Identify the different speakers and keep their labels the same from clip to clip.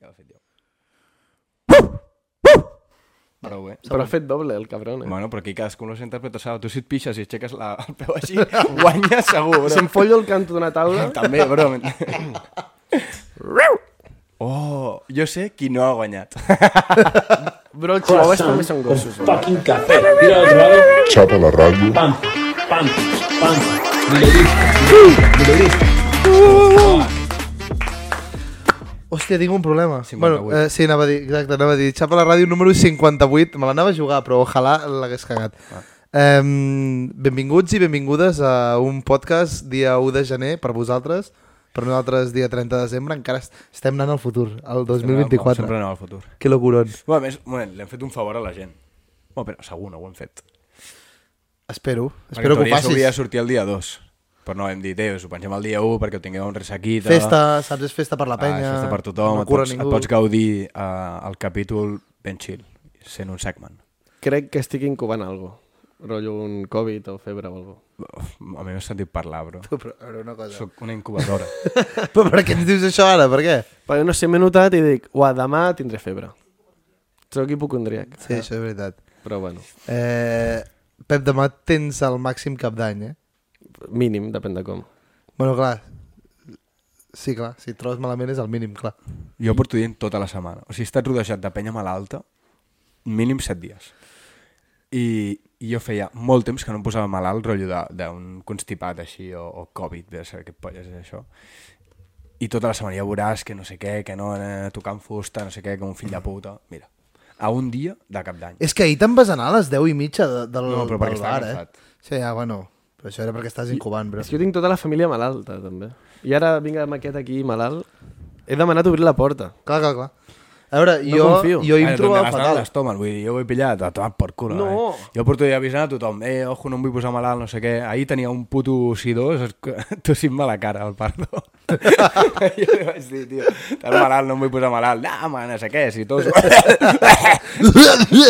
Speaker 1: Ja l'ha fet jo. Prou eh? bé.
Speaker 2: Però ha fet doble, el cabron, eh?
Speaker 1: Bueno, però aquí cadascú no s'interpreta sa. Tu si et pixes i aixeques la, el peu així, guanyes segur, bro.
Speaker 2: Si em follo el canto d'una taula...
Speaker 1: També, bro. oh, jo sé qui no ha guanyat.
Speaker 2: Bro, els chihuahuas també són gossos. bro.
Speaker 3: Fucking café. Mira al otro lado.
Speaker 4: Chapa la radio.
Speaker 3: Pam, pam, pam. Mileris.
Speaker 5: Hòstia, tinc un problema.
Speaker 1: 58.
Speaker 5: Bueno, eh, sí, anava a dir, exacte, anava a dir, xapa la ràdio número 58, me l'anava a jugar, però ojalà l'hagués cagat. Ah. Eh, benvinguts i benvingudes a un podcast dia 1 de gener per vosaltres, per nosaltres dia 30 de desembre, encara est- estem anant al futur, al 2024.
Speaker 1: Sempre anem al futur.
Speaker 5: Que locuron.
Speaker 1: Bueno, a més, un moment, l'hem fet un favor a la gent. Bueno, però segur, no ho hem fet.
Speaker 5: Espero,
Speaker 1: Perquè
Speaker 5: espero
Speaker 1: en
Speaker 5: que ho
Speaker 1: teoria s'hauria de
Speaker 5: facis.
Speaker 1: sortir el dia 2. Però no, hem dit, eh, us ho pengem el dia 1 perquè ho tingueu un ressaquita.
Speaker 5: Festa, saps? És festa per la
Speaker 1: ah,
Speaker 5: penya.
Speaker 1: festa per tothom.
Speaker 5: No
Speaker 1: et,
Speaker 5: curra
Speaker 1: pots, et
Speaker 5: ningú.
Speaker 1: pots gaudir eh, el capítol ben chill, sent un segment.
Speaker 2: Crec que estic incubant algo. Rollo un Covid o febre o algo.
Speaker 1: Uf, a mi m'he sentit parlar, bro.
Speaker 5: Però, a veure, una cosa.
Speaker 1: Soc una incubadora.
Speaker 5: Però per què ens dius això ara? Per què?
Speaker 2: Perquè no sé, m'he notat i dic, uah, demà tindré febre. Soc hipocondríac.
Speaker 1: Ah.
Speaker 5: Sí, això és veritat.
Speaker 2: Però bueno,
Speaker 5: Eh, Pep, demà tens el màxim cap d'any, eh?
Speaker 2: mínim, depèn de com.
Speaker 5: Bueno, clar. Sí, clar. Si et trobes malament és el mínim, clar.
Speaker 1: jo porto dient tota la setmana. O sigui, he estat rodejat de penya malalta mínim 7 dies. I, i jo feia molt temps que no em posava malalt rotllo de- d'un constipat així o, o Covid, de saber què polles és això. I tota la setmana ja veuràs que no sé què, que no, eh, tocant fusta, no sé què, com un fill de puta. Mira, a un dia de cap d'any.
Speaker 5: És que ahir te'n vas anar a les 10 i mitja de, del,
Speaker 1: No, però perquè
Speaker 5: del
Speaker 1: estava
Speaker 5: bar,
Speaker 1: cansat.
Speaker 5: eh? Sí, ja, bueno. Però això era perquè estàs incubant, bro.
Speaker 2: És que jo tinc tota la família malalta, també. I ara vinc amb aquest aquí malalt. He demanat obrir la porta.
Speaker 5: Clar, clar, clar. A veure,
Speaker 2: No
Speaker 5: jo,
Speaker 2: confio.
Speaker 5: jo hi em
Speaker 1: Ara,
Speaker 5: trobava
Speaker 1: has d'anar a
Speaker 5: fatal.
Speaker 1: l'estómac, vull dir, jo ho he pillat a tot per cul.
Speaker 2: No.
Speaker 1: Eh? Jo porto ja avisant a tothom, eh, ojo, no em vull posar malalt, no sé què. Ahir tenia un puto C2 tossint-me a la cara, el perdó. jo li vaig dir, tio, tan malalt, no em vull posar malalt. No, home, no sé què, si tots...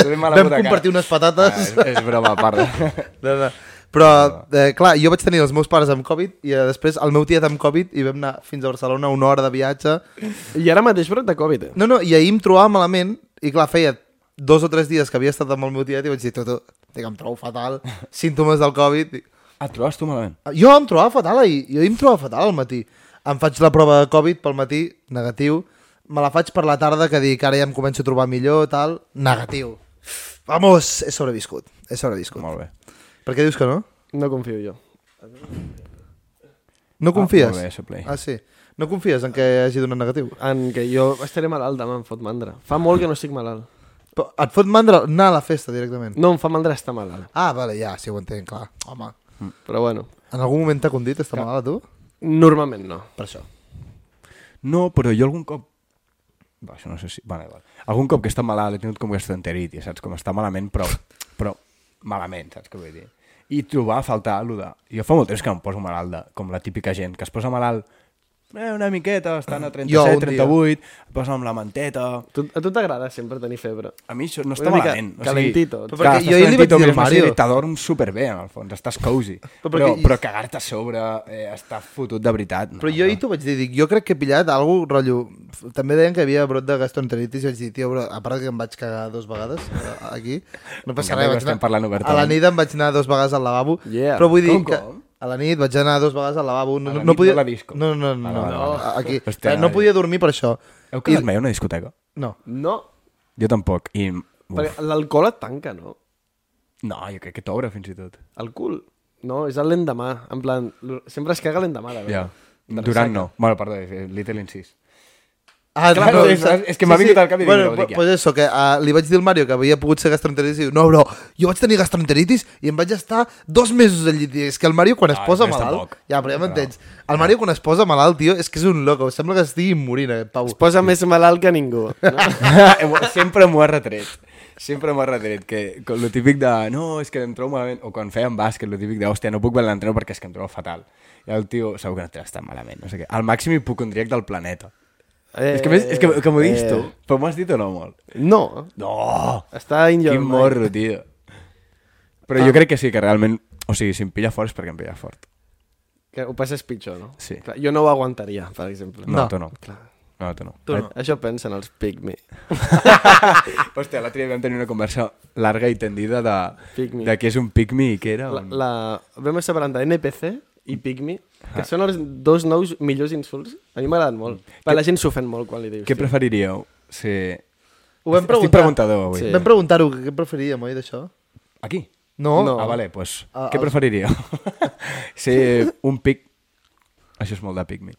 Speaker 1: Vam
Speaker 5: Vam compartir unes patates.
Speaker 1: Ah, eh. és, és broma, perdó.
Speaker 5: No, no. Però, eh, clar, jo vaig tenir els meus pares amb Covid i eh, després el meu tiet amb Covid i vam anar fins a Barcelona una hora de viatge
Speaker 2: I ara mateix brot de Covid, eh?
Speaker 5: No, no, i ahir em trobava malament i clar, feia dos o tres dies que havia estat amb el meu tiet i vaig dir, tu, tu, dic, em trobo fatal, símptomes del Covid. Dic,
Speaker 1: Ah, Et trobes tu malament?
Speaker 5: Jo em trobava fatal ahir, jo ahir em trobava fatal al matí. Em faig la prova de Covid pel matí, negatiu, me la faig per la tarda que dic, ara ja em començo a trobar millor, tal, negatiu. Vamos, he sobreviscut, he sobreviscut.
Speaker 1: Molt bé.
Speaker 5: Per què dius que no?
Speaker 2: No confio jo.
Speaker 5: No confies?
Speaker 1: molt bé, això, Play.
Speaker 5: ah, sí. No confies en que hagi donat negatiu?
Speaker 2: En que jo estaré malalt demà, em fot mandra. Fa molt que no estic malalt.
Speaker 5: Però et fot mandra anar a la festa directament?
Speaker 2: No, em fa mandra estar malalt.
Speaker 5: Ah, vale, ja, sí, ho entenc, clar. Home,
Speaker 2: Però bueno,
Speaker 5: En algun moment t'ha condit estar malalt, tu?
Speaker 2: normalment no.
Speaker 5: Per això.
Speaker 1: No, però jo algun cop... Va, això no sé si... Bueno, igual. Algun cop que està malalt he tingut com gastroenteritis, saps? Com està malament, però, però malament, saps què vull dir? I trobar a faltar allò de... Jo fa molt temps que em poso malalt, de, com la típica gent, que es posa malalt eh, una miqueta, estan a
Speaker 5: Jo, un
Speaker 1: 37,
Speaker 5: dia.
Speaker 1: 38, et posa amb la manteta...
Speaker 2: Tu, a tu t'agrada sempre tenir febre?
Speaker 1: A mi això no
Speaker 2: Una
Speaker 1: està
Speaker 2: mica
Speaker 1: malament.
Speaker 2: calentito.
Speaker 1: O sigui,
Speaker 2: Però
Speaker 1: clar,
Speaker 5: perquè
Speaker 1: estàs
Speaker 5: jo ahir li vaig
Speaker 1: calentito,
Speaker 5: dir al
Speaker 1: mires una
Speaker 5: Mario.
Speaker 1: sèrie i T'adorms superbé, en el fons, estàs cozy. Però, però,
Speaker 5: perquè-
Speaker 1: cagar-te a sobre, eh, estar fotut de veritat... No,
Speaker 5: Però jo ahir t'ho vaig dir, dic, jo crec que he pillat algú rotllo... F- També deien que havia brot de gastroenteritis i vaig dir, tio, bro, a part que em vaig cagar dues vegades eh, aquí, no passa
Speaker 1: Encara que
Speaker 5: res, vaig
Speaker 1: estem parlant
Speaker 5: anar... A la
Speaker 1: obertament.
Speaker 5: nit em vaig anar dues vegades al lavabo,
Speaker 2: Yeah.
Speaker 5: però vull dir
Speaker 1: Com,
Speaker 5: que...
Speaker 1: com?
Speaker 5: A la nit vaig anar dues vegades al lavabo. No,
Speaker 1: A la
Speaker 5: no,
Speaker 1: nit, no
Speaker 5: podia...
Speaker 1: a la disco.
Speaker 5: No, no, no.
Speaker 1: Vale,
Speaker 5: no,
Speaker 1: vale,
Speaker 5: no.
Speaker 1: vale.
Speaker 5: Aquí. eh,
Speaker 1: Hòstia, eh.
Speaker 5: no podia dormir per això.
Speaker 1: Heu quedat mai a una discoteca?
Speaker 5: No.
Speaker 2: No,
Speaker 1: Jo tampoc. I... Uf,
Speaker 2: perquè l'alcohol et tanca, no?
Speaker 1: no, jo crec que t'obre fins i tot.
Speaker 2: El cul. No, és el l'endemà. En plan, l- sempre es caga l'endemà, la
Speaker 1: Ja.
Speaker 2: veritat.
Speaker 1: Durant no. Bueno, perdó, és Little Incís.
Speaker 5: Ah,
Speaker 1: Clar, no, és- és que m'ha vingut al cap i dic,
Speaker 5: bueno,
Speaker 1: no, ho dic ja.
Speaker 5: pues eso, que uh, li vaig dir al Mario que havia pogut ser gastroenteritis i diu, no, bro, jo vaig tenir gastroenteritis i em vaig estar dos mesos al llit. I És que el Mario quan es
Speaker 1: Ah,
Speaker 5: posa
Speaker 1: més
Speaker 5: malalt...
Speaker 1: tampoc.
Speaker 5: Ja, però ja m'entens. El Mario quan es posa malalt, tio, és que és un loco. Sembla que estigui morint, eh, Pau.
Speaker 2: Es posa més malalt que ningú. No?
Speaker 1: Sempre m'ho ha retret. Sempre m'ho ha retret. Que, que lo típic de, no, és que em trobo malament. O quan fèiem bàsquet, lo típic de, hòstia, no puc veure l'entreno perquè és que em trobo fatal. I el tio, segur que no t'has estat malament. No sé què. El màxim hipocondríac del planeta. Eh, és que, a més, és que, que m'ho diguis
Speaker 2: Eh,
Speaker 1: tu. Però m'ho has dit o no molt?
Speaker 2: No,
Speaker 1: No!
Speaker 2: està in your
Speaker 1: Quin
Speaker 2: mind.
Speaker 1: morro, tio. Però
Speaker 2: Ah.
Speaker 1: jo crec que sí, que realment... O sigui, si em pilla fort és perquè em pilla fort.
Speaker 2: Que ho passes pitjor, no?
Speaker 1: Sí.
Speaker 2: Clar, jo no ho aguantaria, per exemple.
Speaker 1: No, no. tu no.
Speaker 2: Clar.
Speaker 1: No, tu no.
Speaker 2: Tu no. Això pensen els pigmi.
Speaker 1: Hòstia, l'altre dia vam tenir una conversa larga i tendida de,
Speaker 2: Pygmy.
Speaker 1: de què és un pigmi i què era.
Speaker 2: La,
Speaker 1: Un...
Speaker 2: la... Vam estar parlant d'NPC i pigmi,
Speaker 1: Ah.
Speaker 2: que són els dos nous millors insults. A mi m'agraden
Speaker 1: Mm.
Speaker 2: molt. Però la gent s'ofèn molt quan li dius.
Speaker 1: Què
Speaker 2: tio.
Speaker 1: preferiríeu? Ser...
Speaker 5: Ho vam
Speaker 1: Estic
Speaker 5: preguntar.
Speaker 1: preguntador avui.
Speaker 2: Sí.
Speaker 5: Vam preguntar-ho, què preferíem, oi, d'això?
Speaker 1: Aquí?
Speaker 5: No.
Speaker 1: Ah, vale, doncs... Pues,
Speaker 5: Ah,
Speaker 1: què
Speaker 5: els-
Speaker 1: preferiríeu? ser un pic... Això és molt de pigmi.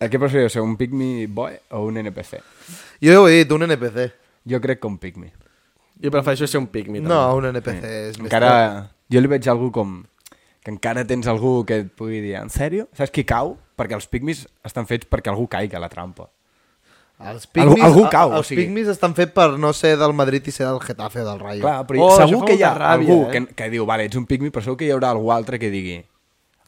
Speaker 1: Eh, Què preferiríeu, ser un pigmi boy o un NPC?
Speaker 5: Jo ho he dit, un NPC.
Speaker 1: Jo crec que un pigmi.
Speaker 2: Jo prefereixo ser un pigmi.
Speaker 5: No,
Speaker 2: també.
Speaker 5: un NPC és més...
Speaker 1: Encara... Jo li veig algú com... Que encara tens algú que et pugui dir en sèrio? Saps qui cau? Perquè els pigmis estan fets perquè algú caigui a la trampa.
Speaker 5: Els
Speaker 1: Algú-
Speaker 5: pigmis,
Speaker 1: algú cau,
Speaker 5: els
Speaker 1: o sigui.
Speaker 5: pigmis estan fets per no ser del Madrid i ser del Getafe o del Rayo.
Speaker 1: Clar, però
Speaker 2: Oh,
Speaker 1: oh,
Speaker 2: això
Speaker 1: segur
Speaker 2: fa
Speaker 1: que hi ha
Speaker 2: molta ràbia,
Speaker 1: algú
Speaker 2: eh?
Speaker 1: que, que diu, vale, ets un pigmi, però segur que hi haurà algú altre que digui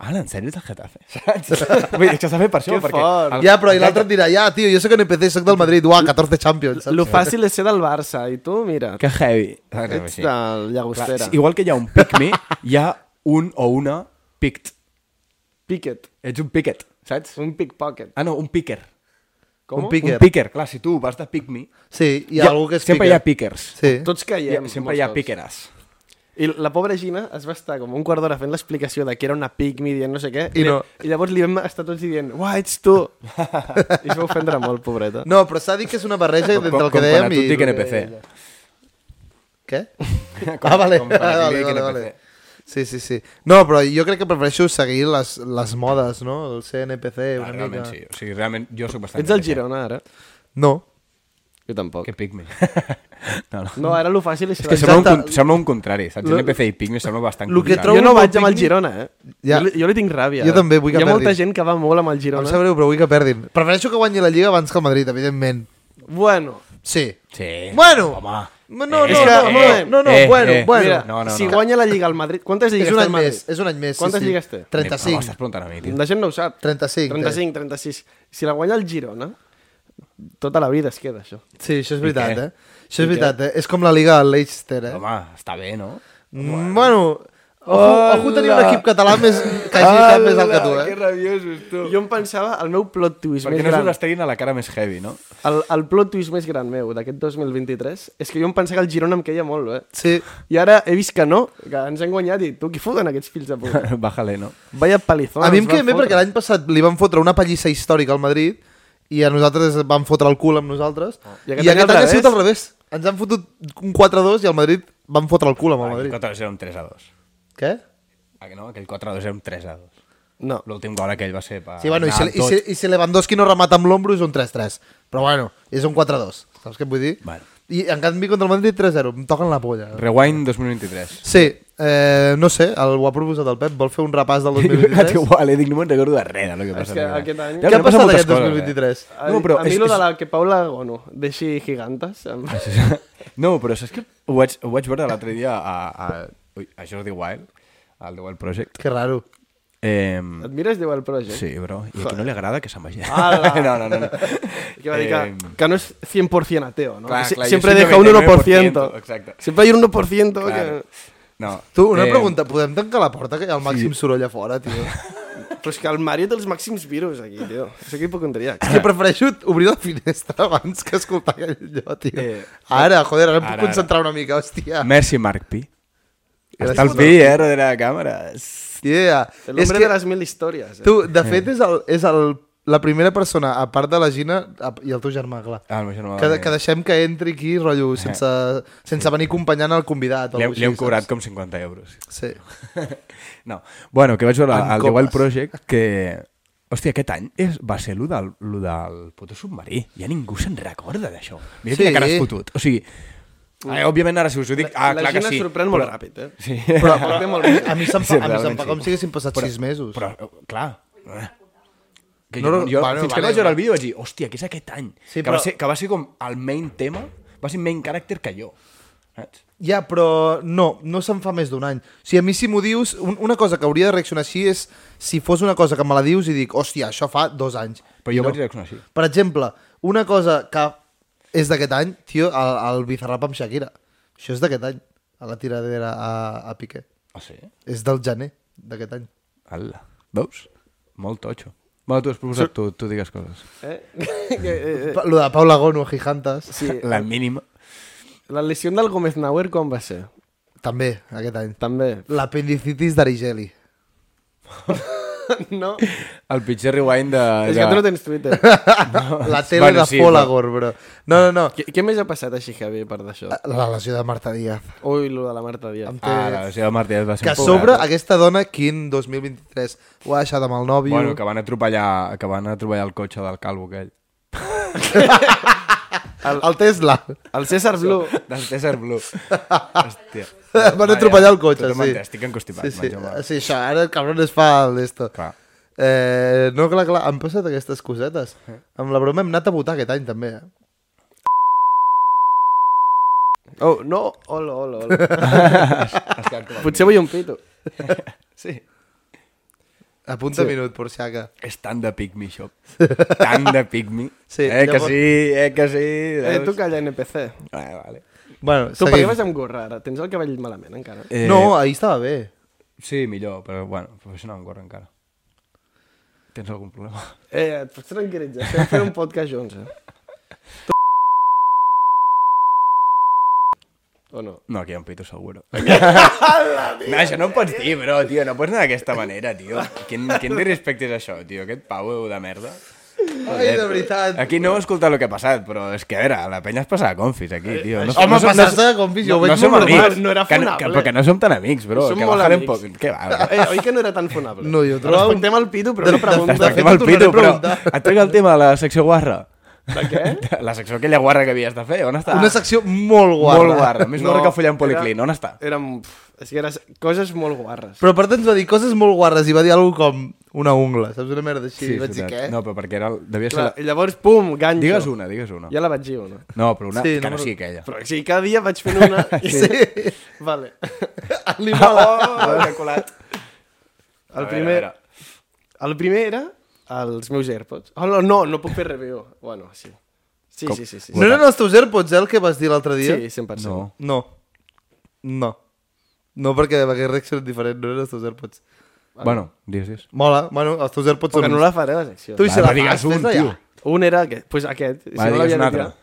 Speaker 1: Ala, en sèrio ets del Getafe? Saps? Vull dir, que s'ha fet per això,
Speaker 2: Que
Speaker 1: perquè...
Speaker 2: fort.
Speaker 5: Ja, però i l'altre et dirà, ja, tio, jo sóc NPC, sóc del Madrid, uah, 14 Champions, saps?
Speaker 2: Lo fàcil és ser del Barça i tu, mira,
Speaker 1: Que heavy. Saps?
Speaker 2: ets
Speaker 1: Sí.
Speaker 2: de
Speaker 1: Clar,
Speaker 2: Llagostera.
Speaker 1: sí, igual que hi ha un pigmi, hi ha un o una pict.
Speaker 2: Piquet.
Speaker 1: Ets un piquet, saps?
Speaker 2: Un pickpocket.
Speaker 1: Ah, no, un picker.
Speaker 5: Un picker.
Speaker 1: Un picker, clar, si tu vas de pigmi...
Speaker 5: Sí, hi
Speaker 1: hi
Speaker 5: ha
Speaker 1: ha-
Speaker 5: algú que és
Speaker 1: Sempre hi ha pickers.
Speaker 5: Sí.
Speaker 2: Tots
Speaker 1: Hi ha,
Speaker 2: caiem.
Speaker 1: sempre hi ha piqueres.
Speaker 2: I la pobra Gina es va estar com un quart d'hora fent l'explicació de que era una pigmi dient no sé què.
Speaker 5: I no.
Speaker 2: I llavors li vam estar tots dient, uah, ets tu. I es va ofendre molt, pobreta.
Speaker 5: No, però s'ha dit que és una barreja
Speaker 1: Com,
Speaker 5: entre el
Speaker 1: com
Speaker 5: que
Speaker 1: quan a
Speaker 5: dèiem
Speaker 1: tu
Speaker 5: i...
Speaker 1: et dic
Speaker 5: el que
Speaker 1: NPC.
Speaker 5: deia ella. Què? ah, vale.
Speaker 1: com per
Speaker 5: Ah,
Speaker 1: aquí
Speaker 5: vale,
Speaker 1: dic
Speaker 5: vale,
Speaker 1: NPC.
Speaker 5: vale. Sí, sí, sí. No, però jo crec que prefereixo seguir les, les modes, no? El ser NPC
Speaker 1: Ah,
Speaker 5: una
Speaker 1: realment
Speaker 5: mica.
Speaker 1: sí. O sigui, realment jo sóc bastant...
Speaker 2: Ets del
Speaker 1: NPC.
Speaker 2: Girona, ara?
Speaker 5: No.
Speaker 2: Jo tampoc.
Speaker 1: Que pigmi. no, no.
Speaker 2: No, ara lo fàcil és...
Speaker 1: És que
Speaker 2: ser-
Speaker 1: sembla un,
Speaker 5: Exacte.
Speaker 1: con- sembla un contrari, saps?
Speaker 2: Lo-
Speaker 1: NPC i Pigme sembla bastant
Speaker 5: lo que
Speaker 1: contrari.
Speaker 5: trobo-
Speaker 2: Jo no
Speaker 5: un
Speaker 2: vaig
Speaker 5: bon
Speaker 2: amb el
Speaker 5: picnic.
Speaker 2: Girona, eh?
Speaker 5: Ja.
Speaker 2: Ja. Jo, li, jo li tinc ràbia.
Speaker 5: Jo
Speaker 2: eh?
Speaker 5: també vull que
Speaker 2: Hi ha molta
Speaker 5: perdi.
Speaker 2: gent que va molt amb el
Speaker 5: Em
Speaker 2: Girona.
Speaker 5: sap greu, però vull que perdin. Prefereixo que guanyi la Lliga abans que el Madrid, evidentment.
Speaker 2: Bueno,
Speaker 5: Sí.
Speaker 1: Sí.
Speaker 5: Bueno.
Speaker 1: Home.
Speaker 5: No, no,
Speaker 2: És
Speaker 5: no,
Speaker 2: que-
Speaker 5: no,
Speaker 2: eh,
Speaker 5: no, no,
Speaker 1: eh,
Speaker 5: bueno,
Speaker 1: eh,
Speaker 5: bueno.
Speaker 2: mira,
Speaker 1: no, no,
Speaker 2: si
Speaker 1: no.
Speaker 2: guanya la Lliga al Madrid... Quantes lligues
Speaker 5: és un
Speaker 2: té
Speaker 5: any
Speaker 2: el Madrid?
Speaker 5: més, és un any més.
Speaker 2: Quantes
Speaker 5: sí, sí.
Speaker 2: lligues té?
Speaker 1: Però m'estàs
Speaker 5: 35.
Speaker 1: preguntant a mi, tio.
Speaker 2: La gent no ho sap.
Speaker 5: 35, té.
Speaker 2: 35, 36. Si la guanya el Girona, tota la vida es queda, això.
Speaker 5: Sí, això és veritat,
Speaker 1: què?
Speaker 5: eh? Això és veritat, eh? És com la Liga del Leicester, eh?
Speaker 1: Home, està bé, no?
Speaker 5: Mm, Bueno, ojo, ojo tenir un equip català més, que hagi estat més alt que tu, eh?
Speaker 1: rabiosos, tu.
Speaker 2: Jo em pensava, el meu plot twist
Speaker 1: Perquè
Speaker 2: més
Speaker 1: no se
Speaker 2: gran...
Speaker 1: n'esteguin a la cara més heavy, no?
Speaker 2: El, el plot twist més gran meu d'aquest 2023 és que jo em pensava que el Girona em queia molt, eh?
Speaker 5: Sí.
Speaker 2: I ara he vist que no, que ens han guanyat i tu, qui foten aquests fills de puta?
Speaker 1: Bájale, no?
Speaker 2: Vaya palizona.
Speaker 5: A mi em
Speaker 2: ens van
Speaker 5: queda bé
Speaker 2: doncs fotre.
Speaker 5: perquè l'any passat li van fotre una pallissa històrica al Madrid i a nosaltres ens van fotre el cul amb nosaltres. I
Speaker 2: Ah, I
Speaker 5: aquest,
Speaker 2: aquest
Speaker 5: I
Speaker 2: any
Speaker 5: aquest
Speaker 2: al
Speaker 5: any ha sigut al
Speaker 2: revés.
Speaker 5: revés. Ens han fotut un 4-2 i al Madrid van fotre el cul amb el
Speaker 1: Aquell
Speaker 5: Madrid.
Speaker 1: 4 era un 3 a 2.
Speaker 5: Què?
Speaker 1: Ah, que no? Aquell 4 a 2 era un 3 a 2.
Speaker 2: No.
Speaker 1: L'últim gol aquell va ser per
Speaker 5: Sí, bueno, i si,
Speaker 1: anar amb
Speaker 5: i, si, i si Lewandowski no remata amb l'ombro és un 3-3. Però bueno, és un 4-2. Saps què et vull dir?
Speaker 1: Bueno.
Speaker 5: I en canvi contra el Madrid 3-0. Em toquen la polla.
Speaker 1: Rewind 2023.
Speaker 5: Sí, eh, no sé, el, ho ha proposat el Pep. Vol fer un repàs del
Speaker 1: Igual,
Speaker 5: 2023?
Speaker 1: eh? Dic, no me'n recordo de res, del que passa.
Speaker 2: que
Speaker 1: aquest any.
Speaker 2: aquest any-
Speaker 1: Ja,
Speaker 5: Què
Speaker 1: però
Speaker 5: ha passat
Speaker 1: moltes
Speaker 5: aquest
Speaker 1: coses, eh?
Speaker 5: 2023?
Speaker 2: A,
Speaker 1: No, però
Speaker 2: a mi
Speaker 1: és-
Speaker 2: lo de
Speaker 1: és-
Speaker 2: la que Paula Gono deixi gigantes... Em...
Speaker 1: No, però saps que ho vaig, ho vaig veure l'altre dia a, a, ui, a Jordi Wild, al The Wild Project.
Speaker 5: Que raro.
Speaker 1: Eh,
Speaker 2: Et mires Déu el projecte?
Speaker 1: sí, bro. I a qui no li agrada que se'n vagi.
Speaker 2: Ala.
Speaker 1: no, no, no. no.
Speaker 2: Que va dir que,
Speaker 1: Em,
Speaker 2: que no es 100% ateo, ¿no?
Speaker 1: Clar,
Speaker 2: Que si-
Speaker 1: clar, jo
Speaker 2: siempre
Speaker 1: soy
Speaker 2: deja un
Speaker 1: 99%,
Speaker 2: 1%.
Speaker 1: exacte.
Speaker 2: Siempre hay un 1%
Speaker 1: Clar.
Speaker 2: que...
Speaker 1: No.
Speaker 5: Tu, una
Speaker 1: Eh,
Speaker 5: pregunta. Podem tancar la porta que hi ha el màxim soroll a fora, tio?
Speaker 2: Però és pues que el Mario té els màxims virus aquí, tio. És que hipocondriac.
Speaker 5: És que prefereixo obrir la finestra abans que escoltar aquell allò, tio.
Speaker 1: Eh,
Speaker 5: ara, joder, ara em puc
Speaker 1: ara, ara.
Speaker 5: concentrar una mica, hòstia.
Speaker 1: Merci, Marc Pi.
Speaker 5: Gràcies.
Speaker 1: Està el Pi, eh, darrere de càmeres.
Speaker 5: Yeah.
Speaker 2: El
Speaker 5: És
Speaker 2: hombre
Speaker 5: que
Speaker 2: de les mil històries. Eh?
Speaker 5: tu, de fet, és, el, és el, la primera persona, a part de la Gina a- i el teu germà, clar,
Speaker 1: Ah, el meu germà.
Speaker 5: que,
Speaker 1: va
Speaker 5: que
Speaker 1: venir.
Speaker 5: deixem que entri aquí,
Speaker 1: Eh.
Speaker 5: rotllo, sense, sense venir acompanyant el convidat. o
Speaker 1: Li,
Speaker 5: alguna
Speaker 1: heu- li hem
Speaker 5: cosa
Speaker 1: cobrat
Speaker 5: així,
Speaker 1: com 50 euros.
Speaker 5: saps? Sí.
Speaker 1: No. Bueno, que vaig veure
Speaker 5: En
Speaker 1: al The Wild
Speaker 5: copes.
Speaker 1: Project que... Hòstia, aquest any és, va ser lo del, lo del puto submarí. Ja ningú se'n recorda d'això. Mira sí.
Speaker 5: Sí.
Speaker 1: quina cara has fotut. O sigui, eh, òbviament ara si us ho dic... Ah,
Speaker 2: la
Speaker 1: clar que
Speaker 2: Gina
Speaker 1: sí.
Speaker 2: sorprèn molt ràpid, eh?
Speaker 1: Sí.
Speaker 5: Però,
Speaker 2: Ho té
Speaker 5: però
Speaker 2: molt bé.
Speaker 5: a mi se'm fa,
Speaker 1: Sí,
Speaker 5: a mi se'm
Speaker 1: realment
Speaker 5: fa
Speaker 1: sí.
Speaker 5: com si haguessin passat 6 mesos.
Speaker 1: Però, eh, clar... eh, Que
Speaker 5: No,
Speaker 1: jo,
Speaker 5: no,
Speaker 1: jo,
Speaker 5: bueno,
Speaker 1: bueno, fins
Speaker 5: vale,
Speaker 1: que vaig veure
Speaker 5: vale.
Speaker 1: el vídeo vaig dir, hòstia, que és aquest any.
Speaker 5: Sí,
Speaker 1: que,
Speaker 5: però-
Speaker 1: va ser, que va ser com el main tema, va ser main character que jo. Saps?
Speaker 5: Ja, però no, no se'n fa més d'un any. O sigui, a mi si m'ho dius, un, una cosa que hauria de reaccionar així és si fos una cosa que me la dius i dic, hòstia, això fa dos anys.
Speaker 1: Però
Speaker 5: I
Speaker 1: jo
Speaker 5: no.
Speaker 1: vaig reaccionar així.
Speaker 5: Per exemple, una cosa que és d'aquest any, tio, el, el Bizarrap amb Shakira. Això és d'aquest any, a la tiradera a, a Piqué.
Speaker 1: Ah, sí?
Speaker 5: És del gener d'aquest any.
Speaker 1: Ala. Veus? Molt totxo. Va, tu has proposat tu, tu digues coses.
Speaker 2: Eh? Eh, eh,
Speaker 5: Pa- Lo de Paula Gono, Gijantas,
Speaker 2: sí,
Speaker 1: La mínima.
Speaker 2: la lesió del Gómez Nauer quan va ser?
Speaker 5: també, aquest any.
Speaker 2: També.
Speaker 5: L'apendicitis d'Arigeli.
Speaker 2: No,
Speaker 1: El pitjor rewind de...
Speaker 2: és
Speaker 1: de...
Speaker 2: que tu no tens Twitter.
Speaker 5: La tele
Speaker 1: Bueno,
Speaker 5: de
Speaker 1: sí,
Speaker 5: Folagor, bro. No, no, no.
Speaker 2: Què, què més ha passat així, Javi, a part d'això?
Speaker 5: La lesió de Marta Díaz.
Speaker 2: Ui, lo de la Marta Díaz.
Speaker 5: Em té-
Speaker 1: Ah, la lesió de Martí va ser
Speaker 5: Que a
Speaker 1: un
Speaker 5: sobre,
Speaker 1: pobret.
Speaker 5: aquesta dona, quin 2023, ho ha deixat amb el nòvio.
Speaker 1: Bueno, que van atropellar, que van atropellar el cotxe del calvo aquell.
Speaker 5: el... el Tesla.
Speaker 2: El César Blue.
Speaker 1: Del Desert Blue. Hòstia.
Speaker 5: Van atropellar el cotxe,
Speaker 1: Tothom
Speaker 5: sí.
Speaker 1: entès, Estic encostipat.
Speaker 5: Sí, sí.
Speaker 1: menjo-me.
Speaker 5: sí, això, ara el cabron es fa el d'esto.
Speaker 1: Clar.
Speaker 5: Eh, no, clar, clar, han passat aquestes cosetes.
Speaker 1: Eh.
Speaker 5: Amb la broma hem anat a votar aquest any, també. Eh?
Speaker 2: Oh, no, hola, hola, hola.
Speaker 1: Has quedat com el
Speaker 2: Potser vull un pito.
Speaker 1: Sí.
Speaker 5: Apunta sí. minut, por si acaso.
Speaker 1: És tan de pigmi, això. Tan de pigmi.
Speaker 5: Sí,
Speaker 1: eh, que
Speaker 5: llavors-
Speaker 1: sí, eh, que sí.
Speaker 2: Eh, tu
Speaker 1: veus?
Speaker 2: calla, NPC.
Speaker 1: Ah, vale.
Speaker 5: Bueno,
Speaker 2: Tu, per què
Speaker 5: seguim.
Speaker 2: vas amb gorra ara? Tens el cabell malament, encara?
Speaker 1: Eh,
Speaker 5: No, ahir estava bé.
Speaker 1: Sí, millor, però bueno, però això no em corre encara. Tens algun problema?
Speaker 2: Eh, et pots tranquil·litzar. Estem fent un podcast junts, eh? Tu... O no?
Speaker 1: No, aquí hi ha un pito seguro. no, això no ho pots dir, bro, tio. No pots anar d'aquesta manera, tio. Quin, quin disrespecte és això, tio? Aquest pavo de merda. eh,
Speaker 5: Ai, de veritat.
Speaker 1: Aquí no heu escoltat el que ha passat, però és que, a veure, la penya es passa de confis, aquí, tio. No,
Speaker 5: Eh, Home,
Speaker 1: som-
Speaker 5: passar-se de confis, jo ho veig
Speaker 1: no som
Speaker 5: molt normal,
Speaker 1: amics.
Speaker 2: no era
Speaker 1: que, no- que,
Speaker 2: funable.
Speaker 1: però que no som tan amics, bro.
Speaker 2: Som
Speaker 1: que
Speaker 2: molt
Speaker 1: bajarem
Speaker 2: amics.
Speaker 1: Poc... Què va, bro?
Speaker 2: Eh, oi que no era tan fonable?
Speaker 5: No, jo trobava un-
Speaker 2: Respectem el pito, però
Speaker 5: De-
Speaker 2: no pregunta.
Speaker 5: de-
Speaker 1: Tractem
Speaker 5: fet,
Speaker 1: el
Speaker 5: ho
Speaker 1: pito,
Speaker 5: tornaré
Speaker 1: però
Speaker 5: a preguntar.
Speaker 1: et trec el tema de la secció guarra.
Speaker 2: De què?
Speaker 1: La secció aquella guarra que havies de fer, on està?
Speaker 5: Una secció molt guarra.
Speaker 1: ah, Molt guarra, més guarra que follar en policlín, on està?
Speaker 2: Érem... És que eren coses molt guarres.
Speaker 5: Però per tant ens va dir coses molt guarres i va dir alguna com una ungla, saps? Una merda així.
Speaker 1: Sí,
Speaker 5: Sí, vaig dir,
Speaker 1: veritat.
Speaker 5: què?
Speaker 1: No, però perquè era... el- Devia ser...
Speaker 2: Clar,
Speaker 1: la-
Speaker 2: I llavors, pum, ganxo.
Speaker 1: Digues una, digues una.
Speaker 2: Ja la vaig dir, una.
Speaker 1: No, però una
Speaker 5: Sí,
Speaker 1: sí, que no,
Speaker 5: no,
Speaker 1: sigui aquella.
Speaker 2: Però sí, cada dia vaig fent una... I...
Speaker 5: Sí.
Speaker 2: Vale.
Speaker 5: Li
Speaker 2: Oh,
Speaker 5: mola.
Speaker 2: calculat. El primer... El primer era els meus AirPods. Oh, no, no, no puc fer review. Bueno, sí. Sí, sí, sí, sí.
Speaker 5: No eren els teus AirPods, eh, el que vas dir l'altre dia?
Speaker 2: Sí, 100%.
Speaker 1: No.
Speaker 5: No. No. No, perquè perquè reacció és diferent, no eren els teus AirPods.
Speaker 1: Bueno, digues, digues.
Speaker 5: Mola, bueno, els teus AirPods
Speaker 2: Però
Speaker 5: són...
Speaker 2: no la faré, la secció.
Speaker 5: Tu i
Speaker 1: Va,
Speaker 5: se la
Speaker 1: va, digues
Speaker 5: fas,
Speaker 1: un,
Speaker 5: fes-la
Speaker 1: tio.
Speaker 5: ja.
Speaker 2: Un era aquest. Pues aquest.
Speaker 1: Va,
Speaker 2: no
Speaker 1: digues
Speaker 2: l'havia
Speaker 1: un
Speaker 2: dit ja.
Speaker 1: altre.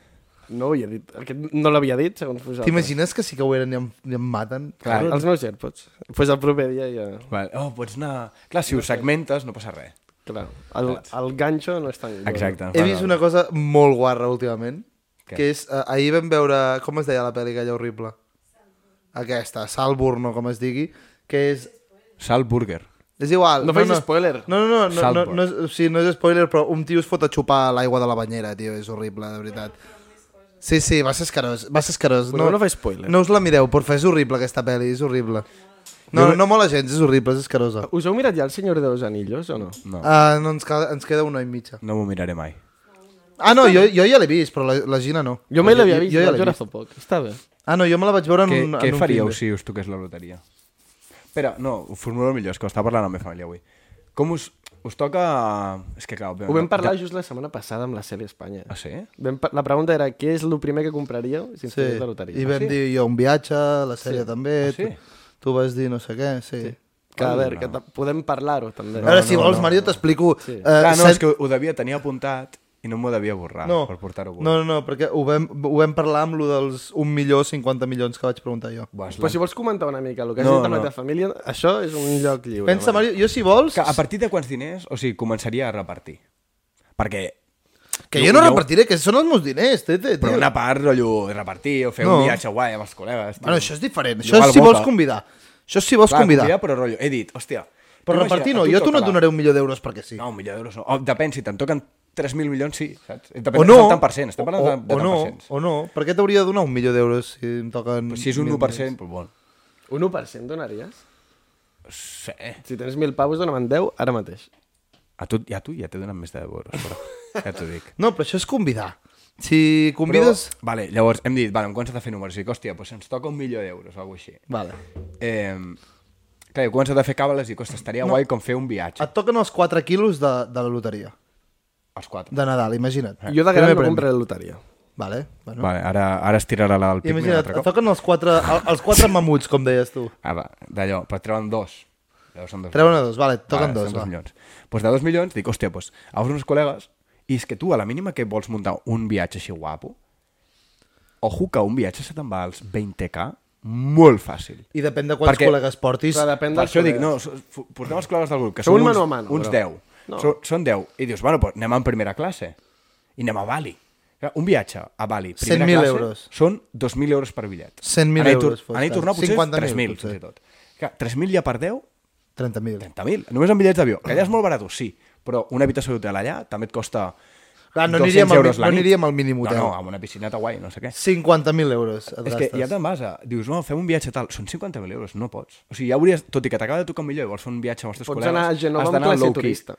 Speaker 2: No ho havia dit. Aquest no l'havia dit, segons vosaltres.
Speaker 5: T'imagines que sí que ho eren i em, i em maten?
Speaker 1: Clar.
Speaker 2: Els meus AirPots. pues el proper dia ja...
Speaker 1: Vale. Oh, pots anar... Clar, si ho segmentes no passa res.
Speaker 2: Clar, el, el ganxo no és tan... gros.
Speaker 1: Exacte.
Speaker 5: He vist una cosa molt guarra últimament,
Speaker 1: Què?
Speaker 5: que és... Eh, ahir vam veure... Com es deia la pel·li aquella horrible? Aquesta, Salburn o com es digui, que és...
Speaker 1: Sal Burger.
Speaker 5: És igual.
Speaker 2: No facis spoiler.
Speaker 5: No, no, no, no, no,
Speaker 1: Saltburn.
Speaker 5: no, és, o sigui, no és spoiler, però un tio es fot a xupar l'aigua de la banyera, tio, és horrible, de veritat. Sí, sí, va ser escarós, va ser escarós.
Speaker 2: Bueno, no fa spoiler.
Speaker 5: No us la mireu, porfa, és horrible aquesta pel·li, és horrible. No, no, no mola gens, és horrible, és escarosa.
Speaker 2: Us heu mirat ja el Senyor de los Anillos o no?
Speaker 1: No.
Speaker 5: Ah, no, ens, cal, ens queda una i mitja.
Speaker 1: No m'ho miraré mai.
Speaker 5: Ah, no, jo, jo ja l'he vist, però la, la Gina no.
Speaker 2: Jo mai l'havia vist,
Speaker 5: jo, ja
Speaker 2: jo,
Speaker 5: l'he
Speaker 2: era
Speaker 5: vist.
Speaker 2: fa poc. Està bé.
Speaker 5: Ah, no, jo me la vaig veure en
Speaker 1: Què,
Speaker 5: un,
Speaker 1: què
Speaker 5: en un
Speaker 1: faríeu
Speaker 5: Tinder.
Speaker 1: si us toqués la loteria? Espera, no, ho formulo millor, és que ho està parlant la meva família avui. Com us, us toca... És que clar,
Speaker 2: Ho vam parlar just la setmana passada amb la sèrie Espanya.
Speaker 1: Ah,
Speaker 5: Eh,
Speaker 1: sí?
Speaker 2: Vam pa- la pregunta era què és el primer que compraríeu si ens
Speaker 5: Sí.
Speaker 2: sí. la loteria.
Speaker 5: I vam dir jo un viatge, la sèrie també,
Speaker 1: Ah, sí?
Speaker 5: tu, tu vas dir no sé què, sí. sí.
Speaker 2: Que, a veure, que ta- podem parlar-ho també.
Speaker 5: No, a veure, si vols, no, Mario, t'explico. Sí. Uh,
Speaker 1: Clar, Ah, no, és que ho devia tenir apuntat i no m'ho devia borrar
Speaker 5: no,
Speaker 1: per portar-ho avui.
Speaker 5: no, no, no, perquè ho vam, ho vam parlar amb lo dels 1 milió 50 milions que vaig preguntar jo.
Speaker 1: Buah, és
Speaker 2: Però si vols comentar una mica el que has
Speaker 1: No,
Speaker 2: dit amb
Speaker 1: no.
Speaker 2: la teva família, això és un lloc lliure.
Speaker 5: Pensa,
Speaker 2: Mario.
Speaker 5: Mario, jo si vols...
Speaker 1: Que
Speaker 5: Que,
Speaker 1: a partir de quants diners, o sigui, començaria a repartir. Perquè...
Speaker 5: que jo no repartiré, que són els meus diners, tete, tio.
Speaker 1: Però una part, rotllo, repartir o fer
Speaker 5: No.
Speaker 1: un viatge guai amb els col·legues. Tio.
Speaker 5: Bueno, això és diferent. Això
Speaker 1: Llogar el
Speaker 5: és si vols
Speaker 1: boca.
Speaker 5: convidar. Això és si vols
Speaker 1: Clar,
Speaker 5: convidar.
Speaker 1: convidar, però rotllo, he dit, hòstia...
Speaker 5: Però
Speaker 1: t'imagina,
Speaker 5: repartir
Speaker 1: a
Speaker 5: no, jo a tu no
Speaker 1: toca
Speaker 5: et
Speaker 1: la-
Speaker 5: donaré un milió d'euros perquè sí.
Speaker 1: No, un milió d'euros no. O, depèn, si te'n toquen 3.000 milions, sí, saps? Depèn,
Speaker 5: o no,
Speaker 1: Tant percent, estem parlant
Speaker 5: o,
Speaker 1: de, de
Speaker 5: o
Speaker 1: tant
Speaker 5: no,
Speaker 1: percents.
Speaker 5: o no, per què t'hauria de donar un milió d'euros si em toquen...
Speaker 1: Si és un
Speaker 5: mil
Speaker 1: 1%, però bon.
Speaker 2: Un 1% donaries?
Speaker 1: Sí.
Speaker 2: Si tens 1.000 pavos, dona'm 10 ara mateix.
Speaker 1: A tu, ja, tu ja t'he donat més de 10 euros, però ja t'ho dic.
Speaker 5: No, però això és convidar. Si convides...
Speaker 1: Però, vale, llavors hem dit, vale, amb quants s'ha de fer números? I dic, hòstia, doncs ens toca un milió d'euros o alguna així.
Speaker 5: Vale.
Speaker 1: Eh, clar, jo començo a fer càbales i costa, estaria no. guai com fer un viatge.
Speaker 5: Et toquen els 4 quilos de, de la loteria.
Speaker 1: Els quatre.
Speaker 5: De Nadal, imagina't.
Speaker 2: Eh, Jo de gran
Speaker 5: Primer
Speaker 2: no
Speaker 5: premi.
Speaker 2: compraré loteria. Vale.
Speaker 5: Bueno.
Speaker 1: Vale, ara, ara es tirarà la- el pigment un
Speaker 5: Imagina't,
Speaker 1: altre
Speaker 5: et
Speaker 1: cop.
Speaker 5: toquen els 4, els 4 mamuts, com deies tu.
Speaker 1: Ah, va, d'allò, però treuen dos. Llavors són dos
Speaker 5: Treuen a
Speaker 1: milions.
Speaker 5: dos, vale, toquen dos,
Speaker 1: són dos
Speaker 5: va.
Speaker 1: milions. pues de dos milions dic, hòstia, pues, a uns col·legues i és que tu, a la mínima que vols muntar un viatge així guapo, ojo que un viatge se te'n va als 20k molt fàcil.
Speaker 5: I depèn de quants
Speaker 1: Perquè-
Speaker 5: col·legues portis.
Speaker 2: Clar, depèn
Speaker 1: Per
Speaker 2: dels
Speaker 1: això dic,
Speaker 2: col·legues.
Speaker 1: no, so- fu- portem els col·legues del grup, que
Speaker 2: Sou
Speaker 1: són
Speaker 2: un
Speaker 1: uns,
Speaker 2: mano a mano,
Speaker 1: uns
Speaker 2: però.
Speaker 1: 10.
Speaker 2: No.
Speaker 1: No. Són, són 10. I dius, bueno, pues anem en primera classe. I anem a Bali. Clar, Un viatge a Bali, primera
Speaker 5: 100.000
Speaker 1: classe,
Speaker 5: euros.
Speaker 1: són 2.000 euros per bitllet.
Speaker 5: 100.000
Speaker 1: Anar i tor-
Speaker 5: euros, fot,
Speaker 1: Anar i
Speaker 5: clar.
Speaker 1: tornar potser
Speaker 5: 50.000
Speaker 1: 3.000,
Speaker 5: potser.
Speaker 1: fins i tot. Clar, 3.000 ja per 10,
Speaker 5: 30.000.
Speaker 1: 30.000. Només en bitllets d'avió. Que allà és molt barat, sí, però una habitació d'hotel allà també et costa
Speaker 5: Clar, no
Speaker 1: 200
Speaker 5: aniríem al mi-
Speaker 1: euros la
Speaker 5: no
Speaker 1: nit.
Speaker 5: aniríem al mínim hotel.
Speaker 1: No, no, amb una piscineta guai, no sé què.
Speaker 5: 50.000 euros et
Speaker 1: És que
Speaker 5: gastes.
Speaker 1: ja te'n vas a... eh, Dius, no, fem un viatge tal. Són 50.000 euros, no pots. O sigui, ja hauries... Tot i que t'acaba de tocar millor i vols fer un viatge amb els teus
Speaker 2: Pots
Speaker 1: col·legues...
Speaker 2: anar a Genova
Speaker 1: has
Speaker 2: amb
Speaker 1: d'anar
Speaker 2: classe
Speaker 1: low-key.
Speaker 2: turista.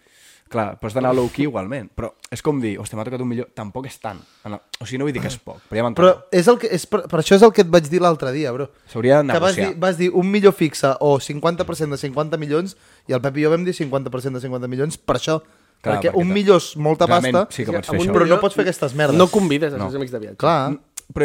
Speaker 1: Clar, pots d'anar low-key igualment. Però és com dir, hòstia, m'ha tocat un millor... Tampoc és tant. En el- O sigui, no vull dir que és poc, però ja
Speaker 5: Però
Speaker 1: m'entenc.
Speaker 5: és el que, és per, per això és el que et vaig dir l'altre dia, bro.
Speaker 1: S'hauria de
Speaker 5: Que vas
Speaker 1: negociar.
Speaker 5: dir, vas dir un millor fixe o 50% de 50 milions i el Pep i jo vam dir 50% de 50 milions per això.
Speaker 1: Clar,
Speaker 5: perquè,
Speaker 1: perquè
Speaker 5: un
Speaker 1: te-
Speaker 5: millor és molta
Speaker 1: Realment,
Speaker 5: pasta,
Speaker 1: sí que pots
Speaker 2: fer
Speaker 5: amb un
Speaker 2: això.
Speaker 5: però no
Speaker 2: milió-
Speaker 5: pots fer aquestes merdes.
Speaker 2: No convides els teus amics de viatge.
Speaker 5: Clar,
Speaker 1: Però, eh,
Speaker 5: Però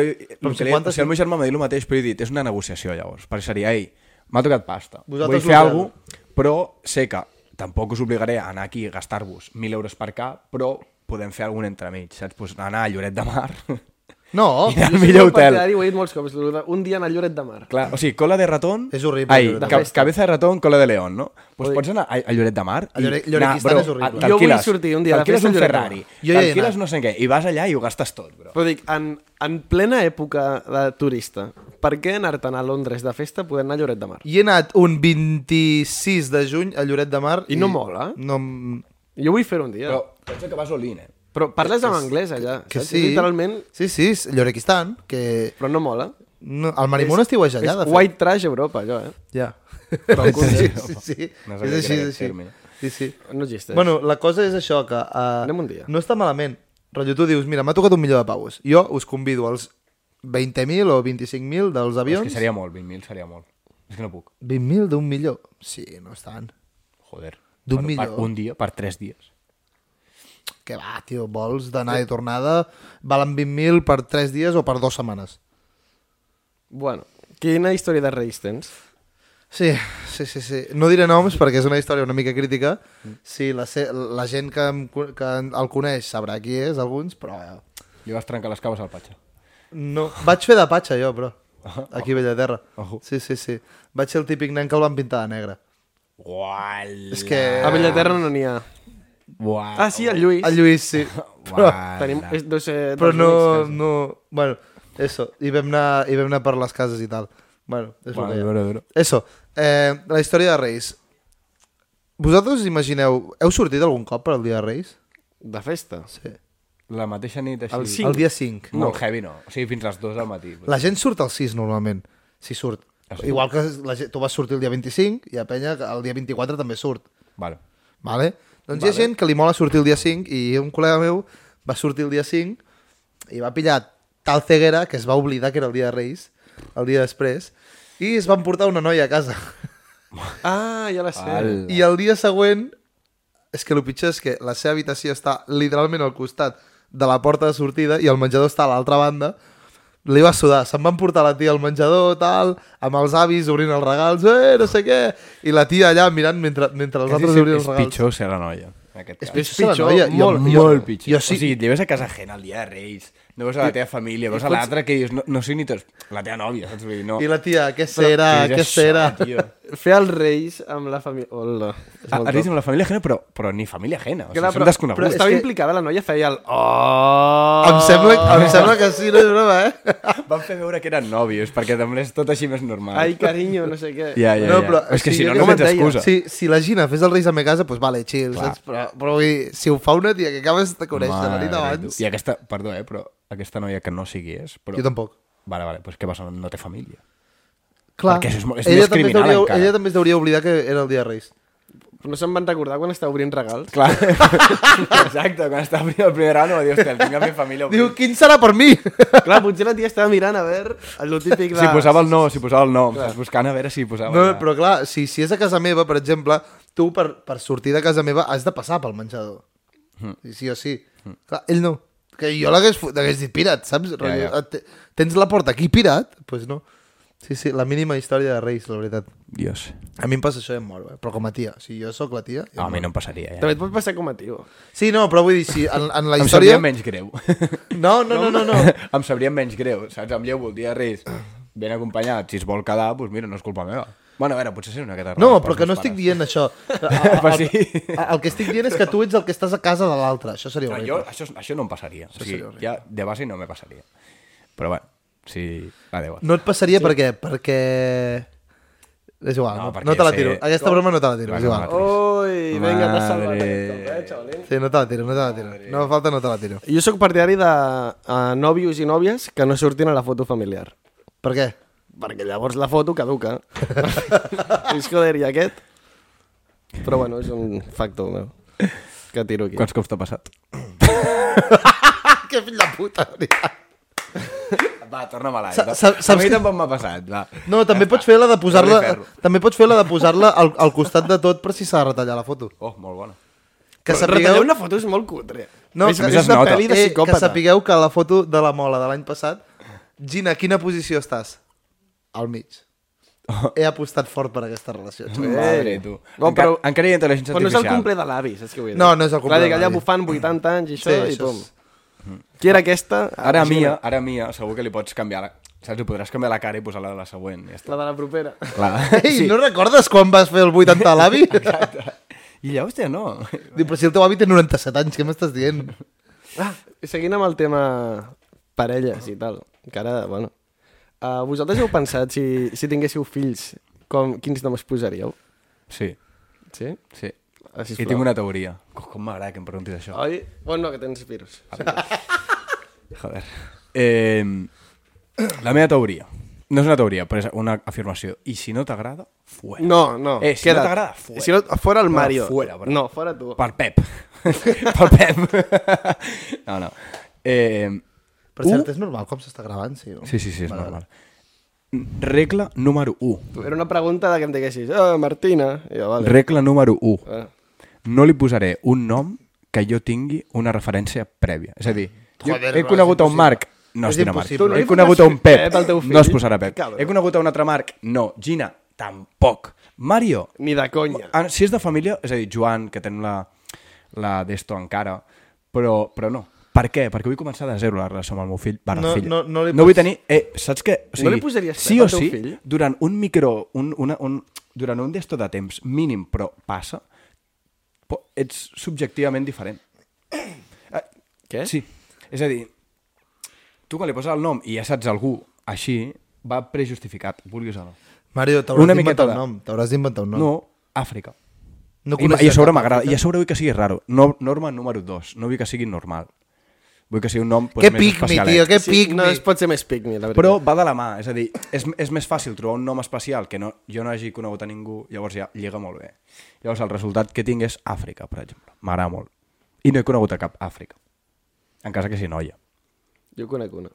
Speaker 1: el que li,
Speaker 5: 50
Speaker 1: o sigui, el meu germà m'ha dit el mateix, però he dit, és una negociació, llavors. Perquè seria, ei, m'ha tocat pasta.
Speaker 5: Vosaltres
Speaker 1: Vull fer
Speaker 5: l'hotel.
Speaker 1: alguna cosa, però sé que tampoc us obligaré a anar aquí a gastar-vos 1.000 euros per cap, però podem fer algun entremig, saps? Pues anar a Lloret de Mar...
Speaker 5: no,
Speaker 1: I anar
Speaker 2: Jo
Speaker 1: al
Speaker 2: soc
Speaker 1: millor
Speaker 2: molt
Speaker 1: hotel.
Speaker 2: partidari, Ho he dit molts cops, lo de un dia anar a Lloret de Mar.
Speaker 1: Clar, o sigui, cola de ratón...
Speaker 5: És horrible,
Speaker 1: Ai,
Speaker 5: Lloret de
Speaker 1: ca
Speaker 2: Mar.
Speaker 1: cabeza de ratón, cola de león, no? Doncs pues pots anar a, a Lloret de Mar i...
Speaker 5: A Lloret- Llorequistan
Speaker 1: bro,
Speaker 5: és horrible.
Speaker 1: a-
Speaker 5: Jo
Speaker 1: t'alquiles-
Speaker 2: vull sortir un dia de
Speaker 1: t'alquiles
Speaker 2: festa a
Speaker 1: un
Speaker 2: Lloret de Mar. Pues
Speaker 1: Ferrari,
Speaker 5: Jo hi he
Speaker 1: t'alquiles
Speaker 5: anat.
Speaker 1: no sé què, i vas allà i ho gastes tot, bro.
Speaker 2: Però dic, en, en plena època de turista, per què anar-te'n a Londres de festa podent anar a Lloret de Mar?
Speaker 5: hi he anat un 26 de juny a Lloret de Mar.
Speaker 2: I no mola?
Speaker 5: No,
Speaker 2: Jo vull fer un dia.
Speaker 1: Però
Speaker 2: Però,
Speaker 1: pensa que vas all-in, eh?
Speaker 2: però parles en anglès allà,
Speaker 5: que
Speaker 2: saps?
Speaker 5: sí.
Speaker 2: Literalment,
Speaker 5: Sí, sí, és Llorequistan, que...
Speaker 2: però no mola.
Speaker 5: No, el Marimón estiueix allà,
Speaker 2: és
Speaker 5: de fet.
Speaker 2: white trash Europa, allò, eh?
Speaker 5: Ja.
Speaker 2: Però
Speaker 5: Sí,
Speaker 2: sí.
Speaker 5: sí, sí.
Speaker 1: No
Speaker 5: és
Speaker 1: sabia que
Speaker 5: així,
Speaker 1: era
Speaker 5: és
Speaker 1: aquest
Speaker 5: així.
Speaker 1: terme.
Speaker 5: Sí, sí.
Speaker 2: No existeix.
Speaker 5: Bueno, la cosa és això, que... Uh,
Speaker 2: Anem un dia.
Speaker 5: No està malament. Rotllo, tu dius, mira, m'ha tocat un milió de paus. Jo us convido als 20.000 o 25.000 dels
Speaker 1: És
Speaker 5: avions.
Speaker 1: que seria molt, 20.000 seria molt. És que no puc.
Speaker 5: 20.000 d'un milió? Sí, no és tant.
Speaker 1: Joder.
Speaker 5: D'un
Speaker 1: Per-
Speaker 5: milió.
Speaker 1: Per un dia, per tres dies.
Speaker 5: Que va, tio, vols d'anar i tornada, valen 20.000 per 3 dies o per 2 setmanes.
Speaker 2: bueno, quina història de reis tens?
Speaker 5: Sí, sí, sí, sí. No diré noms perquè és una història una mica crítica. Sí, la, se- la gent que, em, co- que el coneix sabrà qui és, alguns, però...
Speaker 1: Li vas trencar les caves al patxa.
Speaker 5: No, vaig fer de patxa jo, però. Aquí a Bellaterra.
Speaker 1: Ojo.
Speaker 5: Sí, sí, sí. Vaig ser el típic nen que el van pintar de negre.
Speaker 1: Uala.
Speaker 5: És que...
Speaker 2: A Bellaterra no n'hi ha.
Speaker 1: Uala.
Speaker 2: Ah, sí, el Lluís.
Speaker 5: El Lluís, sí. Però,
Speaker 1: Uala.
Speaker 2: Tenim, és, eh, no sé,
Speaker 5: però no, no... Bueno, eso. I vam, anar, I vam anar per les cases i tal. Bueno, és
Speaker 1: Bueno,
Speaker 5: el que hi ha.
Speaker 1: duro, duro.
Speaker 5: Eso. Eh, la història de Reis. Vosaltres us imagineu... Heu sortit algun cop per al dia de Reis?
Speaker 2: De festa.
Speaker 5: Sí.
Speaker 1: La mateixa nit així.
Speaker 2: El cinc.
Speaker 5: El dia 5.
Speaker 1: No, heavy no. O sigui, fins les 2 del matí.
Speaker 5: La gent surt al 6 normalment, si surt.
Speaker 1: Ah, sí?
Speaker 5: Igual que la gent, tu vas sortir el dia 25 i a penya que el dia 24 també surt.
Speaker 1: Vale.
Speaker 5: Vale? Doncs vale. hi ha gent que li mola sortir el dia 5 i un col·lega meu va sortir el dia 5 i va pillar tal ceguera que es va oblidar que era el dia de Reis, el dia després, i es van portar una noia a casa.
Speaker 2: Ah, ja la sé.
Speaker 1: Al.
Speaker 5: I el dia següent, és que el pitjor és que la seva habitació està literalment al costat de la porta de sortida i el menjador està a l'altra banda, li va sudar, se'n van portar la tia al menjador, tal, amb els avis obrint els regals, eh, no sé què, i la tia allà mirant mentre, mentre els altres obrien els
Speaker 1: és
Speaker 5: regals.
Speaker 1: pitjor ser la noia. En aquest cas.
Speaker 2: És
Speaker 5: la
Speaker 2: pitjor,
Speaker 5: noia,
Speaker 2: molt,
Speaker 5: jo,
Speaker 1: molt pitjor.
Speaker 5: Jo
Speaker 1: O
Speaker 5: sí,
Speaker 1: sigui, et lleves a casa gent el dia de Reis, no veus a la teva família, veus a l'altra que dius, no, no sé ni tots, la teva nòvia, saps? Vull dir, no.
Speaker 5: I la tia, què serà,
Speaker 1: Què és
Speaker 5: què
Speaker 1: això,
Speaker 5: serà?
Speaker 1: tio?
Speaker 2: Fer els reis amb la família... Hola. És
Speaker 1: Ah,
Speaker 2: molt
Speaker 1: Has
Speaker 2: top.
Speaker 1: dit amb la família ajena, però, però ni família ajena. O sigui,
Speaker 2: Clar,
Speaker 1: són
Speaker 2: però
Speaker 1: desconeguts.
Speaker 2: estava
Speaker 5: que-
Speaker 2: implicada la noia, feia el... Oh!
Speaker 5: Em sembla, em sembla que sí, no és broma, eh?
Speaker 1: Van fer veure que eren nòvios, perquè també és tot així més normal.
Speaker 2: Ai, carinyo, no sé què.
Speaker 1: Ja, ja,
Speaker 5: No,
Speaker 1: ja.
Speaker 5: però,
Speaker 1: és que
Speaker 5: sí,
Speaker 1: si
Speaker 5: jo
Speaker 1: no,
Speaker 5: que
Speaker 1: no
Speaker 5: me'n
Speaker 1: tens
Speaker 5: deia,
Speaker 1: excusa.
Speaker 5: Si, si la Gina fes el Reis a me casa, doncs vale, chill,
Speaker 1: Clar.
Speaker 5: saps? Però, però vull dir, si ho fa una tia que acabes de conèixer la nit
Speaker 1: Mare
Speaker 5: abans...
Speaker 1: de Déu. I aquesta, perdó, eh, però aquesta noia que no sigui és... Però...
Speaker 5: Jo tampoc.
Speaker 1: Vale, vale, pues què passa? No té família.
Speaker 5: Clar,
Speaker 1: Perquè això és molt- és
Speaker 5: ella,
Speaker 1: més
Speaker 5: també es
Speaker 1: criminal,
Speaker 5: deuria,
Speaker 1: encara.
Speaker 5: ella també es deuria oblidar que era el dia de Reis.
Speaker 2: No se'n van recordar quan estava obrint regals?
Speaker 1: Clar. Exacte, quan estava el primer ano, dius, hòstia, el tinc a mi família.
Speaker 5: Diu, quin serà per mi?
Speaker 2: Clar, potser la tia estava mirant a veure el típic de...
Speaker 1: si posava el no, si posava el nom, estàs buscant a veure si posava...
Speaker 5: No,
Speaker 1: la-
Speaker 5: però clar, si, si és a casa meva, per exemple, tu per, per sortir de casa meva has de passar pel menjador.
Speaker 1: Hmm.
Speaker 5: Mm. Sí o sí. Mm. Clar, ell no. Que jo l'hagués fu- l'hagués dit pirat, saps?
Speaker 1: Ja, ja.
Speaker 5: Rotllo, "Et- Tens la porta aquí pirat? Doncs pues no. Sí, sí, la mínima història de Reis, la veritat.
Speaker 1: Dios.
Speaker 5: A mi em passa això i em moro, eh? però com a tia. O sigui, jo sóc la tia.
Speaker 1: No, a mi no em passaria, ja.
Speaker 2: També et pot passar com a tio.
Speaker 5: Sí, no, però vull dir, sí, en, en la
Speaker 1: Em
Speaker 5: història...
Speaker 1: sabria menys greu.
Speaker 5: No, no, no, no, no.
Speaker 1: em sabria menys greu, saps? Amb lleu el dia de Reis, ben acompanyat, si es vol quedar, doncs mira, no és culpa meva. Bueno, a veure, potser ser una catarra.
Speaker 5: No, però que no estic dient això.
Speaker 1: Però
Speaker 5: El,
Speaker 1: sí.
Speaker 5: el, el que estic dient és que tu ets el que estàs a casa de l'altre. Això seria
Speaker 1: No,
Speaker 5: horrible.
Speaker 1: jo, això, això no em passaria. O sigui,
Speaker 5: seria horrible.
Speaker 1: ja de base no me passaria. Però bueno, sí... Adéu.
Speaker 5: No et passaria sí. per què? Perquè... És igual,
Speaker 1: No,
Speaker 5: no,
Speaker 1: perquè
Speaker 5: no te la
Speaker 1: sé-
Speaker 5: tiro. Aquesta broma no te la tiro,
Speaker 1: Va,
Speaker 5: és igual. Oh.
Speaker 1: no,
Speaker 2: Ui, vinga, t'has salvat.
Speaker 1: Madre.
Speaker 2: aquest cop, Eh, xavalín?
Speaker 5: Sí, no te la tiro, no te la tiro. No falta, no te la tiro.
Speaker 2: jo sóc partidari de uh, nòvios i nòvies que no surtin a la foto familiar.
Speaker 5: Per què?
Speaker 2: Perquè llavors la foto caduca. Dius, joder, i aquest? Però bueno, és un factor meu. Que tiro aquí.
Speaker 1: Quants cops t'ha passat?
Speaker 5: Que fill de puta, veritat.
Speaker 1: Va, torna-me a
Speaker 5: Sa-
Speaker 1: l'aire.
Speaker 5: sa-
Speaker 1: A
Speaker 5: saps
Speaker 1: mi
Speaker 5: que-
Speaker 1: tampoc m'ha passat, va.
Speaker 5: No, també pots fer la de posar-la
Speaker 1: No li ferro.
Speaker 5: també pots fer la de posar-la al, al costat de tot per si s'ha de retallar la foto.
Speaker 1: Oh, molt bona.
Speaker 5: Que
Speaker 2: Retallar una foto és molt cutre.
Speaker 5: No,
Speaker 1: Més-
Speaker 5: que,
Speaker 1: més es
Speaker 5: és una
Speaker 1: nota.
Speaker 5: pel·li de
Speaker 2: Eh,
Speaker 5: psicòpata.
Speaker 2: que
Speaker 5: Que sapigueu que la foto de la mola de l'any passat... Gina, a quina posició estàs? Al mig. He apostat fort per aquesta relació. xaval.
Speaker 1: Madre, tu.
Speaker 2: Bon,
Speaker 1: Encara,
Speaker 2: però-
Speaker 1: encara hi ha intel·ligència
Speaker 2: Però no és el
Speaker 1: artificial.
Speaker 2: cumple de l'avi, saps què vull dir?
Speaker 5: No, no és el cumple
Speaker 2: Clar,
Speaker 5: de
Speaker 2: dic, allà
Speaker 5: l'avi.
Speaker 2: bufant 80 anys i això,
Speaker 5: Sí, Mm-hmm.
Speaker 2: i
Speaker 5: això
Speaker 2: pum.
Speaker 5: és-
Speaker 2: Qui era aquesta?
Speaker 1: Ara
Speaker 2: Imagina.
Speaker 1: mia, ara mia, segur que li pots canviar la... Saps? Li podràs canviar la cara i posar-la de la següent. Ja està.
Speaker 2: La de la propera.
Speaker 1: Clar.
Speaker 5: Ei, sí. no recordes quan vas fer el 80 a l'avi? Diu,
Speaker 1: I ja, hòstia, no.
Speaker 5: però si el teu avi té 97 anys, què m'estàs dient?
Speaker 2: Ah, i seguint amb el tema parelles i tal, que ara, bueno... Uh, vosaltres heu pensat, si, si tinguéssiu fills, com, quins noms posaríeu?
Speaker 1: Sí,
Speaker 2: Sí?
Speaker 1: sí.
Speaker 2: Ah, sisplau.
Speaker 1: I tinc una teoria. Ah. Oh, com m'agrada que em preguntis això.
Speaker 2: Oi? Bueno, que tens virus.
Speaker 1: Joder. Eh, la meva teoria. No és una teoria, però és una afirmació. I si no t'agrada, fuera.
Speaker 2: No, no.
Speaker 1: Eh, si no
Speaker 2: queda't.
Speaker 1: t'agrada, fuera.
Speaker 2: Si no, fora el
Speaker 1: No,
Speaker 2: Mario.
Speaker 1: fuera, bro.
Speaker 2: No, fora tu.
Speaker 1: Per Pep. per Pep. no, no. Eh,
Speaker 5: Per cert, és normal com s'està gravant, sí? No?
Speaker 1: sí, sí, sí, és normal. Regla número 1.
Speaker 2: Era una pregunta de que em diguessis, oh, Martina. I jo, vale.
Speaker 1: Regla número 1.
Speaker 2: Ah.
Speaker 1: No li posaré un nom que jo tingui una referència prèvia. És a dir, jo
Speaker 5: Joder,
Speaker 1: he
Speaker 5: no,
Speaker 1: conegut
Speaker 5: és
Speaker 1: a un
Speaker 5: impossible.
Speaker 1: Marc, no
Speaker 5: És
Speaker 1: es dirà Marc.
Speaker 5: impossible. Tu
Speaker 2: no
Speaker 1: He
Speaker 2: li
Speaker 1: conegut a un
Speaker 2: posaràs
Speaker 1: Pep,
Speaker 2: Pep al teu
Speaker 1: no es
Speaker 2: fill?
Speaker 1: posarà Pep.
Speaker 2: Cabrón.
Speaker 1: He conegut a un altre Marc, no. Gina, tampoc. Mario,
Speaker 2: Ni de conya.
Speaker 1: ah, si és de família, és a dir, Joan, que tenim la, la d'esto encara, però, però no. Per què? Perquè vull començar de zero la relació amb el meu fill. Barra
Speaker 5: No-
Speaker 1: filla.
Speaker 5: no- no li
Speaker 1: no vull
Speaker 5: pots-
Speaker 1: tenir... Eh, saps què? O
Speaker 2: No li posaries
Speaker 1: sí
Speaker 2: Pep
Speaker 1: o
Speaker 2: al teu
Speaker 1: sí,
Speaker 2: fill?
Speaker 1: durant un micro... Un, una, un, durant un d'esto de temps mínim, però passa, po- ets subjectivament diferent. Eh,
Speaker 2: Què?
Speaker 1: Sí. És a dir, tu quan li poses el nom i ja saps algú així, va prejustificat, vulguis o no.
Speaker 5: Mario,
Speaker 1: Una
Speaker 5: t'hauràs
Speaker 1: miqueta
Speaker 5: d'inventar un
Speaker 1: de-
Speaker 5: nom. T'hauràs d'inventar un
Speaker 1: No,
Speaker 5: nom.
Speaker 1: no Àfrica. I, ma-
Speaker 5: no coneixes
Speaker 1: I a sobre
Speaker 5: cap
Speaker 1: m'agrada, i
Speaker 5: altre.
Speaker 1: a sobre vull que sigui raro. No, norma número 2, no vull que sigui normal. Vull que sigui un nom pues,
Speaker 5: Que
Speaker 1: més eh?
Speaker 5: pigmi,
Speaker 1: especialet.
Speaker 5: tio, que
Speaker 2: No
Speaker 5: pigmi.
Speaker 2: es pot ser més pigmi, la veritat.
Speaker 1: Però va de la mà, és a dir, és, és més fàcil trobar un nom especial que no, jo no hagi conegut a ningú, llavors ja lliga molt bé. Llavors el resultat que tinc és Àfrica, per exemple. M'agrada molt. I no he conegut a cap Àfrica. En casa que sigui noia.
Speaker 2: Jo conec una.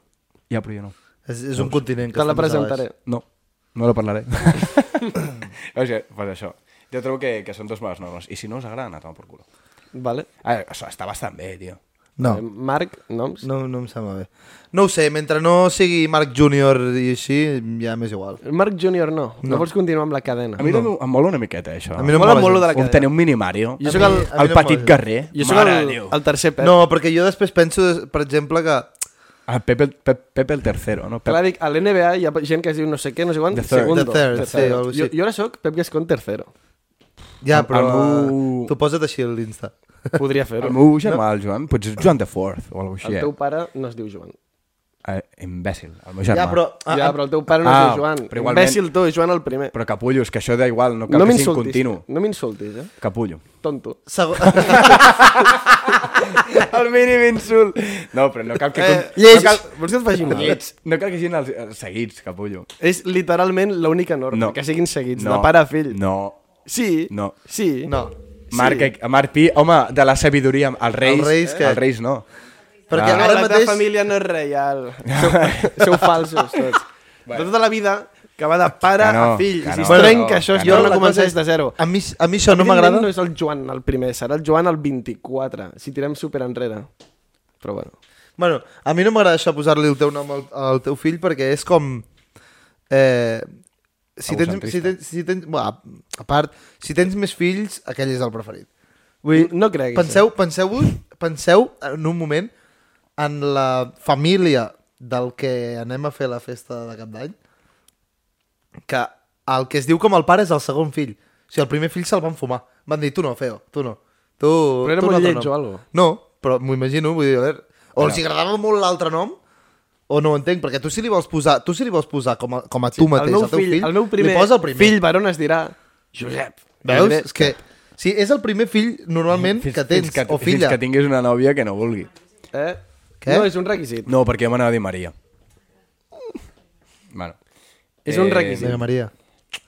Speaker 1: Ja, però jo no.
Speaker 5: És, és un continent que
Speaker 2: Te la
Speaker 5: està més a baix.
Speaker 2: presentaré.
Speaker 1: No, no la parlaré. o sigui, pues això. Jo trobo que, que són dos males normes. I si no us agraden, a tomar por culo.
Speaker 2: Vale.
Speaker 1: A veure, això està bastant bé, tio.
Speaker 5: No.
Speaker 2: Eh, Marc, noms?
Speaker 5: No, no em sembla bé. No ho sé, mentre no sigui Marc Júnior i així, ja m'és igual.
Speaker 2: Marc Júnior no. no. No vols continuar amb la cadena.
Speaker 1: A mi no. em mola una miqueta, això.
Speaker 5: A mi no em
Speaker 2: Mola
Speaker 5: mola
Speaker 2: molt lo
Speaker 5: gens.
Speaker 2: de la
Speaker 1: Ho
Speaker 2: cadena.
Speaker 1: tenia un minimario.
Speaker 2: Jo sóc el,
Speaker 5: A mi
Speaker 1: El
Speaker 5: no em
Speaker 1: petit
Speaker 5: mola.
Speaker 1: guerrer.
Speaker 2: jo sóc
Speaker 1: Mare de
Speaker 2: el,
Speaker 1: Déu.
Speaker 2: el tercer Pep.
Speaker 5: No, perquè jo després penso, per exemple, que...
Speaker 1: El Pepe, Pepe, Pepe el tercero, no? Pepe.
Speaker 2: Clar, dic, a l'NBA hi ha gent que es diu no sé què, no sé quan,
Speaker 1: The third.
Speaker 2: segundo.
Speaker 5: The third, sí,
Speaker 2: Tercero.
Speaker 5: o algo
Speaker 2: jo,
Speaker 5: així.
Speaker 2: jo ara soc Pep Gascon tercero.
Speaker 5: Ja, però...
Speaker 1: el meu-
Speaker 5: Tu posa't així a l'Insta.
Speaker 2: Podria fer-ho.
Speaker 1: El meu germà, el Joan, potser Joan the Fourth o alguna cosa
Speaker 2: El
Speaker 1: així.
Speaker 2: teu
Speaker 1: Teu...
Speaker 2: pare no es diu Joan.
Speaker 1: Eh, imbècil, el meu germà.
Speaker 5: Ja, però...
Speaker 2: Ah, ja, però el teu pare no
Speaker 1: Ah,
Speaker 2: es diu Joan.
Speaker 1: però igualment-
Speaker 2: Imbècil tu, Joan el primer.
Speaker 1: Però capullos, que això da igual, no cal
Speaker 2: no
Speaker 1: que sigui
Speaker 2: m'insultis.
Speaker 1: continu.
Speaker 2: No m'insultis, eh?
Speaker 1: Capullo.
Speaker 2: Tonto.
Speaker 5: Segu...
Speaker 1: el mínim insult. No, però no cal que...
Speaker 2: Eh,
Speaker 1: con-
Speaker 2: lleig.
Speaker 1: No cal,
Speaker 2: Vols que et faci mal?
Speaker 1: lleig. No cal que siguin els, els seguits, capullo.
Speaker 2: És literalment l'única norma,
Speaker 1: No.
Speaker 2: que siguin seguits,
Speaker 1: No.
Speaker 2: de pare a fill.
Speaker 1: No.
Speaker 2: Sí.
Speaker 1: No.
Speaker 2: Sí.
Speaker 5: No.
Speaker 1: Marc, eh, Marc Pi, home, de la sabidoria, els reis,
Speaker 5: Els reis que-
Speaker 1: els reis no. Ah.
Speaker 5: Perquè
Speaker 2: Ara
Speaker 5: ara
Speaker 2: la
Speaker 5: mateix...
Speaker 2: teva família no és reial. Sou, sou falsos, tots. Bueno. Tota la vida que va de pare
Speaker 1: Que no,
Speaker 2: a fill.
Speaker 1: que
Speaker 2: I si es
Speaker 1: no.
Speaker 2: trenca
Speaker 1: Bueno,
Speaker 2: això,
Speaker 1: que
Speaker 2: es torna
Speaker 1: no.
Speaker 2: a començar des
Speaker 5: cosa
Speaker 2: de zero.
Speaker 5: A mi, a mi això no
Speaker 2: Evidentment
Speaker 5: m'agrada.
Speaker 2: no és el Joan el primer, serà el Joan el 24, si tirem super enrere. Però bueno.
Speaker 5: Bueno, a mi no m'agrada això posar-li el teu nom al, al teu fill perquè és com... Eh, si tens,
Speaker 1: Egocentrista.
Speaker 5: si tens, si tens, bueno, a part, si tens més fills, aquell és el preferit.
Speaker 2: Vull... dir, No crec.
Speaker 5: Penseu, penseu-vos, penseu en un moment en la família del que anem a fer la festa de cap d'any, que el que es diu com el pare és el segon fill. O sigui, el primer fill se'l van fumar. Van dir, tu no, feo, tu no. Tu,
Speaker 2: Però era
Speaker 5: tu un
Speaker 2: molt
Speaker 5: altre
Speaker 2: lleig
Speaker 5: nom.
Speaker 2: o algo.
Speaker 5: No, però m'ho imagino, vull dir, a veure... O els agradava molt l'altre nom, o no ho entenc, perquè tu si li vols posar, tu si li vols posar com a, com a tu
Speaker 2: El
Speaker 5: mateix,
Speaker 2: meu,
Speaker 5: al teu fill,
Speaker 2: el meu primer,
Speaker 5: li posa el primer.
Speaker 2: fill baron es dirà Josep.
Speaker 5: Veus?
Speaker 2: Diré-
Speaker 5: És que... Sí, és el primer fill, normalment, Mm? que tens,
Speaker 1: fins que,
Speaker 5: o filla.
Speaker 1: Fins que tinguis una nòvia que no vulgui.
Speaker 2: Eh?
Speaker 5: Què?
Speaker 2: No, és un requisit.
Speaker 1: No, perquè jo m'anava a dir Maria. Bueno. eh,
Speaker 2: És un requisit.
Speaker 5: Vinga, Eh, Maria.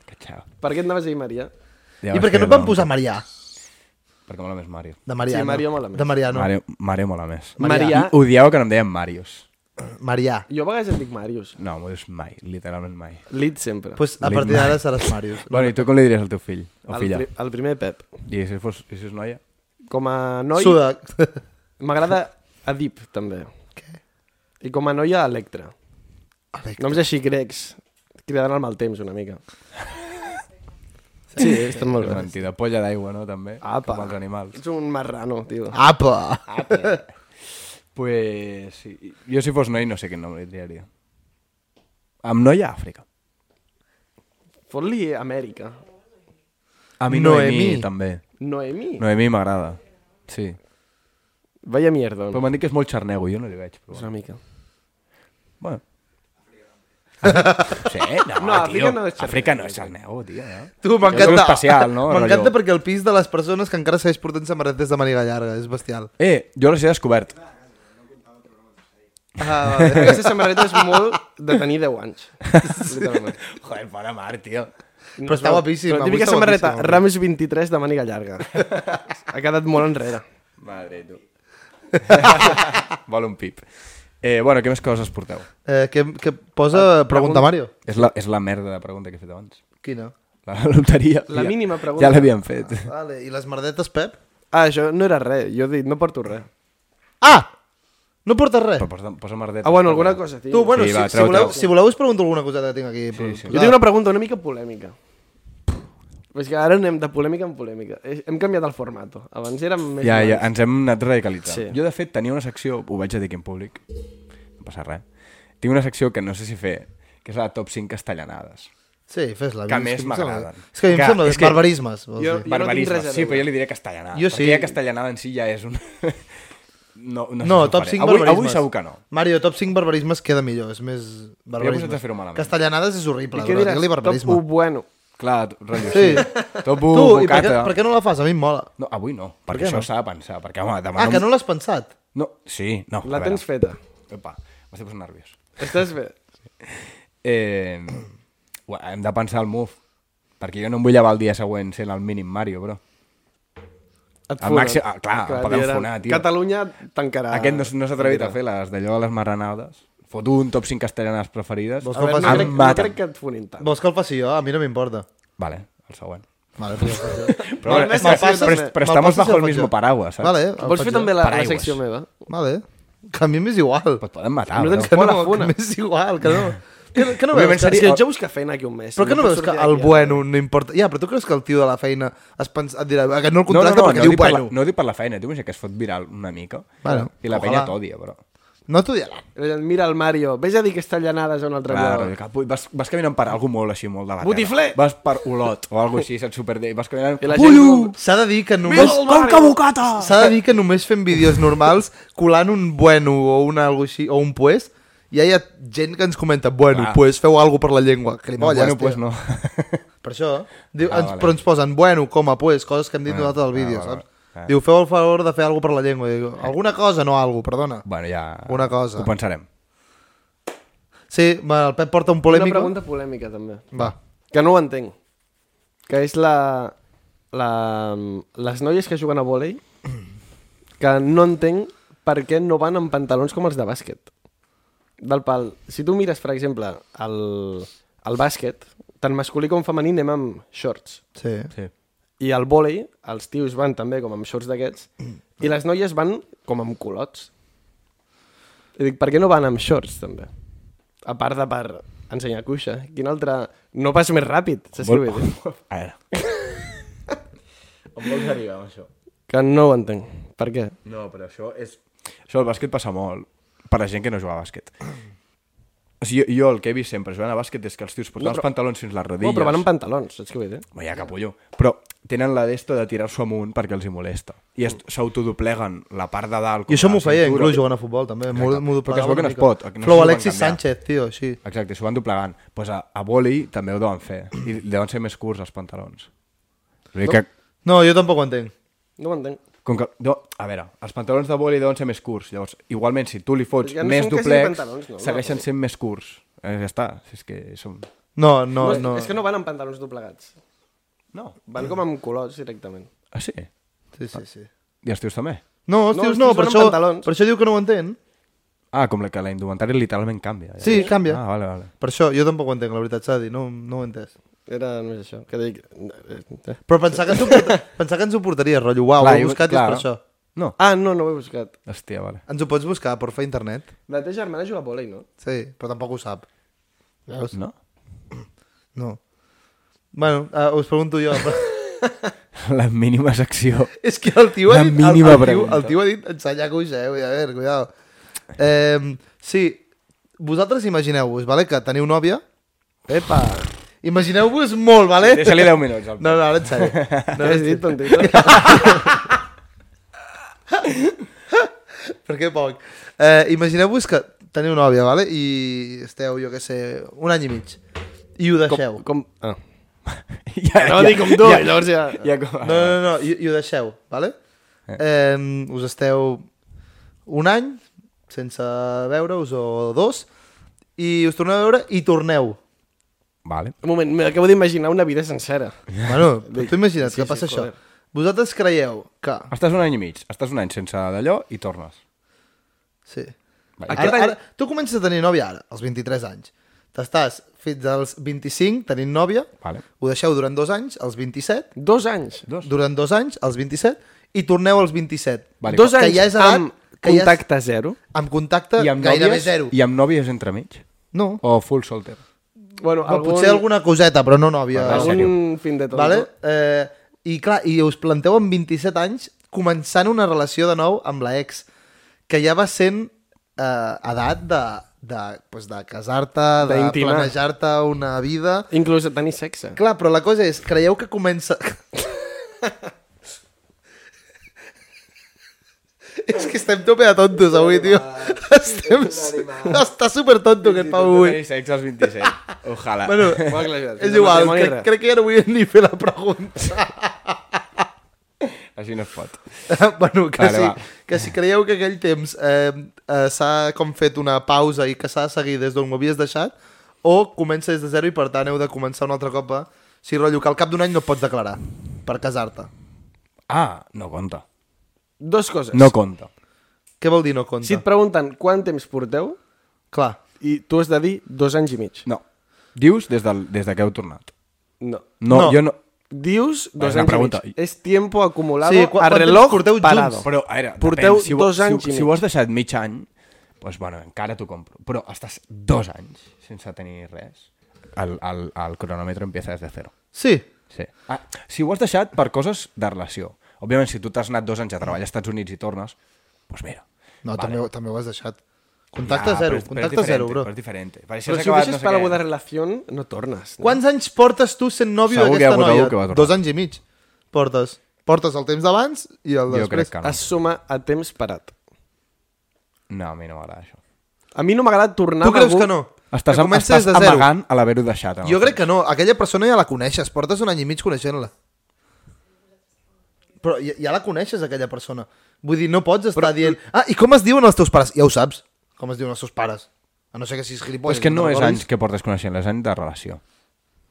Speaker 1: Que xau.
Speaker 2: Per què et anaves a dir Maria?
Speaker 1: Ja
Speaker 5: I
Speaker 1: vas
Speaker 5: per què no
Speaker 1: fer
Speaker 5: et van
Speaker 1: nom.
Speaker 5: posar Marià?
Speaker 1: Perquè mola més Mario.
Speaker 5: De Mariano.
Speaker 2: Sí, Mario mola més.
Speaker 5: De Mariano. Mario.
Speaker 1: Mario, Mario mola més.
Speaker 2: Marià.
Speaker 1: I Odiava que no em deien Marios.
Speaker 5: Marià.
Speaker 2: Jo a vegades et dic Marius.
Speaker 1: No, m'ho dius mai, literalment mai.
Speaker 2: Lid sempre.
Speaker 5: Pues a
Speaker 1: Lin-
Speaker 5: partir d'ara seràs Marius.
Speaker 1: Bueno, i tu com li diries al teu fill? O
Speaker 2: el,
Speaker 1: filla?
Speaker 2: pri- el primer Pep.
Speaker 1: I si, fos, i si és noia?
Speaker 2: Com a noi,
Speaker 5: Suda.
Speaker 2: m'agrada Adip, també.
Speaker 5: Què?
Speaker 2: I com a noia, Electra.
Speaker 5: Electra.
Speaker 2: Noms així grecs. Et Cridaran al mal temps, una mica. Sí, estan molt
Speaker 1: És
Speaker 2: bé.
Speaker 1: mentida. Polla d'aigua, no? També.
Speaker 2: Apa.
Speaker 1: Com els animals.
Speaker 2: Ets un marrano, tio.
Speaker 5: Apa!
Speaker 1: Pues sí. Jo si fos noi no sé quin nom li triaria. Amb noia, Àfrica.
Speaker 2: Fot-li Amèrica.
Speaker 1: A mi
Speaker 5: Noemí.
Speaker 1: Noemí, també.
Speaker 2: Noemí.
Speaker 1: Noemí m'agrada. Sí.
Speaker 2: Vaya mierda.
Speaker 1: Però m'han dit que és molt xarnego, jo no li veig.
Speaker 2: És
Speaker 1: Però...
Speaker 2: una mica.
Speaker 1: Bueno. Sí, no,
Speaker 2: No,
Speaker 1: no
Speaker 2: Àfrica
Speaker 1: tio.
Speaker 2: no és xarnego.
Speaker 1: Àfrica no és xarnego, tio. No?
Speaker 5: Tu,
Speaker 1: És
Speaker 5: m'encanta.
Speaker 1: algo especial, no?
Speaker 5: M'encanta
Speaker 1: Rotllo-
Speaker 5: perquè el pis de les persones que encara segueix portant samarretes de maniga llarga. És bestial.
Speaker 1: Eh, jo les he descobert.
Speaker 5: Ah, vale.
Speaker 2: Aquesta samarreta és molt de tenir 10 anys. Literalment.
Speaker 1: Joder, bona mar, tio.
Speaker 5: Però està guapíssima,
Speaker 2: Però
Speaker 5: avui
Speaker 2: típica
Speaker 5: està
Speaker 2: samarreta,
Speaker 5: guapíssima.
Speaker 2: Rames 23 de màniga llarga. ha quedat molt enrere.
Speaker 1: Madre, tu. Vol un pip. Eh, bueno, què més coses porteu?
Speaker 5: eh, què, què
Speaker 2: Ah,
Speaker 5: posa? Pregunta Mario.
Speaker 1: És la, és la merda de pregunta que he fet abans.
Speaker 5: Quina?
Speaker 1: La loteria.
Speaker 2: La
Speaker 1: ja-
Speaker 2: mínima pregunta.
Speaker 1: Ja l'havíem fet.
Speaker 5: Vale. I les merdetes, Pep?
Speaker 2: Ah, això no era res. Jo he dit, no porto res.
Speaker 5: Ah! No portes res.
Speaker 1: Però posa, posa merdeta.
Speaker 2: Ah, bueno, alguna cosa, tio.
Speaker 5: Tu, bueno,
Speaker 1: Sí,
Speaker 5: sí,
Speaker 1: va,
Speaker 5: si,
Speaker 1: treu,
Speaker 5: si, voleu,
Speaker 1: treu.
Speaker 5: si voleu us pregunto alguna coseta que tinc aquí. Sí,
Speaker 1: sí.
Speaker 2: Jo tinc una pregunta una mica polèmica. Però és que ara anem de polèmica en polèmica. Eh, Hem canviat el format. Abans érem més...
Speaker 1: Ja, ja,
Speaker 2: mans.
Speaker 1: ens hem anat radicalitzant.
Speaker 2: Sí.
Speaker 1: Sí. Jo, de fet, tenia una secció, ho vaig a dir aquí en públic, no passa res. Tinc una secció que no sé si fer, que és la top 5 castellanades.
Speaker 5: Sí, fes-la.
Speaker 1: Que
Speaker 5: És
Speaker 1: a més
Speaker 5: em sembla-
Speaker 1: m'agraden.
Speaker 5: És que a mi em
Speaker 1: Que-
Speaker 5: sembla
Speaker 1: és que-
Speaker 5: barbarismes. vols
Speaker 2: Jo-
Speaker 5: dir.
Speaker 2: tinc
Speaker 1: Barbarisme,
Speaker 2: res a
Speaker 1: sí,
Speaker 2: veure.
Speaker 1: però jo li diré castellanada.
Speaker 5: Jo sí.
Speaker 1: Perquè ja castellanada en si ja és un... No, no, sé
Speaker 5: No,
Speaker 1: si ho
Speaker 5: top
Speaker 1: faré.
Speaker 5: 5
Speaker 1: avui,
Speaker 5: barbarismes.
Speaker 1: Avui segur que no.
Speaker 5: Mario, top 5 barbarismes queda millor, és més barbarismes.
Speaker 1: posat a fer-ho malament.
Speaker 5: Castellanades és horrible,
Speaker 2: I què
Speaker 5: però
Speaker 2: diràs?
Speaker 5: digue-li
Speaker 2: Top
Speaker 5: barbarisme.
Speaker 2: 1 bueno.
Speaker 1: Clar, rotllo, sí.
Speaker 5: Sí.
Speaker 1: Top
Speaker 5: Tu,
Speaker 1: 1,
Speaker 5: i per
Speaker 1: bocata.
Speaker 5: què, per què no la fas? A mi em mola.
Speaker 1: No, avui no, perquè
Speaker 5: no?
Speaker 1: això s'ha de pensar. Perquè, home, demà
Speaker 5: Ah, que no l'has pensat?
Speaker 1: No, sí, no.
Speaker 2: La
Speaker 1: a
Speaker 2: tens
Speaker 1: veure.
Speaker 2: feta.
Speaker 1: Epa, m'estic posant nerviós.
Speaker 2: Estàs bé?
Speaker 1: Eh, ua, hem de pensar el move. Perquè jo no em vull llevar el dia següent sent el mínim Mario, bro.
Speaker 2: Et
Speaker 1: Al màxim- ah, clar, em poden
Speaker 2: diran,
Speaker 1: funar, tio.
Speaker 2: Catalunya tancarà.
Speaker 1: Aquest no, s- no s'ha atrevit a fer les d'allò de les marranades. Fot un top 5 castellanes preferides.
Speaker 5: Vols
Speaker 2: A veure,
Speaker 5: Em
Speaker 2: no, crec, no
Speaker 1: maten.
Speaker 2: crec que et funin tant.
Speaker 5: Vols que el faci jo? A mi no m'importa.
Speaker 1: Vale, el següent.
Speaker 5: Vale, pues ja ho faig jo.
Speaker 1: Però,
Speaker 2: Me'l
Speaker 1: és
Speaker 2: passes,
Speaker 1: que-
Speaker 2: me'l
Speaker 1: però, però
Speaker 5: passes
Speaker 1: estamos
Speaker 5: i el
Speaker 1: bajo el
Speaker 5: faig
Speaker 1: mismo
Speaker 5: jo.
Speaker 1: paraguas, saps?
Speaker 5: Vale, el
Speaker 2: Vols
Speaker 5: faig
Speaker 2: fer
Speaker 5: jo.
Speaker 2: també la, la
Speaker 1: Paraigües.
Speaker 2: secció meva?
Speaker 5: Vale. Que a mi m'és igual.
Speaker 1: Però et poden matar,
Speaker 2: No
Speaker 1: bro.
Speaker 2: tens
Speaker 5: Que
Speaker 2: Fora
Speaker 5: no,
Speaker 2: funa.
Speaker 5: que m'és igual, que no. Que, no- que no
Speaker 1: Òbviament
Speaker 5: veus, que,
Speaker 1: seria-
Speaker 2: Sí, jo busco feina aquí un mes.
Speaker 5: però que no
Speaker 2: puc
Speaker 5: veus que
Speaker 2: sortir
Speaker 5: el
Speaker 2: d'aquí, eh?
Speaker 5: bueno
Speaker 1: "Ah,
Speaker 5: no importa? Ja, però tu creus que el tio de la feina es pens... et dirà "Ah, que no
Speaker 1: No,
Speaker 5: el
Speaker 1: no,
Speaker 5: contracta
Speaker 1: no,
Speaker 5: perquè
Speaker 1: no,
Speaker 5: diu
Speaker 1: dic per la,
Speaker 5: bueno?
Speaker 1: no dic per la feina, diu que es fot viral una mica
Speaker 5: Bueno,
Speaker 1: i la
Speaker 5: ojalà.
Speaker 1: penya t'odia, però...
Speaker 5: No t'ho dirà.
Speaker 2: Ell Mira el Mario, vés a dir que està allanades a un altre
Speaker 1: Clar,
Speaker 2: lloc.
Speaker 1: rotllo, que vas, vas caminant per algú molt així, molt de la terra.
Speaker 2: Botifler!
Speaker 1: Vas per Olot o alguna així, se't superdé. Vas caminant...
Speaker 2: I la gent
Speaker 1: Pullo!
Speaker 2: com-
Speaker 5: S'ha de dir que només...
Speaker 1: Com que bocata!
Speaker 5: S'ha de dir que només fent vídeos normals, colant un bueno o una algo així, o un pues, ja hi ha gent que ens comenta, bueno,
Speaker 1: Clar.
Speaker 5: pues, feu alguna per la llengua. Que li
Speaker 1: No,
Speaker 5: molles,
Speaker 1: bueno, pues
Speaker 5: tio.
Speaker 1: no.
Speaker 5: Per això, diu,
Speaker 1: Ah,
Speaker 5: ens,
Speaker 1: vale.
Speaker 5: però ens posen, bueno, coma, pues, coses que hem dit nosaltres al
Speaker 1: ah,
Speaker 5: vídeo,
Speaker 1: vale,
Speaker 5: saps?
Speaker 1: vale. Ah. Eh.
Speaker 5: Diu, feu el favor de fer alguna per la llengua. Diu, alguna cosa, no algo, perdona.
Speaker 1: bueno, ja...
Speaker 5: Una cosa.
Speaker 1: Ho pensarem.
Speaker 5: Sí, va, el Pep porta un
Speaker 2: Una
Speaker 5: polèmic.
Speaker 2: pregunta polèmica, també.
Speaker 5: Va.
Speaker 2: Que no ho entenc. Que és la... la les noies que juguen a vòlei que no entenc per què no van amb pantalons com els de bàsquet. Del pal. Si tu mires, per exemple, el, el bàsquet, tant masculí com femení anem amb shorts.
Speaker 5: Sí.
Speaker 1: Sí.
Speaker 2: I al vòlei, els tios van també com amb shorts d'aquests, i les noies van com amb culots. I dic, per què no van amb shorts, també? A part de per ensenyar cuixa. Quin altre... No pas més ràpid, saps què vull dir?
Speaker 1: A veure. On vols arribar amb això?
Speaker 2: Que no ho entenc. Per què?
Speaker 1: No, però això és... Això al bàsquet passa molt per la gent que no juga a bàsquet. O sigui, jo, jo el que he vist sempre jugant a bàsquet és que els tios
Speaker 5: Uh,
Speaker 1: porten no, però... els pantalons fins les rodilles.
Speaker 2: No, però van amb pantalons, saps què vull dir?
Speaker 1: Ma, ja, capullo. Però tenen la d'esto de tirar-s'ho amunt perquè els hi molesta. I es- s'autodopleguen la part de dalt.
Speaker 5: I això
Speaker 1: contra
Speaker 5: m'ho
Speaker 1: la
Speaker 5: feia
Speaker 1: cintura.
Speaker 5: inclús jugant a futbol, també. M'ho m'ho
Speaker 1: Però que es veu
Speaker 5: doblegava
Speaker 1: que no
Speaker 5: una
Speaker 1: es
Speaker 5: mica.
Speaker 1: pot, que no s'ho
Speaker 5: Flow
Speaker 1: van
Speaker 5: Alexis
Speaker 1: canviar.
Speaker 5: Sánchez, tio, així.
Speaker 1: Exacte, s'ho van doblegant. Doncs pues a, a voli també ho deuen fer. I deuen ser més curts els pantalons. Vull dir que,
Speaker 5: No, jo tampoc ho entenc.
Speaker 2: No ho entenc.
Speaker 1: com que, no, a veure, els pantalons de voli deuen ser més curts. Llavors, igualment, si tu li fots
Speaker 2: Ja no
Speaker 1: més
Speaker 2: són quasi
Speaker 1: duplex,
Speaker 2: pantalons, no, no,
Speaker 1: segueixen
Speaker 2: vull dir.
Speaker 1: sent més curts. Eh, ja està, si és que som...
Speaker 5: No,
Speaker 2: No,
Speaker 5: no,
Speaker 2: és-
Speaker 5: no.
Speaker 2: És que no van amb pantalons doblegats.
Speaker 1: No.
Speaker 2: Van com amb colors directament.
Speaker 1: Ah, sí?
Speaker 5: Sí, sí, sí.
Speaker 1: I els tios també?
Speaker 2: No,
Speaker 5: No,
Speaker 2: els
Speaker 5: hòstia, no,
Speaker 2: tios
Speaker 5: per
Speaker 2: van amb
Speaker 5: això,
Speaker 2: pantalons.
Speaker 5: per això diu que no ho entén.
Speaker 1: Ah, com la, que la indumentària literalment canvia. Ja.
Speaker 5: Sí, canvia.
Speaker 1: Ah, vale, vale.
Speaker 5: Per això, jo tampoc ho entenc, la veritat s'ha de dir, no, no ho he entès.
Speaker 2: Era només això. Que dic... eh, eh.
Speaker 5: Però pensar que ens ho, porta, pensar que ens ho portaries, rotllo, uau,
Speaker 1: Clar,
Speaker 5: ho he
Speaker 1: jo-
Speaker 5: buscat
Speaker 1: clar.
Speaker 5: i és per això.
Speaker 1: No.
Speaker 2: Ah, no, no ho he buscat.
Speaker 1: Hòstia, vale.
Speaker 5: Ens ho pots buscar, porfa, a internet?
Speaker 2: La teva germana juga a vòlei, no?
Speaker 5: Sí, però tampoc ho sap. Veus?
Speaker 1: No?
Speaker 5: No. Bueno, uh, us pregunto jo. Però...
Speaker 1: La mínima secció.
Speaker 5: és que el tio ha
Speaker 1: La
Speaker 5: dit... El,
Speaker 1: mínima
Speaker 5: el, tio,
Speaker 1: pregunta.
Speaker 5: el tio ha dit ensenyar cuixa, eh? Vull dir, A veure, cuidao. Eh, sí, vosaltres imagineu-vos, vale, que teniu nòvia. Epa! Imagineu-vos molt, vale?
Speaker 1: Deixa-li 10 minuts. Al...
Speaker 5: Eh? No, no, ara en sèrio.
Speaker 2: No l'has dit, tontito.
Speaker 5: Per què poc? Eh, Imagineu-vos que teniu nòvia, vale? I esteu, jo què sé, un any i mig. I ho deixeu.
Speaker 2: Com... Ah.
Speaker 1: Ja,
Speaker 2: Anava a dir com tu, i llavors ja...
Speaker 1: Ja, com...
Speaker 5: No, no, no, i, i ho deixeu, vale? Eh, us esteu un any sense veure-us o dos i us torneu a veure i torneu.
Speaker 1: Vale.
Speaker 2: Un moment, m'acabo d'imaginar una vida sencera.
Speaker 5: Bueno, però tu imagina't sí, que
Speaker 2: sí,
Speaker 5: passa sí, això.
Speaker 2: joder.
Speaker 5: Vosaltres creieu que...
Speaker 1: Estàs un any i mig, estàs un any sense d'allò i tornes.
Speaker 5: Sí.
Speaker 1: Vale.
Speaker 5: Ara, ara, tu comences a tenir nòvia ara, als 23 anys. T'estàs fins als 25 tenint nòvia,
Speaker 1: Vale.
Speaker 5: ho deixeu durant dos anys, als 27,
Speaker 2: Dos anys.
Speaker 1: Dos.
Speaker 5: durant dos anys, als 27, i torneu als 27.
Speaker 1: Vale,
Speaker 2: Dos
Speaker 5: que
Speaker 2: anys
Speaker 5: ja és edat,
Speaker 2: amb
Speaker 5: que ja és-
Speaker 2: contacte zero.
Speaker 5: Amb contacte
Speaker 1: I amb
Speaker 5: Eh, gairebé
Speaker 1: nòvies,
Speaker 5: zero.
Speaker 1: I amb nòvies entremig?
Speaker 5: No,
Speaker 1: O full solter?
Speaker 2: Bueno,
Speaker 5: Algun... Potser alguna coseta, però no nòvia.
Speaker 1: Vale, sí.
Speaker 5: Algun...
Speaker 2: Algun fin de tot.
Speaker 5: Vale? Eh, I clar, i us planteu amb 27 anys començant una relació de nou amb la ex, que ja va sent eh, edat de, de, pues, de casar-te, de
Speaker 2: D'intimar.
Speaker 5: planejar-te una vida...
Speaker 2: Inclús tenir sexe.
Speaker 5: Clar, però la cosa és, creieu que comença... és que estem tope de tontos avui, tio. Estem... Està super tonto aquest Pau avui.
Speaker 1: sexe als 27. Ojalà.
Speaker 5: Bueno, és igual, crec, crec que ja no vull ni fer la pregunta.
Speaker 1: Així no es pot.
Speaker 5: bueno, que,
Speaker 1: Vale,
Speaker 5: vale,
Speaker 1: va.
Speaker 5: si, que si creieu que aquell temps eh, eh, s'ha com fet una pausa i que s'ha de seguir des d'on ho havies deixat, o comença des de zero i per tant heu de començar un altre cop a... Si rotllo que al cap d'un any no et pots declarar per casar-te.
Speaker 1: Ah, no compta.
Speaker 2: Dos coses.
Speaker 1: No compta.
Speaker 5: Què vol dir no compta?
Speaker 2: Si et pregunten quant temps porteu,
Speaker 5: Clar.
Speaker 2: i tu has de dir dos anys i mig.
Speaker 1: No. Dius des, del, des de que heu tornat.
Speaker 2: No.
Speaker 1: No,
Speaker 5: No.
Speaker 1: jo no...
Speaker 2: Dius
Speaker 1: Vale,
Speaker 2: dos
Speaker 1: una
Speaker 2: anys
Speaker 1: pregunta.
Speaker 2: i mig. És tiempo acumulado
Speaker 5: Sí,
Speaker 2: a
Speaker 5: quan- quan temps
Speaker 2: reloj
Speaker 5: porteu
Speaker 2: parado.
Speaker 5: junts?
Speaker 1: Però, a veure,
Speaker 2: Porteu
Speaker 1: depèn, si ho-
Speaker 2: dos
Speaker 1: si ho-
Speaker 2: anys i
Speaker 1: si,
Speaker 2: mig.
Speaker 1: ho has deixat mig any, doncs, bueno, encara t'ho compro. Però estàs dos anys sense tenir res. El, el, el cronòmetre empieza des de zero.
Speaker 5: Sí.
Speaker 1: Sí. Ah, si ho has deixat per coses de relació. Òbviament, si tu t'has anat dos anys a treballar als Estats Units i tornes, doncs mira.
Speaker 5: No, vale. també, també ho has deixat. Contacte ja,
Speaker 1: però
Speaker 5: zero,
Speaker 1: és- però és
Speaker 5: contacte
Speaker 1: diferente,
Speaker 5: zero, bro.
Speaker 1: Però és diferent. Però
Speaker 2: Però si ho deixes per alguna relació, no tornes. No?
Speaker 5: Quants anys portes tu sent nòvio
Speaker 1: Segur que hi ha
Speaker 5: d'aquesta
Speaker 1: hagut
Speaker 5: noia?
Speaker 1: algú que va tornar.
Speaker 5: Dos anys i mig. Portes. Portes el temps d'abans i el
Speaker 1: Jo
Speaker 5: després.
Speaker 1: crec que no.
Speaker 2: Es suma a temps parat.
Speaker 1: No, a mi no m'agrada això.
Speaker 2: A mi no m'agrada tornar
Speaker 5: Tu
Speaker 2: amb
Speaker 5: creus
Speaker 2: algú...
Speaker 5: que no?
Speaker 1: Estàs,
Speaker 5: que
Speaker 1: am,
Speaker 5: comences
Speaker 1: estàs
Speaker 5: de zero.
Speaker 1: amagant a l'haver-ho deixat. en el
Speaker 5: Jo crec que no. Aquella persona ja la coneixes. Portes un any i mig coneixent-la. Però ja, ja la coneixes, aquella persona. Vull dir, no pots estar Però... dient... Ah, i com es diuen els teus pares? Ja ho saps. Com es diuen els teus pares. A no ser que siguis
Speaker 1: Però
Speaker 5: gilipolles.
Speaker 1: és que no
Speaker 5: te'n
Speaker 1: és
Speaker 5: recordis.
Speaker 1: anys que portes coneixent, és anys de relació.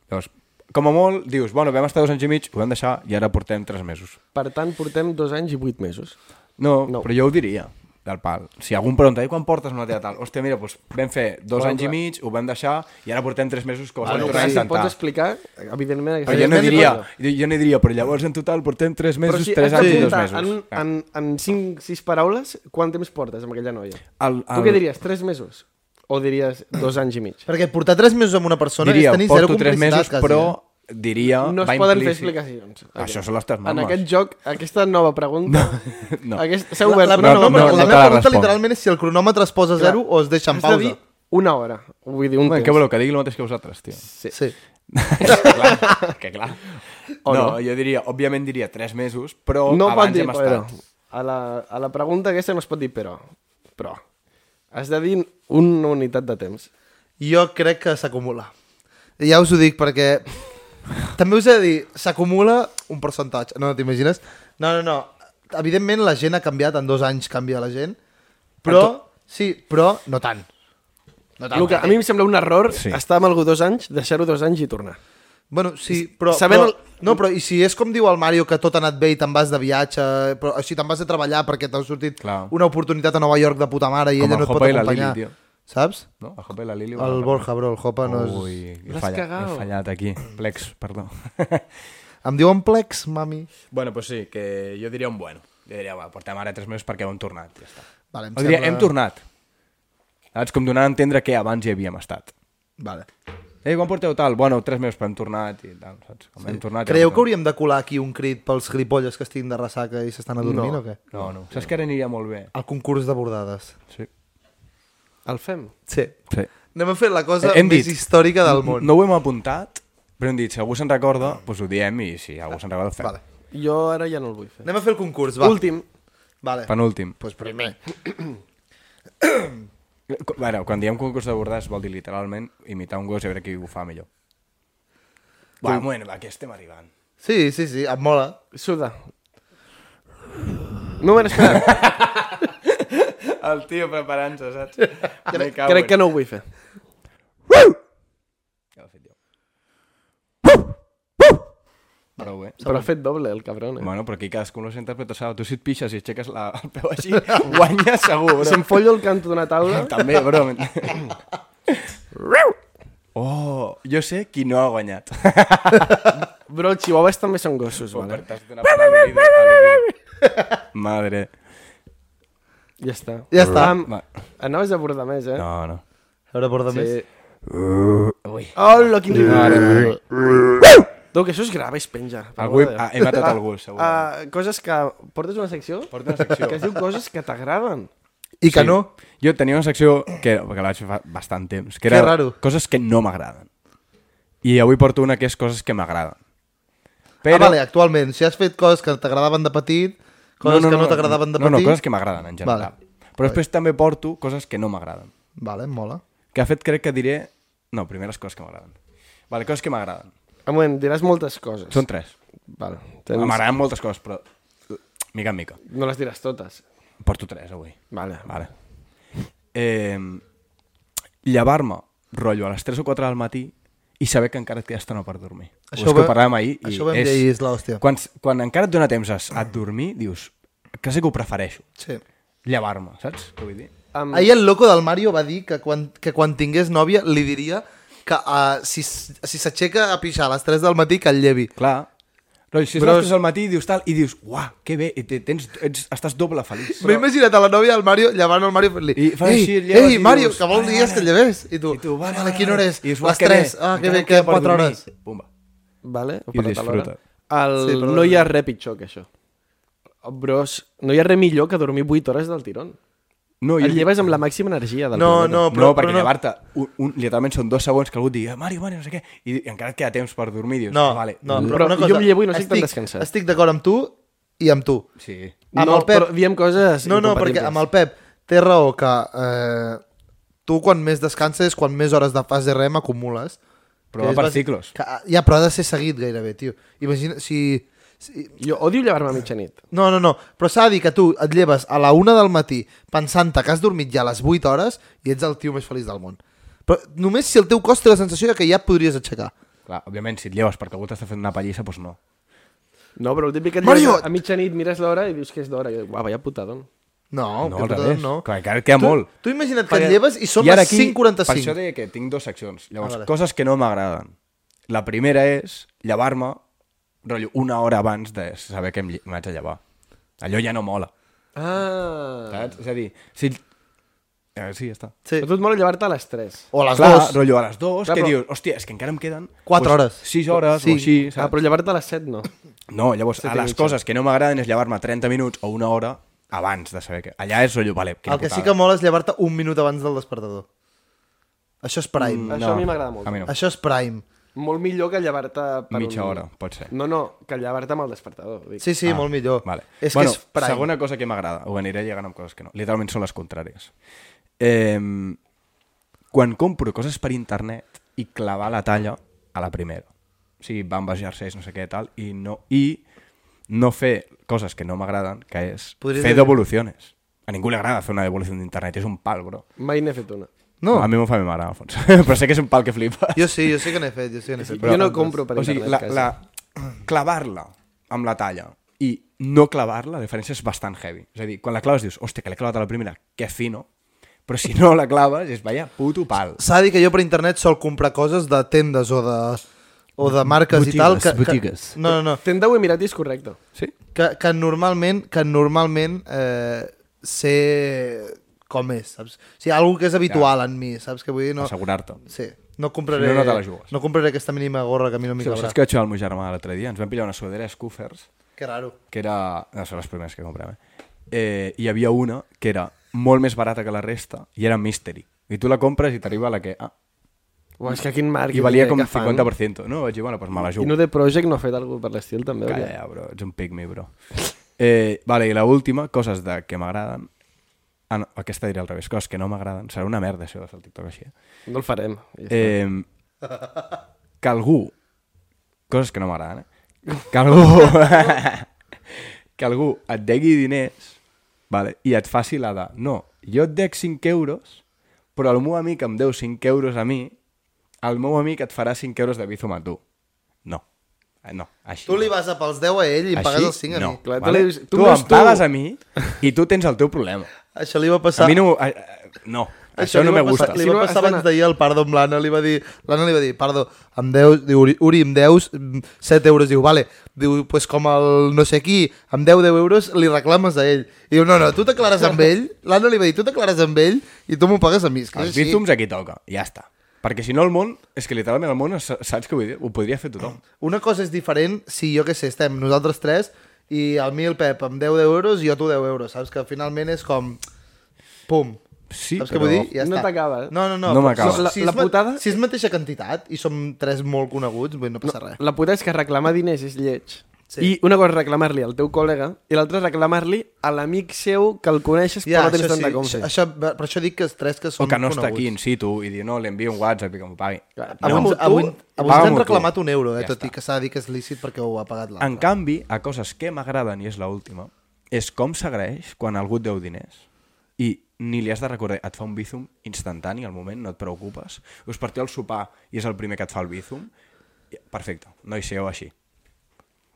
Speaker 1: Llavors, com a molt, dius, bueno, vam estar dos anys i mig, ho vam deixar i ara portem tres mesos.
Speaker 2: Per tant, portem dos anys i vuit mesos.
Speaker 1: No,
Speaker 2: No.
Speaker 1: no. però jo ho diria, del pal. Si algú em pregunta, i quan portes una teva tal? Hòstia, mira, doncs vam fer dos
Speaker 2: Bueno,
Speaker 1: anys i
Speaker 2: clar.
Speaker 1: mig, ho vam deixar i ara portem tres mesos que ho estem
Speaker 2: Bueno, clar,
Speaker 1: tornant a
Speaker 2: si em pots
Speaker 1: intentar.
Speaker 2: explicar, evidentment...
Speaker 1: Però jo no
Speaker 5: Evidentment,
Speaker 1: diria,
Speaker 5: no.
Speaker 1: jo, jo no diria, però llavors en total portem tres
Speaker 2: Però
Speaker 1: mesos,
Speaker 2: si
Speaker 1: tres
Speaker 2: has de
Speaker 1: anys i dos
Speaker 2: comptar
Speaker 1: mesos.
Speaker 2: En,
Speaker 1: Ah.
Speaker 2: en, en 5, 6 paraules, quant temps portes amb aquella noia?
Speaker 1: El-
Speaker 2: Tu
Speaker 1: el-
Speaker 2: què diries? 3 mesos? o diries dos anys i mig?
Speaker 5: Perquè portar 3 mesos amb una persona
Speaker 1: Diria,
Speaker 5: és tenir zero
Speaker 1: porto tres
Speaker 5: complicitat,
Speaker 1: mesos,
Speaker 5: quasi,
Speaker 1: però
Speaker 5: eh?
Speaker 1: diria...
Speaker 2: No
Speaker 1: va
Speaker 2: es poden fer
Speaker 1: implícit.
Speaker 2: explicacions.
Speaker 1: Això són les teves
Speaker 2: En
Speaker 1: normes.
Speaker 2: aquest joc, aquesta nova pregunta...
Speaker 1: no.
Speaker 2: Aquest, s'ha obert...
Speaker 5: eh? La,
Speaker 1: no,
Speaker 5: la, no, no,
Speaker 1: no,
Speaker 5: no, la
Speaker 1: te
Speaker 5: meva
Speaker 1: la
Speaker 5: pregunta
Speaker 1: responc.
Speaker 5: literalment és si el cronòmetre es posa a zero o es deixa en
Speaker 2: Has de dir
Speaker 5: pausa.
Speaker 2: una hora. Vull dir, un
Speaker 1: Home,
Speaker 2: temps.
Speaker 1: que voleu, que digui el mateix que vosaltres, tio.
Speaker 5: Sí.
Speaker 1: clar, que clar.
Speaker 2: O
Speaker 1: O no,
Speaker 2: no.
Speaker 1: no, jo diria, òbviament diria 3 mesos, però
Speaker 2: No pot
Speaker 1: abans
Speaker 2: dir
Speaker 1: hem
Speaker 2: però.
Speaker 1: estat...
Speaker 2: A la, a la pregunta aquesta no es pot dir però. Però. Has de dir una unitat de temps.
Speaker 5: Jo crec que s'acumula. Ja us ho dic perquè... També us he de dir, s'acumula un percentatge. No, t'imagines? No, no, no. Evidentment la gent ha canviat, en dos anys canvia la gent. Però, sí, però no tant. No tant.
Speaker 2: El que a mi em sembla un error
Speaker 1: Sí.
Speaker 2: sí. estar amb algú dos anys, deixar-ho dos anys i tornar.
Speaker 5: Bueno, sí, però...
Speaker 2: Sabent
Speaker 5: però
Speaker 2: el-
Speaker 5: No, però i si és com diu el Mario que tot ha anat bé i te'n vas de viatge, però així te'n vas a treballar perquè t'ha sortit
Speaker 1: Clar.
Speaker 5: una oportunitat a Nova York de puta mare i
Speaker 1: Com
Speaker 5: ella
Speaker 1: el
Speaker 5: no et pot
Speaker 1: Hoppe i la
Speaker 5: acompanyar.
Speaker 1: Lili, tio.
Speaker 5: Saps?
Speaker 1: No? El Hoppe i la Lili...
Speaker 5: El Borja, bro, el Hopa no és...
Speaker 1: Ui, he
Speaker 2: L'has
Speaker 1: fallat,
Speaker 2: cagat.
Speaker 1: he fallat aquí. Plex, perdó.
Speaker 5: Em diuen plex, mami.
Speaker 1: bueno, pues sí, que jo diria un bueno. Jo diria, va, portem ara 3 mesos perquè heu tornat, ja està.
Speaker 5: Vale, em
Speaker 1: O diria,
Speaker 5: sembla-
Speaker 1: hem tornat. Saps? Com donar a entendre que abans hi havíem estat.
Speaker 5: Vale.
Speaker 1: Ei, quan porteu tal? Bueno, 3 mesos, però hem tornat i tal, saps? Com hem tornat... i
Speaker 5: Eh, Creieu
Speaker 1: hem
Speaker 5: que hauríem de colar aquí un crit pels gripolles que estiguin de ressaca i s'estan adormint o què?
Speaker 1: tornat. No, no. Saps que ara aniria molt bé?
Speaker 5: El concurs de bordades.
Speaker 1: Sí.
Speaker 2: El fem.
Speaker 5: Sí.
Speaker 1: Sí. Eh,
Speaker 5: Anem a fer la cosa
Speaker 1: Hem
Speaker 5: més
Speaker 1: dit.
Speaker 5: històrica del món.
Speaker 1: No ho hem apuntat, però hem dit, si algú se'n recorda, doncs ho diem i si algú se'n recorda, ho fem.
Speaker 5: Vale.
Speaker 2: Jo ara ja no el vull fer.
Speaker 5: Anem a fer el concurs, va.
Speaker 2: Va. Últim.
Speaker 5: Vale.
Speaker 1: Penúltim.
Speaker 5: Pues primer.
Speaker 1: Qu- Bueno, quan diem concurs de bordades vol dir literalment imitar un gos i a veure qui ho fa millor. Va, un moment, va, que estem arribant.
Speaker 5: Sí, sí, sí, em mola.
Speaker 2: Suda. No me n'he esperat.
Speaker 1: El tio preparant-se, saps? crec,
Speaker 2: Crec que no ho vull fer.
Speaker 1: Ja ho he fet jo. Prou bé.
Speaker 2: Però ha fet doble, el cabron. Eh?
Speaker 1: Bueno, però aquí cadascú les interpreta seva. Tu si et pixes i aixeques la, el peu així, guanyes segur,
Speaker 2: Si em
Speaker 1: bro.
Speaker 2: follo el canto d'una taula...
Speaker 1: També, bro. Oh, jo sé qui no ha guanyat.
Speaker 2: Bro, els chihuahuas també són gossos,
Speaker 1: Vale.
Speaker 2: vale?
Speaker 1: T'has fet una pala al oído, al oído. Madre.
Speaker 2: Ja està.
Speaker 5: Ja està.
Speaker 2: Am,
Speaker 1: Va.
Speaker 2: anaves a bordar més, eh?
Speaker 1: No, no.
Speaker 5: Ara porta més.
Speaker 2: Sí. Hola, quin ritme. Tu, que això es grava i es penja. per
Speaker 1: Algú he,
Speaker 2: amor de Déu.
Speaker 1: ah, he matat algú, segur. Ah,
Speaker 2: Ah, coses que... Portes una secció?
Speaker 1: Porto una secció.
Speaker 2: Que es diu coses que t'agraden.
Speaker 5: I que ah, no,
Speaker 1: Jo tenia una secció que, era- que la vaig fer fa bastant temps, que era
Speaker 5: Que raro.
Speaker 1: coses que no m'agraden. I avui porto una que és coses que m'agraden.
Speaker 5: Ah, vale, actualment. Si has fet coses que t'agradaven de petit, coses que no t'agradaven de
Speaker 1: no,
Speaker 5: petit...
Speaker 1: no, coses que m'agraden en general.
Speaker 5: Vale.
Speaker 1: Vale. Però després també porto coses que no m'agraden.
Speaker 5: Vale, em mola.
Speaker 1: Que de fet crec que diré... No, primer les coses que m'agraden. Vale, coses que m'agraden.
Speaker 2: Un moment, diràs moltes coses.
Speaker 1: Són tres.
Speaker 2: Vale.
Speaker 1: Tens...
Speaker 2: Tens...
Speaker 1: M'agraden moltes coses, però... Mica en mica.
Speaker 2: No les diràs totes.
Speaker 1: Porto tres avui.
Speaker 2: Vale.
Speaker 1: Vale. Eh, Llevar-me, rotllo, a les 3 o 4 del matí i saber que encara et queda estona per dormir.
Speaker 5: Això
Speaker 1: Això és
Speaker 5: ho
Speaker 1: que
Speaker 5: va-
Speaker 1: ho parlàvem ahir. i
Speaker 5: això ho vam dir ahir, és l'hòstia.
Speaker 1: Quan, quan encara et dona temps a, a dormir, dius, quasi que ho prefereixo.
Speaker 5: Sí.
Speaker 1: Llevar-me, saps què vull dir?
Speaker 2: Am,
Speaker 5: Ahir el loco del Mario va dir que quan, que quan tingués nòvia li diria que uh, si s- si s'aixeca a pixar a les 3 del matí que el llevi.
Speaker 1: Clar. Rotllo, si és
Speaker 5: Però
Speaker 1: Però...
Speaker 5: és-
Speaker 1: les 3 del matí, dius tal, i dius, uah, que bé, i te, tens, ets, estàs doble feliç.
Speaker 5: M'he imaginat a la nòvia del Mario llevant el Mario i fent-li
Speaker 1: I fa
Speaker 5: Ei,
Speaker 1: així, el lleves
Speaker 5: ei,
Speaker 1: i
Speaker 5: Mario,
Speaker 1: dius,
Speaker 5: que vol
Speaker 1: "Vale,
Speaker 5: dies que el lleves? I tu,
Speaker 1: I tu, vale,
Speaker 5: vale, quina hora és?
Speaker 1: I dius, "Uah,
Speaker 5: les
Speaker 1: que
Speaker 5: 3.
Speaker 1: bé,
Speaker 5: Ah, que
Speaker 1: encara
Speaker 5: bé,
Speaker 1: em
Speaker 5: queden
Speaker 1: per
Speaker 5: 4
Speaker 1: dormir".
Speaker 5: hores.
Speaker 1: Pumba.
Speaker 2: Vale, ho
Speaker 1: I
Speaker 2: patat
Speaker 1: disfruta.
Speaker 2: alhora. El...
Speaker 5: Sí, però-
Speaker 2: no hi ha res pitjor que això. Oh, Bros, no hi ha res millor que dormir 8 hores del tirón.
Speaker 1: No,
Speaker 2: Et
Speaker 1: jo,
Speaker 2: lleves amb la màxima energia del
Speaker 5: No,
Speaker 2: planeta.
Speaker 5: no,
Speaker 1: No,
Speaker 5: però,
Speaker 1: perquè
Speaker 5: però no.
Speaker 1: llevar-te, un, un, literalment són dos segons que algú et digui, "Eh, Mario, Mario, no sé què, i, i encara et queda temps per dormir, dius, "Ah,
Speaker 5: No,
Speaker 1: vale,
Speaker 5: no,
Speaker 2: Però
Speaker 5: però, una
Speaker 2: jo
Speaker 5: cosa,
Speaker 2: em llevo i no estic tan
Speaker 5: estic-
Speaker 2: descansat.
Speaker 5: Estic d'acord amb tu i amb tu.
Speaker 1: sí.
Speaker 5: Amb
Speaker 2: no
Speaker 5: el Pep-
Speaker 2: però diem coses
Speaker 5: No, no, perquè amb el Pep té raó que eh, tu quan més descanses, quan més hores de fas de rem acumules.
Speaker 1: Però
Speaker 5: Que
Speaker 1: va
Speaker 5: és
Speaker 1: per
Speaker 5: bàsic-
Speaker 1: ciclos.
Speaker 5: Que, ja, però ha de ser seguit gairebé, tio. Imagina, si... si
Speaker 2: Jo odio llevar-me a mitjanit.
Speaker 5: no, no, no, però s'ha de dir que tu et lleves a la una del matí pensant-te que has dormit ja a les 8 hores i ets el tio més feliç del món. Però només si el teu cos té la sensació de que ja et podries aixecar.
Speaker 1: Clar, òbviament, si et lleves perquè algú t'està fent una pallissa, doncs no.
Speaker 2: No, però el típic que et
Speaker 5: Mario!
Speaker 2: lleves a mitjanit, mires l'hora i dius que és d'hora. I jo, Uau, vaya putadón.
Speaker 5: No,
Speaker 1: No,
Speaker 5: que
Speaker 1: al
Speaker 5: per tant,
Speaker 1: revés.
Speaker 5: no.
Speaker 1: Clar, encara et queda
Speaker 5: tu,
Speaker 1: molt.
Speaker 5: Tu imagina't que et lleves i són
Speaker 1: I ara
Speaker 5: les
Speaker 1: aquí, Per això
Speaker 5: 5.45.
Speaker 1: deia que tinc dues seccions. Llavors,
Speaker 5: Ah, vale.
Speaker 1: coses que no m'agraden. La primera és llevar-me, rotllo, una hora abans de saber que em lle- m'haig de llevar. Allò ja no mola,
Speaker 2: Ah,
Speaker 1: saps? És a dir, si Eh, sí, ja està.
Speaker 5: Sí.
Speaker 2: Però tu et mola llevar-te a les 3.
Speaker 5: O a les
Speaker 1: Clar,
Speaker 5: dues.
Speaker 1: rotllo, a les dues,
Speaker 2: Clar,
Speaker 1: que
Speaker 2: però-
Speaker 1: dius, hòstia, és que encara em queden...
Speaker 5: Quatre hores.
Speaker 1: 6 hores
Speaker 5: Sí.
Speaker 1: o així,
Speaker 2: Ah,
Speaker 1: saps?
Speaker 2: però llevar-te a les 7 no.
Speaker 1: No, llavors,
Speaker 2: Set
Speaker 1: a
Speaker 2: i
Speaker 1: les
Speaker 2: mitja.
Speaker 1: coses que no m'agraden és llevar-me 30 minuts o una hora abans de saber que... Allà és rotllo, vale, quina
Speaker 5: El que sí
Speaker 1: putada.
Speaker 5: que mola és llevar-te un minut abans del despertador. Això és prime.
Speaker 1: Mm,
Speaker 2: Això a mi m'agrada molt.
Speaker 1: A mi no.
Speaker 5: Això és prime.
Speaker 2: Molt millor que llevar-te... per
Speaker 1: Mitja hora, pot ser.
Speaker 2: No, no, que llevar-te amb el despertador. Dic.
Speaker 5: Sí, sí, ah, molt millor.
Speaker 1: Vale.
Speaker 5: És
Speaker 1: bueno,
Speaker 5: que és prime.
Speaker 1: segona cosa que m'agrada, ho aniré llegant amb coses que no. Literalment són les contràries. Eh, quan compro coses per internet i clavar la talla a la primera. O sigui, van basear seis, no sé què, tal, i no, i no fer coses que no m'agraden, que és
Speaker 5: Podries
Speaker 1: Podries fer
Speaker 5: dir-
Speaker 1: devoluciones. A ningú li agrada fer una devolució d'internet, és un pal, bro.
Speaker 2: Mai n'he fet una.
Speaker 5: No,
Speaker 1: A mi m'ho fa ma mare, Alfons. Però sé que és un pal que flipes.
Speaker 5: jo sí, jo sí que n'he fet. Jo, sí que n'he fet
Speaker 2: jo no compro per
Speaker 1: o sigui, la,
Speaker 2: internet. quasi.
Speaker 1: la, clavar-la amb la talla i no clavar-la, la diferència és bastant heavy. És a dir, quan la claves dius, hòstia, que l'he clavat a la primera, que fino, però si no la claves és, vaya, puto pal.
Speaker 5: S'ha de dir que jo per internet sol comprar coses de tendes o de, o de marques
Speaker 1: Botigues,
Speaker 5: i tal. Que,
Speaker 1: botigues.
Speaker 5: Que, no, no, no.
Speaker 2: Tenda o Emiratis, correcte.
Speaker 1: Sí?
Speaker 5: Que, que normalment, que normalment eh, sé com és, saps? O sigui, alguna que és habitual ja. en mi, saps? Que vull dir, no...
Speaker 1: Assegurar-te.
Speaker 5: Sí, no compraré...
Speaker 1: Si no, no te la jugues.
Speaker 5: No compraré aquesta mínima gorra que a mi no m'hi
Speaker 1: Sí,
Speaker 5: cabrà.
Speaker 1: saps que vaig fer el meu germà l'altre dia? Ens vam pillar una sudadera Scoofers,
Speaker 5: que raro.
Speaker 1: que era... No, són les primeres que comprem, eh? eh? Hi havia una que era molt més barata que la resta i era Mystery. I tu la compres i t'arriva la que... Ah,
Speaker 2: Uau, és que quin marc.
Speaker 1: I valia com 50%. No, vaig dir, bueno, doncs me la
Speaker 2: I
Speaker 1: jugo.
Speaker 2: no de Project no ha fet alguna per l'estil, també.
Speaker 1: Calla,
Speaker 2: hauria.
Speaker 1: ja, bro, ets un pigmi, bro. Eh, vale, i l'última, coses de que m'agraden... Ah, no, aquesta diré al revés, coses que no m'agraden. Serà una merda això de fer el TikTok així. eh?
Speaker 2: No el farem.
Speaker 1: Eh, que algú... Coses que no m'agraden, eh? Que algú... que algú et degui diners vale, i et faci la de... No, jo et dec 5 euros, però el meu amic em deu 5 euros a mi, el meu amic et farà 5 euros de bizum a tu. No. Eh, No, així.
Speaker 5: Tu
Speaker 1: no.
Speaker 5: li vas a pels 10 a ell i em pagues els 5 a mi.
Speaker 2: Clar, tu
Speaker 1: vale?
Speaker 2: li dius,
Speaker 1: tu,
Speaker 2: tu
Speaker 1: tu
Speaker 2: veus
Speaker 1: em
Speaker 2: tu.
Speaker 1: pagues a mi i tu tens el teu problema.
Speaker 5: Això li va passar...
Speaker 1: A mi no... a- a- No, això,
Speaker 5: li
Speaker 1: no
Speaker 5: va
Speaker 1: me
Speaker 5: passar-
Speaker 1: gusta.
Speaker 5: Li
Speaker 2: Si
Speaker 5: va
Speaker 2: no, has
Speaker 5: passar abans
Speaker 2: d'anar-
Speaker 5: d'ahir al Pardo amb l'Anna, li va dir, l'Anna li va dir, Pardo, em deus, diu, Uri, Uri, em deus mm, 7 euros, diu, vale, diu, pues com el no sé qui, em deu 10 euros, li reclames a ell. I diu, no, no, tu t'aclares amb ell, l'Anna li va dir, tu t'aclares amb ell i tu m'ho pagues a mi. És que
Speaker 1: Els
Speaker 5: és així.
Speaker 1: bítums aquí toca, ja està. Perquè si no el món, és que literalment el món, sa- saps què vull dir? Ho podria fer tothom.
Speaker 5: Una cosa és diferent si jo que sé, estem nosaltres tres i al mi el Pep em deu 10 euros i jo tu 10 euros, saps? Que finalment és com... Pum.
Speaker 1: Sí,
Speaker 5: saps
Speaker 1: però-
Speaker 5: què vull dir? Ja
Speaker 2: No
Speaker 5: està.
Speaker 2: t'acaba, eh?
Speaker 5: No, no, no.
Speaker 1: No
Speaker 5: però
Speaker 1: m'acaba.
Speaker 5: si-
Speaker 2: La-
Speaker 5: si
Speaker 2: la
Speaker 5: és ma-
Speaker 2: putada-
Speaker 5: Si és mateixa quantitat i som tres molt coneguts, vull dir, no passa no. res.
Speaker 2: La puta és que reclamar diners és lleig.
Speaker 5: Sí.
Speaker 2: Sí. I una cosa és reclamar-li al teu col·lega i l'altra és reclamar-li a l'amic seu que el coneixes
Speaker 5: Ja,
Speaker 2: però no tens
Speaker 5: això, sí,
Speaker 2: tanta
Speaker 5: això,
Speaker 2: confiança.
Speaker 5: això, per això dic que els tres que
Speaker 1: O
Speaker 5: som
Speaker 1: que no
Speaker 5: coneguts.
Speaker 1: està aquí in situ i dir, no, li envio un WhatsApp i que m'ho pagui.
Speaker 2: Clar,
Speaker 5: Avui,
Speaker 1: No.
Speaker 5: ens- avui, avui ens
Speaker 1: Paga-m'ho
Speaker 5: han
Speaker 1: tu.
Speaker 5: reclamat un euro,
Speaker 1: Ja
Speaker 5: eh, ja tot
Speaker 1: està.
Speaker 5: i que s'ha de dir que és lícit perquè ho ha pagat l'altre.
Speaker 1: En canvi, a coses que m'agraden, i és l'última, és com s'agraeix quan algú et deu diners i ni li has de recordar, et fa un bízum instantani al moment, no et preocupes. Us partiu al sopar i és el primer que et fa el bízum. i- Perfecte, no hi séieu així.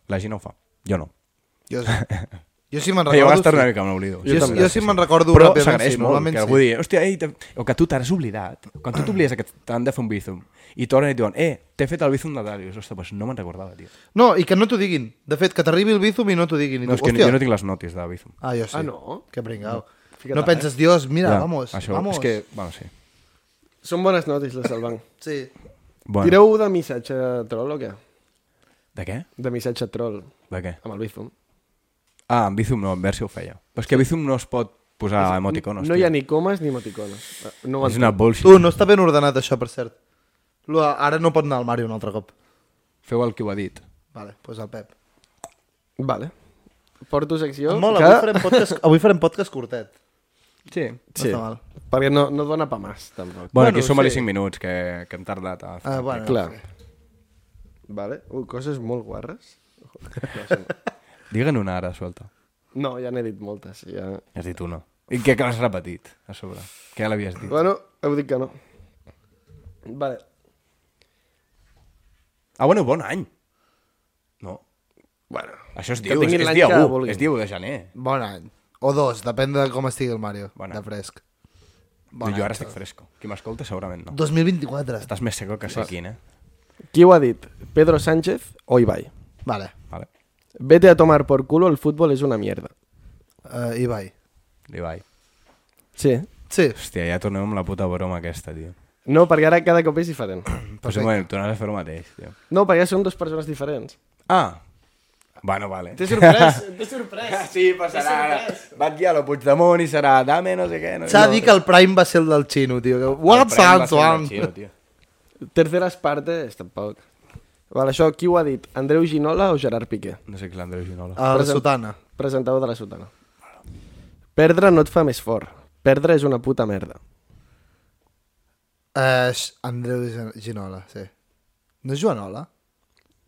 Speaker 1: La gent no ho fa, jo no.
Speaker 5: Jo, jo sí me'n
Speaker 1: Recordo, jo
Speaker 5: recordo.
Speaker 1: gastar una
Speaker 5: sí.
Speaker 1: mica, me n'oblido.
Speaker 5: Jo, jo, jo sí me'n recordo
Speaker 1: Però
Speaker 5: ràpidament,
Speaker 1: s'agraeix
Speaker 5: sí,
Speaker 1: molt,
Speaker 5: normalment
Speaker 1: que
Speaker 5: sí.
Speaker 1: algú digui, hòstia, ei, te... o que tu t'has oblidat. Quan tu t'oblides que t'han de fer un bízum i tornen i et diuen, eh, t'he fet el bízum de tal, i dius, hòstia, pues no me'n recordava, tio.
Speaker 5: No, i que no t'ho diguin. De fet, que t'arribi el bizum i no t'ho diguin. I
Speaker 1: No, és
Speaker 5: tu,
Speaker 1: que
Speaker 5: hòstia,
Speaker 1: jo no tinc les notis de bízum.
Speaker 5: Ah, jo sí.
Speaker 2: Ah, no?
Speaker 5: Que pringao. No,
Speaker 2: Fica't
Speaker 5: no
Speaker 2: ara,
Speaker 5: penses, Dios, mira,
Speaker 1: Ja,
Speaker 5: vamos,
Speaker 1: això,
Speaker 5: vamos.
Speaker 1: És que, bueno, sí.
Speaker 2: Són bones notis, les del banc.
Speaker 5: Sí.
Speaker 1: Bueno.
Speaker 2: Bueno. Tireu de missatge troll o què?
Speaker 1: De què?
Speaker 2: De missatge troll,
Speaker 1: De què?
Speaker 2: amb el bifum.
Speaker 1: Ah, amb Bizum no, en Versi ho feia. Però és que a Bizum no es pot posar emoticonos.
Speaker 2: No hi ha
Speaker 1: tio.
Speaker 2: ni comes ni emoticones. No ho
Speaker 1: És una bullshit.
Speaker 5: Tu, no està ben ordenat això, per cert. Lo, ara no pot anar al Mario un altre cop.
Speaker 1: Feu el que ho ha dit.
Speaker 5: Vale, doncs pues el Pep.
Speaker 2: Vale. Porto secció...
Speaker 5: Mola,
Speaker 2: que-
Speaker 5: avui farem podcast, avui farem podcast curtet.
Speaker 1: Sí.
Speaker 5: No
Speaker 2: Sí,
Speaker 5: està mal.
Speaker 2: perquè no, no et dona pa mas, tampoc.
Speaker 1: Bueno, aquí
Speaker 5: Bueno,
Speaker 1: som a les
Speaker 5: sí.
Speaker 1: 5 minuts, que, que hem tardat. A...
Speaker 5: Ah, bueno.
Speaker 2: Clar. Vale. Ui, coses molt guarres.
Speaker 1: Digue'n una ara, suelta.
Speaker 2: No, ja n'he dit moltes. Ja...
Speaker 1: Has dit una. I què que l'has repetit, a sobre? Que ja l'havies dit.
Speaker 2: Bueno, heu dit que no. Vale.
Speaker 1: Ah, bueno, bon any. No.
Speaker 2: Bueno.
Speaker 1: Això es
Speaker 2: Que
Speaker 1: diu, és,
Speaker 2: tinguin
Speaker 1: és
Speaker 2: l'any
Speaker 1: dia
Speaker 2: que
Speaker 1: 1,
Speaker 2: vulguin.
Speaker 1: és dia 1 de gener.
Speaker 5: Bon any. O dos, depèn de com estigui el Mario,
Speaker 1: Bon
Speaker 5: de
Speaker 1: any.
Speaker 5: fresc.
Speaker 1: Bon jo ara estic fresco. Qui m'escolta segurament no.
Speaker 5: 2024.
Speaker 1: Estàs més seco que sequin, eh?
Speaker 2: Qui ho ha dit? Pedro Sánchez o Ibai?
Speaker 5: Vale.
Speaker 1: Vale.
Speaker 2: Vete a tomar por culo, el fútbol es una mierda.
Speaker 5: Uh, Ibai.
Speaker 1: Ibai.
Speaker 2: Sí.
Speaker 5: Eh, Sí.
Speaker 1: Hòstia, ja tornem amb la puta broma aquesta, tio.
Speaker 2: No, perquè ara cada cop és diferent.
Speaker 1: Però si m'ho tornaràs a fer el mateix, tio.
Speaker 2: No, perquè són dues persones diferents.
Speaker 1: Ah! Bueno, vale.
Speaker 2: T'he sorprès, t'he sorprès.
Speaker 1: Sí, passarà ara. Va guiar a Puigdemont i serà dame no sé què. No
Speaker 5: S'ha de dir que el Prime va ser el del xino, tio. Que... What's up, Swan?
Speaker 2: Terceres partes, tampoc. Vale, això qui ho ha dit? Andreu Ginola o Gerard Piqué?
Speaker 1: No sé qui és l'Andreu Ginola.
Speaker 5: A la sotana.
Speaker 2: Presentador de la sotana. Perdre no et fa més fort. Perdre és una puta merda.
Speaker 5: Uh, Andreu Gin- Ginola, sí. No és Joanola?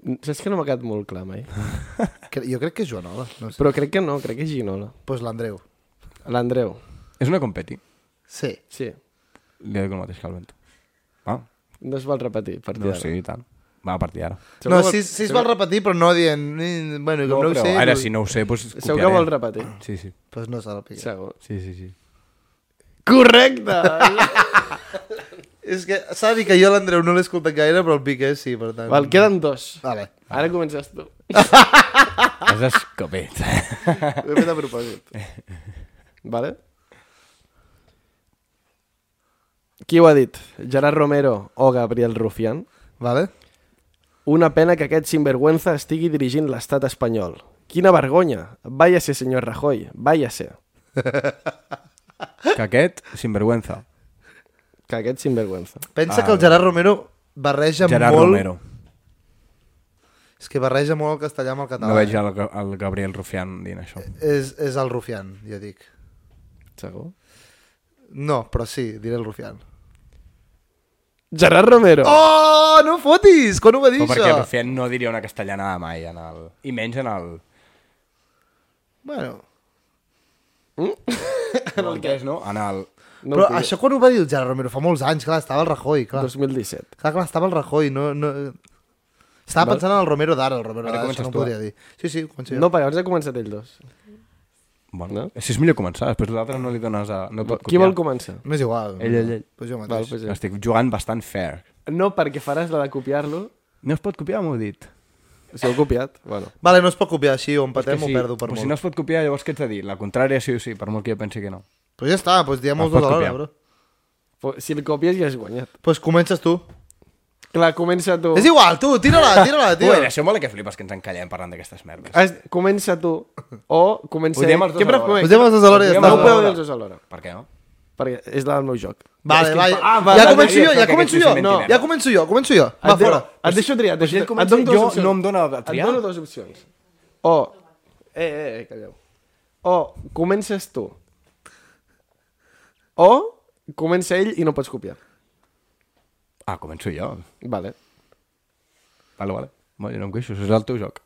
Speaker 2: N- Saps que no m'ha quedat molt clar mai?
Speaker 5: Cre jo crec que és Joanola. No sé.
Speaker 2: Però crec que no, crec que és Ginola.
Speaker 5: Pues l'Andreu.
Speaker 2: L'Andreu,
Speaker 1: És una competi.
Speaker 5: Sí.
Speaker 2: sí.
Speaker 1: Li dic el mateix que al Bento. Ah,
Speaker 2: No es vol repetir, per
Speaker 1: no, sí, i tant. Va, a partir d'ara.
Speaker 2: Segur
Speaker 5: No,
Speaker 2: que vol-
Speaker 5: sí, sí es vol repetir, però no dient... "Mm, Bueno, com no, ho
Speaker 1: però
Speaker 5: sé...
Speaker 1: ara,
Speaker 5: no-
Speaker 1: si no ho sé, doncs copiaré.
Speaker 2: Segur que vol repetir.
Speaker 1: Sí, sí.
Speaker 5: Pues no serà el Piqué.
Speaker 2: Segur.
Speaker 1: Sí, sí, sí.
Speaker 2: Correcte!
Speaker 5: És que s'ha de dir que jo a l'Andreu no l'he escoltat gaire, però el Piqué sí, per tant...
Speaker 2: Val, queden dos.
Speaker 5: Vale.
Speaker 2: Ara comences tu.
Speaker 1: És escopet.
Speaker 2: Ho he fet a propòsit. Vale? Qui ho ha dit? Gerard Romero o Gabriel Rufián?
Speaker 5: Vale?
Speaker 2: Una pena que aquest sinvergüenza estigui dirigint l'estat espanyol. Quina vergonya! Váyase, senyor Rajoy, váyase.
Speaker 1: que aquest, sinvergüenza.
Speaker 2: Que aquest sinvergüenza.
Speaker 5: Pensa que el Gerard Romero barreja
Speaker 1: Ah, Gerard
Speaker 5: molt...
Speaker 1: Romero.
Speaker 5: És que barreja molt el castellà amb el català.
Speaker 1: No veig el, el Gabriel Rufián dient això.
Speaker 5: És, és el Rufián, jo dic.
Speaker 2: Segur?
Speaker 5: No, però sí, diré el Rufián.
Speaker 2: Gerard Romero!
Speaker 5: Oh, no fotis! Quan ho va dir,
Speaker 1: Però perquè
Speaker 5: això?
Speaker 1: Rufián no diria una castellanada mai, en el... i menys en el...
Speaker 5: Bueno,
Speaker 1: En el que és, no? En el...
Speaker 2: No
Speaker 5: però
Speaker 2: ho tinc.
Speaker 5: això quan ho va dir el Gerard Romero? Fa molts anys, clar, estava el Rajoy, clar.
Speaker 2: 2017.
Speaker 5: Clar, clar, estava el Rajoy, no... no... Estava pensant en el Romero d'ara, el Romero
Speaker 1: Ara
Speaker 5: d'ara, això
Speaker 1: comences
Speaker 5: no ho
Speaker 1: tu,
Speaker 5: podria dir. Sí, sí, començo jo.
Speaker 2: No, perquè abans ha començat ell dos.
Speaker 1: Bueno, no? si és millor començar, després l'altre no li dones a... No pot
Speaker 2: Qui vol començar?
Speaker 5: M'és igual.
Speaker 1: Ell, ell, ell.
Speaker 5: Pues jo
Speaker 2: Val,
Speaker 5: mateix.
Speaker 2: pues ja.
Speaker 1: Estic jugant bastant fair.
Speaker 2: No, perquè faràs la de copiar-lo.
Speaker 1: No es pot copiar, m'ho he dit.
Speaker 2: Si ho heu copiat, bueno.
Speaker 5: Vale, no es pot copiar així, o empatem o
Speaker 1: si,
Speaker 5: perdo per
Speaker 1: però
Speaker 5: molt.
Speaker 1: si no es pot copiar, llavors què ets de dir? La contrària sí o sí, per molt que jo pensi que no.
Speaker 5: Pues ja està, pues diem els
Speaker 1: Es Ah, pot
Speaker 5: dos alhora,
Speaker 1: copiar.
Speaker 5: bro.
Speaker 2: Però Si el copies ja has guanyat.
Speaker 5: Pues comences tu.
Speaker 2: Clar, comença tu.
Speaker 5: És igual, tu, tira-la, tira-la,
Speaker 1: Tio.
Speaker 5: tio.
Speaker 1: Ui, Oh. això mola que flipes que ens encallem parlant d'aquestes merdes.
Speaker 2: Has, comença tu. O comença...
Speaker 1: Ho diem els dos
Speaker 2: Què
Speaker 1: alhora.
Speaker 2: prefereix?
Speaker 5: Posem els dos alhora i ja
Speaker 1: Diguem
Speaker 2: No
Speaker 5: està.
Speaker 2: ho
Speaker 1: alhora.
Speaker 2: podeu dir els dos alhora.
Speaker 1: Per què no?
Speaker 2: Perquè és la del meu joc.
Speaker 5: Vale,
Speaker 1: És que-
Speaker 5: va,
Speaker 1: Ah, va,
Speaker 5: ja
Speaker 1: va,
Speaker 5: començo
Speaker 1: va,
Speaker 5: jo,
Speaker 1: va,
Speaker 5: ja
Speaker 1: que Ah,
Speaker 5: començo
Speaker 1: aquest
Speaker 5: jo.
Speaker 1: comenci merda.
Speaker 5: Ja començo jo, començo jo. Va,
Speaker 2: Et de-
Speaker 5: fora.
Speaker 2: Et deixo triar. Et,
Speaker 1: Però si ell
Speaker 2: deixo, et
Speaker 1: comença
Speaker 2: dono
Speaker 1: i
Speaker 2: dues
Speaker 1: jo
Speaker 2: opcions.
Speaker 1: no em dóna a triar.
Speaker 2: Et dono dues opcions. O... Eh, eh, Oh, eh, calleu. O comences tu. O comença ell i no pots copiar.
Speaker 1: Ah, començo jo.
Speaker 2: Vale.
Speaker 1: Vale, vale. Bueno, jo no em queixo, això és el teu joc.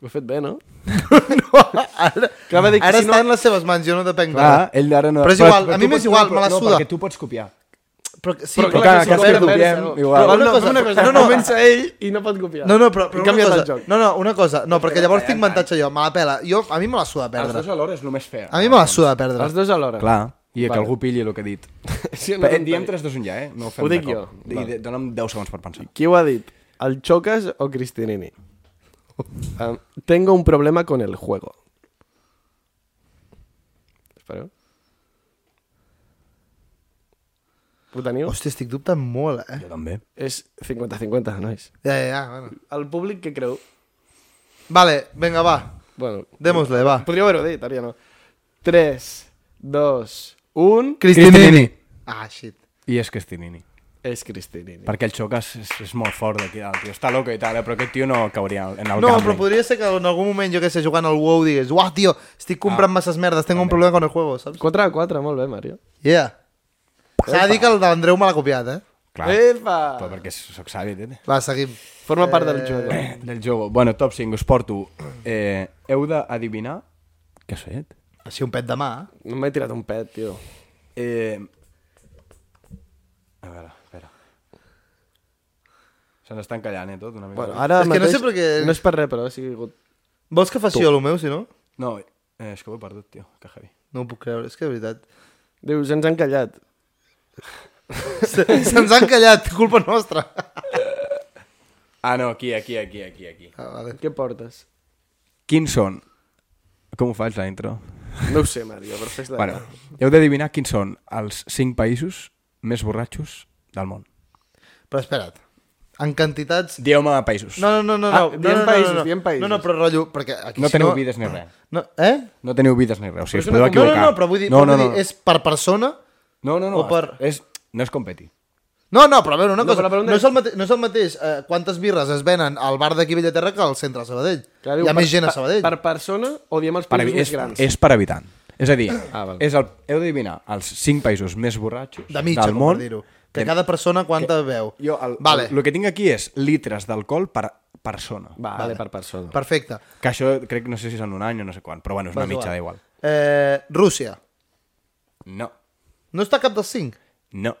Speaker 2: Ho he fet bé, no?
Speaker 5: No, ara,
Speaker 2: Clar, va dir que
Speaker 5: ara
Speaker 2: si no-
Speaker 5: està en les seves mans, jo no depenc de
Speaker 1: Clar, Ah, ell ara no...
Speaker 5: Però és igual, a mi m'és igual, me la
Speaker 1: No,
Speaker 5: suda.
Speaker 1: perquè tu pots copiar.
Speaker 5: Però, sí,
Speaker 2: Però
Speaker 1: Però clar,
Speaker 2: clar, que
Speaker 1: que
Speaker 2: si
Speaker 1: si
Speaker 2: no
Speaker 1: copiem,
Speaker 2: perdem,
Speaker 1: igual.
Speaker 5: Però
Speaker 1: Però,
Speaker 5: una
Speaker 2: no,
Speaker 5: cosa,
Speaker 2: una cosa,
Speaker 5: no, no.
Speaker 2: comença ell i no pot copiar.
Speaker 5: No, no, però, però
Speaker 2: He
Speaker 5: una
Speaker 2: canviat el
Speaker 5: cosa,
Speaker 2: joc.
Speaker 5: no, no, una cosa, no, perquè llavors tinc avantatge jo, me la pela. Jo, a mi me la suda
Speaker 1: els
Speaker 5: perdre.
Speaker 1: dos alhora és el més fair.
Speaker 5: A mi me la suda perdre.
Speaker 2: Els dos alhora.
Speaker 1: Clar, i que
Speaker 2: Vale.
Speaker 1: algú pilli el que he dit.
Speaker 2: Sí, no,
Speaker 1: No, en
Speaker 2: no.
Speaker 1: diem 3, 2, 1 ja, eh? No ho fem
Speaker 2: Ho dic
Speaker 1: de cop.
Speaker 2: jo.
Speaker 1: I de- Dóna'm 10 segons per pensar.
Speaker 2: Qui ho ha dit? El Chocas o Cristinini? Um, tengo un problema con el juego. Espereu. Ho teniu?
Speaker 5: Hòstia, estic dubtant molt, eh?
Speaker 1: Jo també.
Speaker 2: És 50-50, nois.
Speaker 5: Ja, ja, ja, bueno.
Speaker 2: El públic que creu...
Speaker 5: Vale, vinga, va,
Speaker 2: Bueno,
Speaker 5: demos-le, va.
Speaker 2: podríeu haver-ho dit, ara ja no. 3, 2, 1...
Speaker 5: Cristinini. Ah, shit.
Speaker 1: I és Cristinini.
Speaker 2: És Cristinini.
Speaker 1: Perquè el xoc és, és, és molt fort d'aquí dalt, tio. Està loco i tal, eh? però aquest tio no cauria en el eh?
Speaker 5: No,
Speaker 1: gambling.
Speaker 5: però podria ser que en algun moment, jo que sé, jugant al WoW digués uah, tio, estic
Speaker 2: Ah.
Speaker 5: comprant masses merdes, tengo un problema con el juego, saps?
Speaker 2: 4 a 4, molt bé, Mario.
Speaker 5: Yeah. S'ha de dir que el d'Andreu me l'ha copiat, eh?
Speaker 1: Clar, però
Speaker 2: Epa!
Speaker 1: perquè sóc savi, tete.
Speaker 5: Va, seguim.
Speaker 2: Forma part
Speaker 5: Eh.
Speaker 2: del joc.
Speaker 1: Del jogo. Bueno, top 5, us porto. Eh, heu d'adivinar... Què has fet?
Speaker 5: Així un pet de mà, eh?
Speaker 2: No m'he tirat un pet, tio.
Speaker 1: Eh... A veure, espera. Se n'està encallant, eh, tot, una mica.
Speaker 2: Bueno, ara
Speaker 5: És que no
Speaker 2: mateix,
Speaker 5: sé per què-
Speaker 2: No és per res, però ha sigut...
Speaker 5: Vols que faci jo el meu, si no?
Speaker 1: No, eh, és que ho he perdut, tio, que heavy.
Speaker 5: No ho puc creure, és que de veritat.
Speaker 2: Dius, ens han callat.
Speaker 5: Se- Se'ns han callat, culpa nostra.
Speaker 1: Ah, no, aquí, aquí, aquí, aquí, aquí.
Speaker 5: Ah, vale.
Speaker 2: Què portes?
Speaker 1: Quins són? Com ho faig, la intro?
Speaker 2: No ho sé, Mario, però fes la...
Speaker 1: Bueno, heu d'adivinar quins són els 5 països més borratxos del món.
Speaker 5: Però espera't, en quantitats...
Speaker 1: Dieu-me països.
Speaker 5: No, no, no, no,
Speaker 2: Ah,
Speaker 5: no,
Speaker 2: diem
Speaker 5: no, no,
Speaker 2: països,
Speaker 5: no, no.
Speaker 2: diem països.
Speaker 5: No, no, però rotllo, perquè aquí
Speaker 1: No
Speaker 5: si
Speaker 1: teniu
Speaker 5: no...
Speaker 1: vides ni res.
Speaker 5: No, eh?
Speaker 1: No teniu vides ni res. O sigui,
Speaker 5: Però és
Speaker 1: us podeu
Speaker 5: una-
Speaker 1: equivocar.
Speaker 5: No, no, no, però vull dir,
Speaker 1: no, no,
Speaker 5: vull
Speaker 1: no.
Speaker 5: dir és per persona...
Speaker 1: no, no, no,
Speaker 5: o per-
Speaker 1: és, no és competi.
Speaker 5: No, no, però a veure, una
Speaker 2: No,
Speaker 5: cosa,
Speaker 2: però la
Speaker 5: no,
Speaker 2: pregunta
Speaker 5: no,
Speaker 2: és-
Speaker 5: és el mateix, no és el mateix eh, quantes birres es venen al bar d'aquí a Bellaterra que al centre de Sabadell.
Speaker 2: Clar,
Speaker 5: Hi
Speaker 2: diu,
Speaker 5: ha més gent a Sabadell.
Speaker 2: Per, per persona o diem els
Speaker 1: Per,
Speaker 2: països
Speaker 1: evi-
Speaker 2: més
Speaker 1: és,
Speaker 2: grans.
Speaker 1: és per habitant. És a dir,
Speaker 2: Ah,
Speaker 1: ah,
Speaker 2: val.
Speaker 1: és el, heu d'adivinar els 5 països més borratxos
Speaker 5: De mitja,
Speaker 1: del
Speaker 5: com per
Speaker 1: món.
Speaker 5: dir-ho. Que cada persona quanta beu.
Speaker 1: Jo, el,
Speaker 5: vale,
Speaker 1: el, el que tinc aquí és litres d'alcohol per persona.
Speaker 2: Vale, vale, per persona.
Speaker 5: perfecte.
Speaker 1: Que això crec, no sé si és en un any o no sé quan, però bueno, és una
Speaker 5: Vas,
Speaker 1: mitja,
Speaker 5: va.
Speaker 1: da igual.
Speaker 5: Eh, Rússia.
Speaker 1: No,
Speaker 5: No està cap dels cinc?
Speaker 1: no.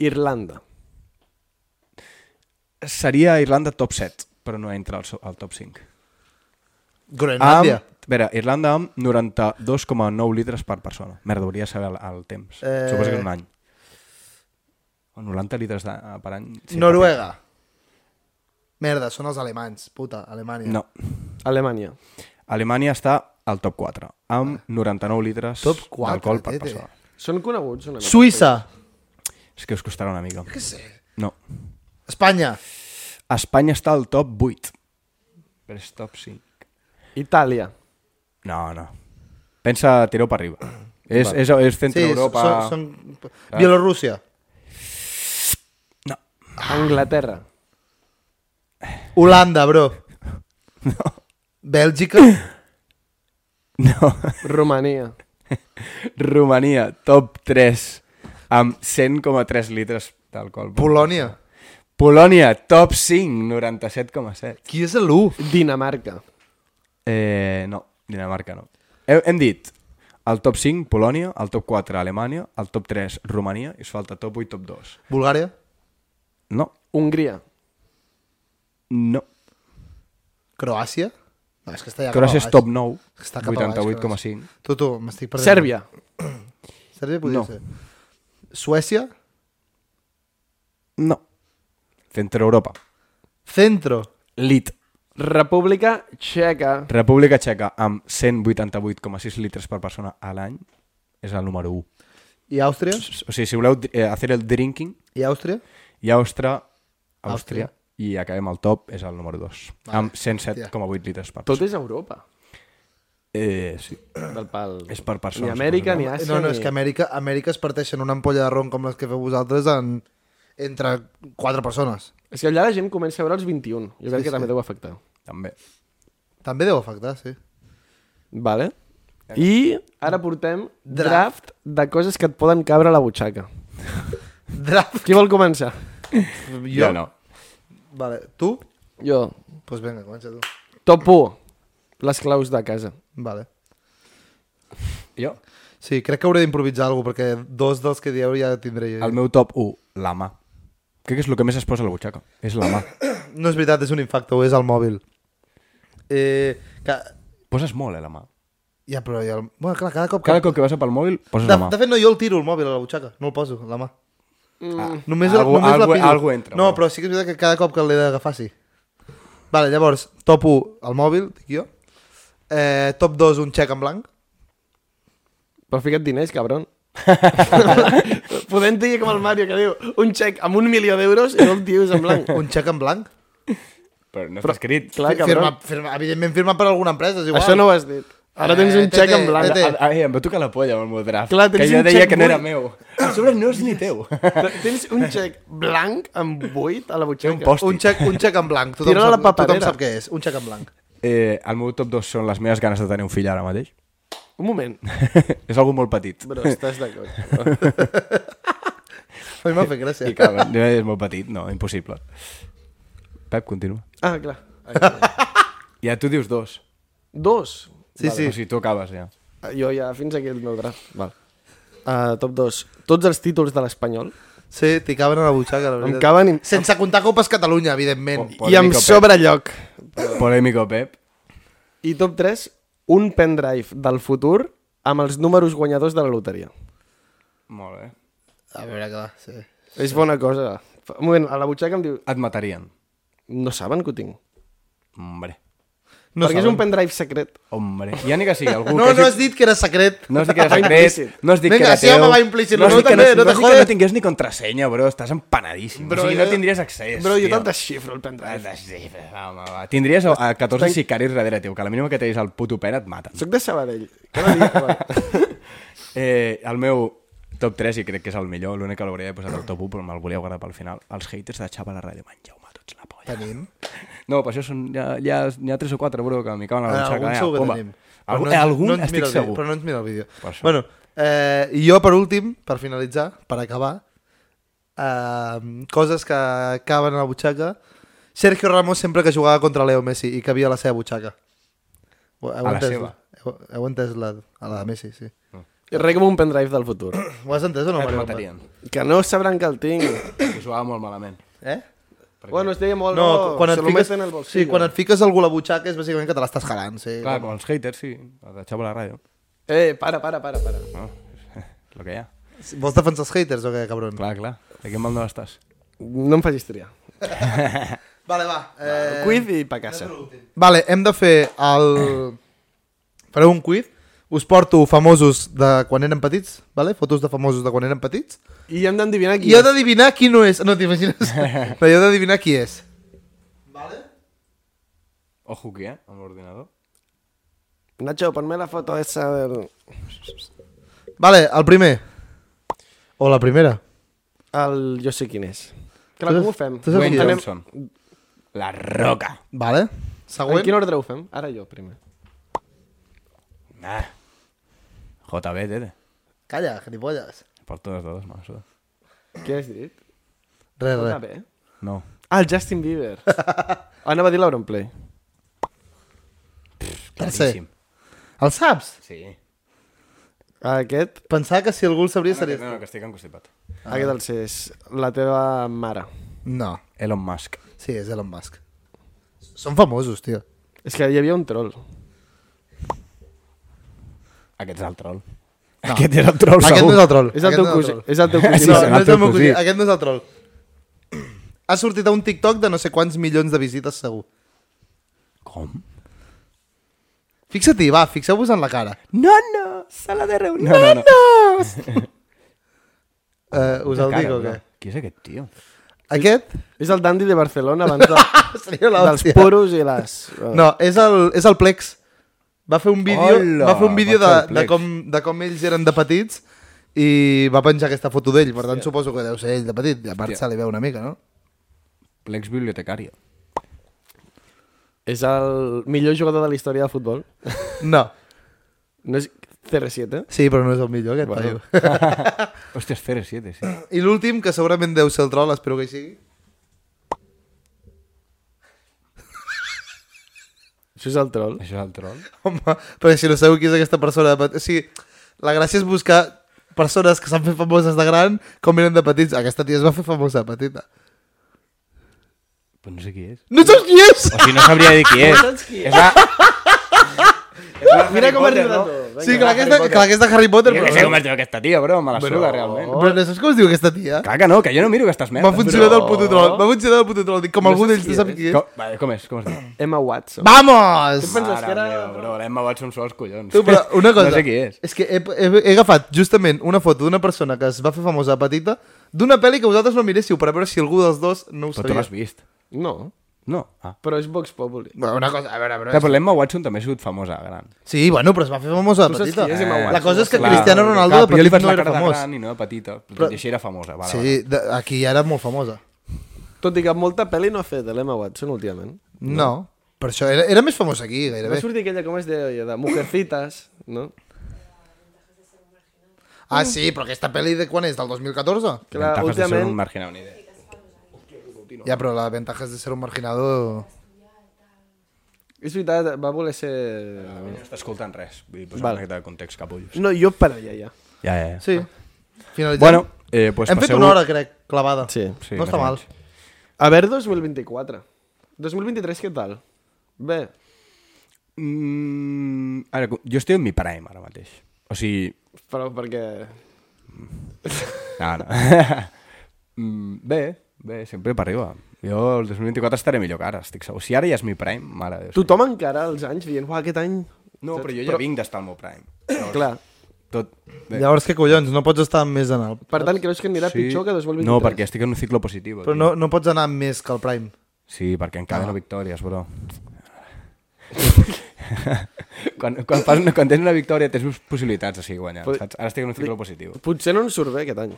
Speaker 2: Irlanda.
Speaker 1: Seria Irlanda top 7, però no entra al, so- al top 5.
Speaker 5: Groenlàndia.
Speaker 1: Amb, a veure, Irlanda amb 92,9 litres per persona. Merda, hauria de saber el, el temps.
Speaker 5: Eh.
Speaker 1: Eh... Suposo que és un any. O 90 litres de, eh, per any.
Speaker 5: Noruega. Merda, són els alemanys. Puta, Alemanya.
Speaker 1: No.
Speaker 2: Alemanya.
Speaker 1: Alemanya està al top 4, amb 99 litres
Speaker 5: Ah. Top eh, 4,
Speaker 1: d'alcohol per
Speaker 5: tete.
Speaker 1: persona.
Speaker 2: Són coneguts una mica.
Speaker 5: Suïssa.
Speaker 1: És que us costarà una mica.
Speaker 5: Què sé?
Speaker 1: No.
Speaker 5: Espanya.
Speaker 1: Espanya està al top 8. Però és top 5.
Speaker 2: Itàlia.
Speaker 1: No, no. Pensa, tireu per arriba. És, és, és centre
Speaker 5: Sí,
Speaker 1: Europa... Ah.
Speaker 5: són, són... Bielorússia.
Speaker 1: No.
Speaker 2: Anglaterra.
Speaker 5: Holanda, bro. No. Bèlgica.
Speaker 1: No.
Speaker 2: Romania.
Speaker 1: Romania, top 3, amb 100,3 litres d'alcohol.
Speaker 5: Polònia.
Speaker 1: Polònia, top 5, 97,7.
Speaker 5: Qui és l'1?
Speaker 2: Dinamarca.
Speaker 1: Eh, no, Dinamarca no. Hem, hem dit, el top 5, Polònia, el top 4, Alemanya, el top 3, Romania, i us falta top 8, top 2.
Speaker 5: Bulgària.
Speaker 1: No,
Speaker 2: Hongria.
Speaker 1: no.
Speaker 5: Croàcia. No, és que està ja cap a
Speaker 1: Croàcia és
Speaker 5: baix.
Speaker 1: top 9,
Speaker 5: Està cap a baix,
Speaker 1: 88,5.
Speaker 5: Croàcia. Tu, tu, m'estic perdent.
Speaker 2: Sèrbia.
Speaker 5: Sèrbia podria
Speaker 1: No.
Speaker 5: ser. Suècia.
Speaker 1: No. Centre Europa.
Speaker 5: Centro.
Speaker 1: Lit.
Speaker 2: República Txeca.
Speaker 1: República Txeca, amb 188,6 litres per persona a l'any, és el número 1.
Speaker 5: I Àustria.
Speaker 1: O sigui, si voleu eh, hacer el drinking,
Speaker 5: I Àustria.
Speaker 1: i Àustria, Àustria,
Speaker 5: Àustria.
Speaker 1: i acabem al top, és el número 2, vale. amb 107,8 litres per
Speaker 2: Tot
Speaker 1: persona.
Speaker 2: és Europa.
Speaker 1: Eh, sí.
Speaker 2: Del pal.
Speaker 1: És per persona.
Speaker 2: Ni Amèrica, ni Àsia,
Speaker 5: Eh, No, no,
Speaker 2: ni-
Speaker 5: és que Amèrica, Amèrica es parteixen una ampolla de ron com les que feu vosaltres en, entre quatre persones.
Speaker 2: És que allà la gent comença a veure els 21. Jo crec que també deu afectar.
Speaker 1: També.
Speaker 5: També deu afectar, sí.
Speaker 2: Vale. I ara portem draft de coses que et poden cabre a la butxaca.
Speaker 5: Draft.
Speaker 2: Qui vol començar?
Speaker 5: Jo?
Speaker 1: Jo no.
Speaker 5: Vale. Tu?
Speaker 2: Jo.
Speaker 5: Doncs pues vinga, comença tu.
Speaker 2: Top 1. Les claus de casa.
Speaker 5: Vale.
Speaker 1: Jo?
Speaker 5: Sí, crec que hauré d'improvisar alguna cosa, perquè dos dels que dieu ja tindré jo.
Speaker 1: El meu top 1, la mà. Crec que és el que més es posa a la butxaca. És la mà.
Speaker 5: No és veritat, és un infacte, ho és el mòbil. Eh, que...
Speaker 1: Poses molt, eh, la mà.
Speaker 5: Ja, però ja... El... Bueno, clar, cada cop... que-
Speaker 1: Cada cop que vas pel mòbil, poses
Speaker 5: De,
Speaker 1: la mà.
Speaker 5: de fet, no, jo el tiro, el mòbil, a la butxaca. No el poso, la mà.
Speaker 1: Ah,
Speaker 5: Només,
Speaker 1: algo,
Speaker 5: només
Speaker 1: algo,
Speaker 5: la pillo.
Speaker 1: Algo entra.
Speaker 5: no,
Speaker 1: bueno.
Speaker 5: però sí que és veritat que cada cop que l'he d'agafar, sí. Vale, llavors, top 1, el mòbil, dic jo. Eh, top 2, un xec en blanc.
Speaker 2: Però fica't diners, cabron. Podem dir com el Mario que diu un xec amb un milió d'euros i no el tio és en blanc.
Speaker 5: Un xec en blanc.
Speaker 1: Però no està escrit.
Speaker 2: Clar,
Speaker 5: firma,
Speaker 2: cabron.
Speaker 5: firma, evidentment firmat per alguna empresa, és igual.
Speaker 2: Això no ho has dit. Ara tens
Speaker 5: Eh,
Speaker 2: un xec
Speaker 5: tete,
Speaker 2: en blanc.
Speaker 5: tete.
Speaker 1: Ah, eh, em va tocar la polla amb el meu draft.
Speaker 2: Clar, tens
Speaker 1: que jo
Speaker 2: un
Speaker 1: deia
Speaker 2: xec
Speaker 1: que no era
Speaker 2: buit.
Speaker 1: meu. A sobre no és ni teu.
Speaker 2: Tens un xec blanc amb buit a la
Speaker 1: Un
Speaker 2: butxaca.
Speaker 1: post.
Speaker 5: Un xec, un xec en blanc. Tothom,
Speaker 2: Tira-la a la
Speaker 5: sap, tothom
Speaker 2: paperera.
Speaker 5: sap què és, un xec en blanc.
Speaker 1: Eh, el meu top 2 són les meves ganes de tenir un fill ara mateix.
Speaker 2: Un moment.
Speaker 1: és algo molt petit.
Speaker 2: Però estàs d'acord.
Speaker 5: A mi m'ha fet gràcia.
Speaker 1: I caben, és molt petit, no, impossible. Pep, continua.
Speaker 2: Ah, clar.
Speaker 1: Ja tu dius dos.
Speaker 2: Dos.
Speaker 5: Sí,
Speaker 1: vale.
Speaker 5: sí.
Speaker 1: O sigui, tu acabes ja.
Speaker 2: Ah, Jo ja fins aquí el meu draft. Val. Uh, top 2. Tots els títols de l'Espanyol.
Speaker 5: Sí, t'hi caben a la butxaca, la
Speaker 2: Em
Speaker 5: veritat.
Speaker 2: caben i,
Speaker 5: Sense comptar Copes Catalunya, evidentment.
Speaker 1: Pom,
Speaker 2: i em
Speaker 1: Polémico, Pep.
Speaker 2: sobra lloc.
Speaker 1: Polémico, Pep.
Speaker 2: I top 3, un pendrive del futur amb els números guanyadors de la loteria.
Speaker 1: Molt bé.
Speaker 5: A veure, clar, sí.
Speaker 2: És bona cosa. Fa- Un moment, a la butxaca em diu,
Speaker 1: Et matarien.
Speaker 2: no saben que ho tinc.
Speaker 1: Hombre.
Speaker 5: No
Speaker 2: perquè és
Speaker 5: saben.
Speaker 2: un pendrive secret.
Speaker 1: Hombre, ja ni que sigui algú
Speaker 5: No,
Speaker 1: que
Speaker 5: no has dit que era secret.
Speaker 1: No has dit que era
Speaker 2: Va
Speaker 1: secret,
Speaker 2: implícit.
Speaker 1: no has dit
Speaker 5: Vinga,
Speaker 1: que era
Speaker 5: sí,
Speaker 1: teu.
Speaker 5: home, va implícit,
Speaker 1: has
Speaker 5: no,
Speaker 1: dit que
Speaker 5: també,
Speaker 1: no,
Speaker 5: no te
Speaker 1: has dit que
Speaker 5: jodes.
Speaker 1: no tingués ni contrasenya, bro, estàs empanadíssim.
Speaker 5: Bro,
Speaker 1: Bro, o sigui, no
Speaker 5: jo-
Speaker 1: tindries accés,
Speaker 2: Bro, jo
Speaker 1: tio.
Speaker 2: te'n desxifro el pendrive.
Speaker 1: Ah, sí, home, va. Tindries a, a 14 sicaris darrere teu, que a la mínima que tens el puto pera et maten.
Speaker 2: Soc de Sabadell. Cada dia, va.
Speaker 1: Eh, el meu top 3, i crec que és el millor, l'únic que l'hauria posat al top 1, però me'l volia guardar pel final. Els haters de Xapa a la ràdio, mengeu-me tots la polla.
Speaker 5: Tenim.
Speaker 1: No, per això són, hi ha, hi ha, hi ha 3 o 4, bro, que m'hi caben a la
Speaker 5: Ah,
Speaker 1: butxaca.
Speaker 5: Algun
Speaker 1: doncs ja,
Speaker 5: segur que
Speaker 1: bomba.
Speaker 5: tenim.
Speaker 1: Algun, eh,
Speaker 5: Però no ens-
Speaker 1: algun
Speaker 5: no ens mira
Speaker 1: estic
Speaker 5: el vídeo,
Speaker 1: segur.
Speaker 5: Però no ens mira el vídeo.
Speaker 1: Per això.
Speaker 5: Bueno, eh, i jo per últim, per finalitzar, per acabar, eh, coses que acaben a la butxaca. Sergio Ramos sempre que jugava contra Leo Messi i que havia a la seva butxaca. Heu,
Speaker 1: A la
Speaker 5: entès
Speaker 1: seva.
Speaker 5: Heu, heu entès la, a la de Messi, sí.
Speaker 2: Rec com un pendrive del futur.
Speaker 5: Ho has entès o no?
Speaker 1: Et
Speaker 5: Mario?
Speaker 1: matarien.
Speaker 2: Que no sabran que el tinc.
Speaker 1: Ho jugava molt malament.
Speaker 5: Eh?
Speaker 2: Bueno, es deia molt...
Speaker 5: No,
Speaker 2: No,
Speaker 5: quan, et
Speaker 2: se lo
Speaker 5: fiques,
Speaker 2: meten al bolsillo.
Speaker 5: sí, quan et fiques algú a la butxaca és bàsicament que te l'estàs jalant, sí.
Speaker 1: Clar, com els haters, sí. Els de Xapa a la ràdio.
Speaker 2: Eh, para, para, para, para.
Speaker 1: No, lo que hi ha.
Speaker 5: Vols defensar els haters o què, cabron?
Speaker 1: Clar, clar. De quin mal no estàs?
Speaker 2: No em facis triar.
Speaker 5: Vale, va. Eh...
Speaker 2: Cuid i pa casa.
Speaker 5: Vale, hem de fer el... Fareu un quiz. Us porto famosos de quan eren petits, vale? fotos de famosos de quan eren petits.
Speaker 2: I hem d'endevinar
Speaker 5: I
Speaker 2: qui
Speaker 5: heu
Speaker 2: és.
Speaker 5: d'adivinar qui no és. No t'imagines? Però heu d'adivinar qui és. Vale.
Speaker 1: Ojo aquí, eh? Amb l'ordinador.
Speaker 2: Nacho, ponme la foto esa del...
Speaker 5: Vale, el primer. O la primera.
Speaker 2: El... Jo sé quin és. Clar, com ho fem?
Speaker 5: Tu saps
Speaker 1: Dwayne
Speaker 5: qui és?
Speaker 2: anem-
Speaker 1: Johnson. La Roca.
Speaker 5: Vale.
Speaker 2: En
Speaker 5: Següent.
Speaker 2: quin ordre ho fem? Ara jo, primer.
Speaker 1: Nah. JB, Ah. tete.
Speaker 5: Calla, gilipolles.
Speaker 1: Per totes dues, me la suda.
Speaker 2: Què has dit?
Speaker 5: Res,
Speaker 2: Està
Speaker 5: res.
Speaker 2: bé.
Speaker 1: No.
Speaker 2: Ah, el Justin Bieber. Anava a dir l'Auronplay.
Speaker 1: Claríssim.
Speaker 5: El saps?
Speaker 1: Sí.
Speaker 2: Aquest,
Speaker 5: Pensava que si algú el sabria
Speaker 1: No, que,
Speaker 5: seria...
Speaker 1: no, que estic encostipat.
Speaker 2: aquest el sé, és la teva mare.
Speaker 5: No.
Speaker 1: Elon Musk.
Speaker 5: Sí, és Elon Musk. Són famosos, tio.
Speaker 2: És que hi havia un troll.
Speaker 1: Aquest és el troll. No. Aquest era el troll,
Speaker 5: Aquest no
Speaker 1: segur.
Speaker 5: és el troll.
Speaker 2: És el
Speaker 5: Aquest
Speaker 2: teu
Speaker 5: no
Speaker 2: cosí. És el teu
Speaker 1: Sí,
Speaker 2: cosí.
Speaker 5: no,
Speaker 1: serà
Speaker 5: no
Speaker 1: el
Speaker 5: és el
Speaker 1: teu
Speaker 5: meu cosí.
Speaker 1: cosí.
Speaker 5: Aquest no és el troll. Ha sortit a un TikTok de no sé quants milions de visites, segur.
Speaker 1: Com?
Speaker 5: Fixa-t'hi, va, fixeu-vos en la cara.
Speaker 1: No, no, sala de reunió. No, no, no.
Speaker 5: Uh, us el
Speaker 1: Cara,
Speaker 5: dic o
Speaker 1: bro.
Speaker 5: què?
Speaker 1: Qui és aquest tio?
Speaker 5: Aquest?
Speaker 2: És el dandy de Barcelona abans de,
Speaker 5: Seria
Speaker 2: dels
Speaker 5: l'hòstia.
Speaker 2: puros i les...
Speaker 1: Ah.
Speaker 5: No, és el, és el Plex. Va fer un vídeo,
Speaker 1: Hola,
Speaker 5: va fer un
Speaker 1: va
Speaker 5: vídeo de,
Speaker 1: fer el
Speaker 5: de,
Speaker 1: Plex.
Speaker 5: com, de com ells eren de petits i va penjar aquesta foto d'ell. Per tant, suposo que deu ser ell de petit. I a part
Speaker 1: Hòstia.
Speaker 5: se li veu una mica, no?
Speaker 1: Plex bibliotecària.
Speaker 2: És el millor jugador de la història del futbol.
Speaker 5: No.
Speaker 2: No és CR7?
Speaker 5: Sí, però no és el millor, aquest
Speaker 2: Bueno.
Speaker 5: paio.
Speaker 1: Hòstia, és 07, sí.
Speaker 5: I l'últim, que segurament deu ser el troll, espero que hi sigui.
Speaker 2: Això és el troll.
Speaker 1: Això és el troll.
Speaker 5: Home, perquè si no sabeu qui és aquesta persona... de pet- O sigui, la gràcia és buscar persones que s'han fet famoses de gran com eren de petits. Aquesta tia es va fer famosa de petita.
Speaker 1: Però no sé qui és.
Speaker 5: No saps qui és?
Speaker 1: O sigui, no sabria dir qui és. és la...
Speaker 2: Mira com
Speaker 1: Ah, Potter,
Speaker 2: arriba
Speaker 1: no?
Speaker 2: tot.
Speaker 5: Sí, clar que, és de, clar que és de Harry Potter,
Speaker 1: Jo
Speaker 5: però...
Speaker 1: que sé com es diu aquesta tia, bro, me la
Speaker 5: Però-
Speaker 1: suda, realment.
Speaker 5: Però no saps com es diu aquesta tia?
Speaker 1: Clar que no, que jo no miro aquestes
Speaker 5: Va
Speaker 1: merdes.
Speaker 5: funcionar del puto troll. Va funcionar del puto troll. Dic, com
Speaker 2: No
Speaker 5: algú
Speaker 2: saps
Speaker 5: d'ells
Speaker 2: qui
Speaker 5: no sap
Speaker 2: és.
Speaker 5: qui és.
Speaker 1: Com, vale, com és? Com es diu?
Speaker 2: Emma Watson.
Speaker 5: Vamos!
Speaker 2: penses que era-
Speaker 1: meva, bro, l'Emma Watson sola els collons.
Speaker 5: Tu, però una cosa,
Speaker 1: No sé qui és.
Speaker 5: és que he, he, he agafat justament una foto d'una persona que es va fer famosa de petita d'una pel·li que vosaltres no miréssiu per veure si algú dels dos no ho
Speaker 1: Però tu
Speaker 5: sabia.
Speaker 1: l'has vist.
Speaker 2: No,
Speaker 1: No. Ah.
Speaker 2: però és Vox Populi.
Speaker 5: Bueno, una cosa, a veure, a veure,
Speaker 1: Clar, però l'Emma Watson també ha sigut famosa, gran.
Speaker 5: Sí, bueno, però es va fer famosa de
Speaker 2: Tu saps
Speaker 5: petita.
Speaker 2: qui és Emma
Speaker 5: la
Speaker 2: Watson?
Speaker 5: cosa és que
Speaker 1: Ah, Clar,
Speaker 5: Cristiano Ronaldo
Speaker 1: clar,
Speaker 5: de
Speaker 1: però jo li
Speaker 5: petit
Speaker 1: faig
Speaker 5: no
Speaker 1: la
Speaker 5: era
Speaker 1: cara de
Speaker 5: famós.
Speaker 1: gran i no de petita. Però...
Speaker 5: Però-
Speaker 1: Tot i així era famosa. Vale, vale.
Speaker 5: Sí, de, aquí ja era molt famosa.
Speaker 2: Tot i que molta pel·li no ha fet de l'Emma Watson últimament.
Speaker 5: No, per això era, era més famosa aquí,
Speaker 2: Va
Speaker 5: gairebé.
Speaker 2: sortir aquella, com es deia, de Mujercitas, no?
Speaker 5: Ah, sí, però aquesta pel·li de quan és? Del 2014?
Speaker 1: Ventajas
Speaker 2: Clar,
Speaker 1: de ser
Speaker 2: últimament-
Speaker 1: un marginal, ni idea.
Speaker 5: Ja, però la ventaja és de ser un marginado...
Speaker 2: És veritat, va voler ser...
Speaker 1: No està escoltant res. Vull posar
Speaker 2: Vale.
Speaker 1: una miqueta de context, capullos.
Speaker 2: No, jo per allà, ja.
Speaker 1: Ja, ja, ja.
Speaker 5: Sí, finalitzem.
Speaker 1: Bueno, eh, pues
Speaker 5: Hem fet
Speaker 1: passeu-
Speaker 5: una hora, crec, clavada.
Speaker 2: Sí.
Speaker 1: Sí,
Speaker 5: no
Speaker 1: més
Speaker 5: està
Speaker 1: o
Speaker 5: mal.
Speaker 1: menys.
Speaker 2: A ver, 2024. 2023, què tal? Bé,
Speaker 1: Mm, ara, jo estic en mi prime ara mateix. O sigui,
Speaker 2: però perquè...
Speaker 1: no, no. mm, bé, bé, sempre per arriba. Jo el 2024 estaré millor que ara, estic segur. Si ara ja és mi prime, mare de Déu.
Speaker 2: Tothom encara als anys dient, uah, aquest any...
Speaker 1: No, però jo ja vinc d'estar al meu prime. Llavors,
Speaker 2: Clar.
Speaker 1: Tot... Bé,
Speaker 5: Llavors, què collons? No pots estar més en el...
Speaker 2: Per tant, creus que anirà sí. pitjor que 2023?
Speaker 1: No, perquè estic en un ciclo positiu.
Speaker 5: Però
Speaker 1: tio.
Speaker 5: no, no pots anar més que el Prime.
Speaker 1: Sí, perquè encara no victòries, bro. quan, quan, fas una, quan tens una victòria tens més possibilitats de seguir guanyant,
Speaker 2: Però-
Speaker 1: saps? Ara estic en un ciclo positiu.
Speaker 2: Potser no ens surt bé aquest any.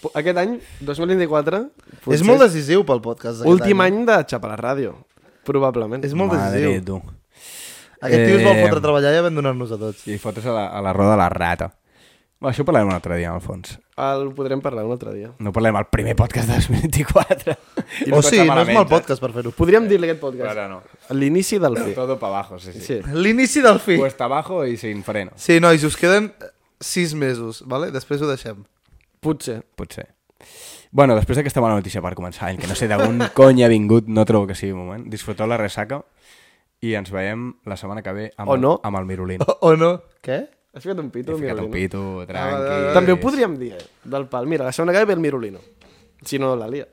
Speaker 2: Po- Aquest any, 2024,
Speaker 5: Potser... És molt decisiu pel podcast. aquest
Speaker 2: últim any de xapar la ràdio, probablement.
Speaker 5: És molt
Speaker 1: Madre,
Speaker 5: decisiu.
Speaker 1: tu.
Speaker 5: Aquest tio es vol
Speaker 1: Eh,
Speaker 5: fotre a treballar i abandonar-nos a tots.
Speaker 1: I fotos a la, a la roda de la rata. Bueno, això ho parlarem un altre dia, en el fons.
Speaker 2: El podrem parlar un altre dia.
Speaker 1: No parlem al primer podcast de 2024. I
Speaker 5: O
Speaker 1: tot
Speaker 5: sí,
Speaker 1: està
Speaker 5: no és
Speaker 1: malament,
Speaker 5: mal
Speaker 1: eh?
Speaker 5: podcast per fer-ho.
Speaker 2: Podríem dir-li aquest podcast.
Speaker 1: Ara no.
Speaker 2: L'inici del fi.
Speaker 1: Todo para abajo, sí, sí.
Speaker 2: Sí.
Speaker 5: L'inici del fi.
Speaker 1: Cuesta abajo y sin freno.
Speaker 5: Sí, nois, us queden eh, sis mesos, vale? després ho deixem.
Speaker 2: Potser.
Speaker 1: Potser. Bueno, després d'aquesta bona notícia per començar, el que no sé d'on cony ha vingut, no trobo que sigui un moment. Disfruteu la ressaca i ens veiem la setmana que ve amb,
Speaker 2: O
Speaker 1: el-
Speaker 2: no. Oh,
Speaker 1: amb el Mirolín.
Speaker 5: O, o no? Què?
Speaker 2: Has ficat un pito,
Speaker 1: He ficat un
Speaker 2: Mirolino?
Speaker 1: pito, tranqui.
Speaker 5: Ah,
Speaker 2: També ho podríem dir, eh? Del pal. Mira, la setmana que ve ve el Mirolino. Si no, la lia.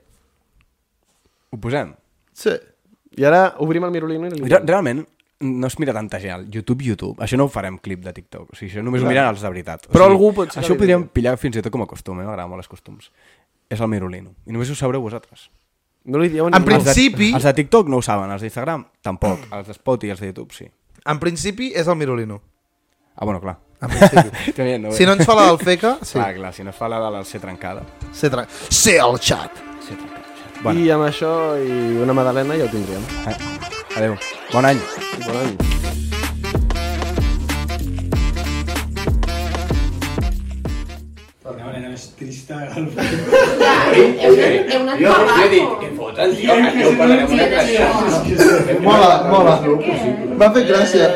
Speaker 1: Ho posem?
Speaker 5: Sí.
Speaker 2: I ara obrim el Mirolino i li
Speaker 1: Re Realment, no es mira tanta gent. al YouTube, YouTube. Això no ho farem clip de TikTok. O sigui, això només ho miren els de veritat. O
Speaker 2: Però
Speaker 1: sigui,
Speaker 2: algú pot ser que
Speaker 1: Això ho
Speaker 2: li
Speaker 1: podríem
Speaker 2: digui.
Speaker 1: pillar fins i tot com a costum. Eh? M'agrada molt els costums. És el Mirolino. I només ho sabreu vosaltres.
Speaker 2: No li dieu a
Speaker 5: En
Speaker 2: ningú.
Speaker 5: principi-
Speaker 1: Els de, els de TikTok no ho saben, els d'Instagram tampoc, els de Spot i els de YouTube sí.
Speaker 5: En principi és el Mirolino.
Speaker 1: Ah, bueno, clar.
Speaker 5: En principi.
Speaker 1: També no,
Speaker 5: si no ens fa la del feca,
Speaker 1: Sí.
Speaker 5: sí.
Speaker 1: Clar, clar, si no es fa la de la ser trencada.
Speaker 5: Ser, tra... ser el xat.
Speaker 1: Ser trencada. Bueno,
Speaker 2: Bueno. I amb això i una magdalena ja ho tindríem.
Speaker 1: I... adeu. Bon any.
Speaker 2: Bon any.
Speaker 4: De manera més trista, el
Speaker 6: Es una espada.
Speaker 5: Mola, mola. M'ha fet gràcia.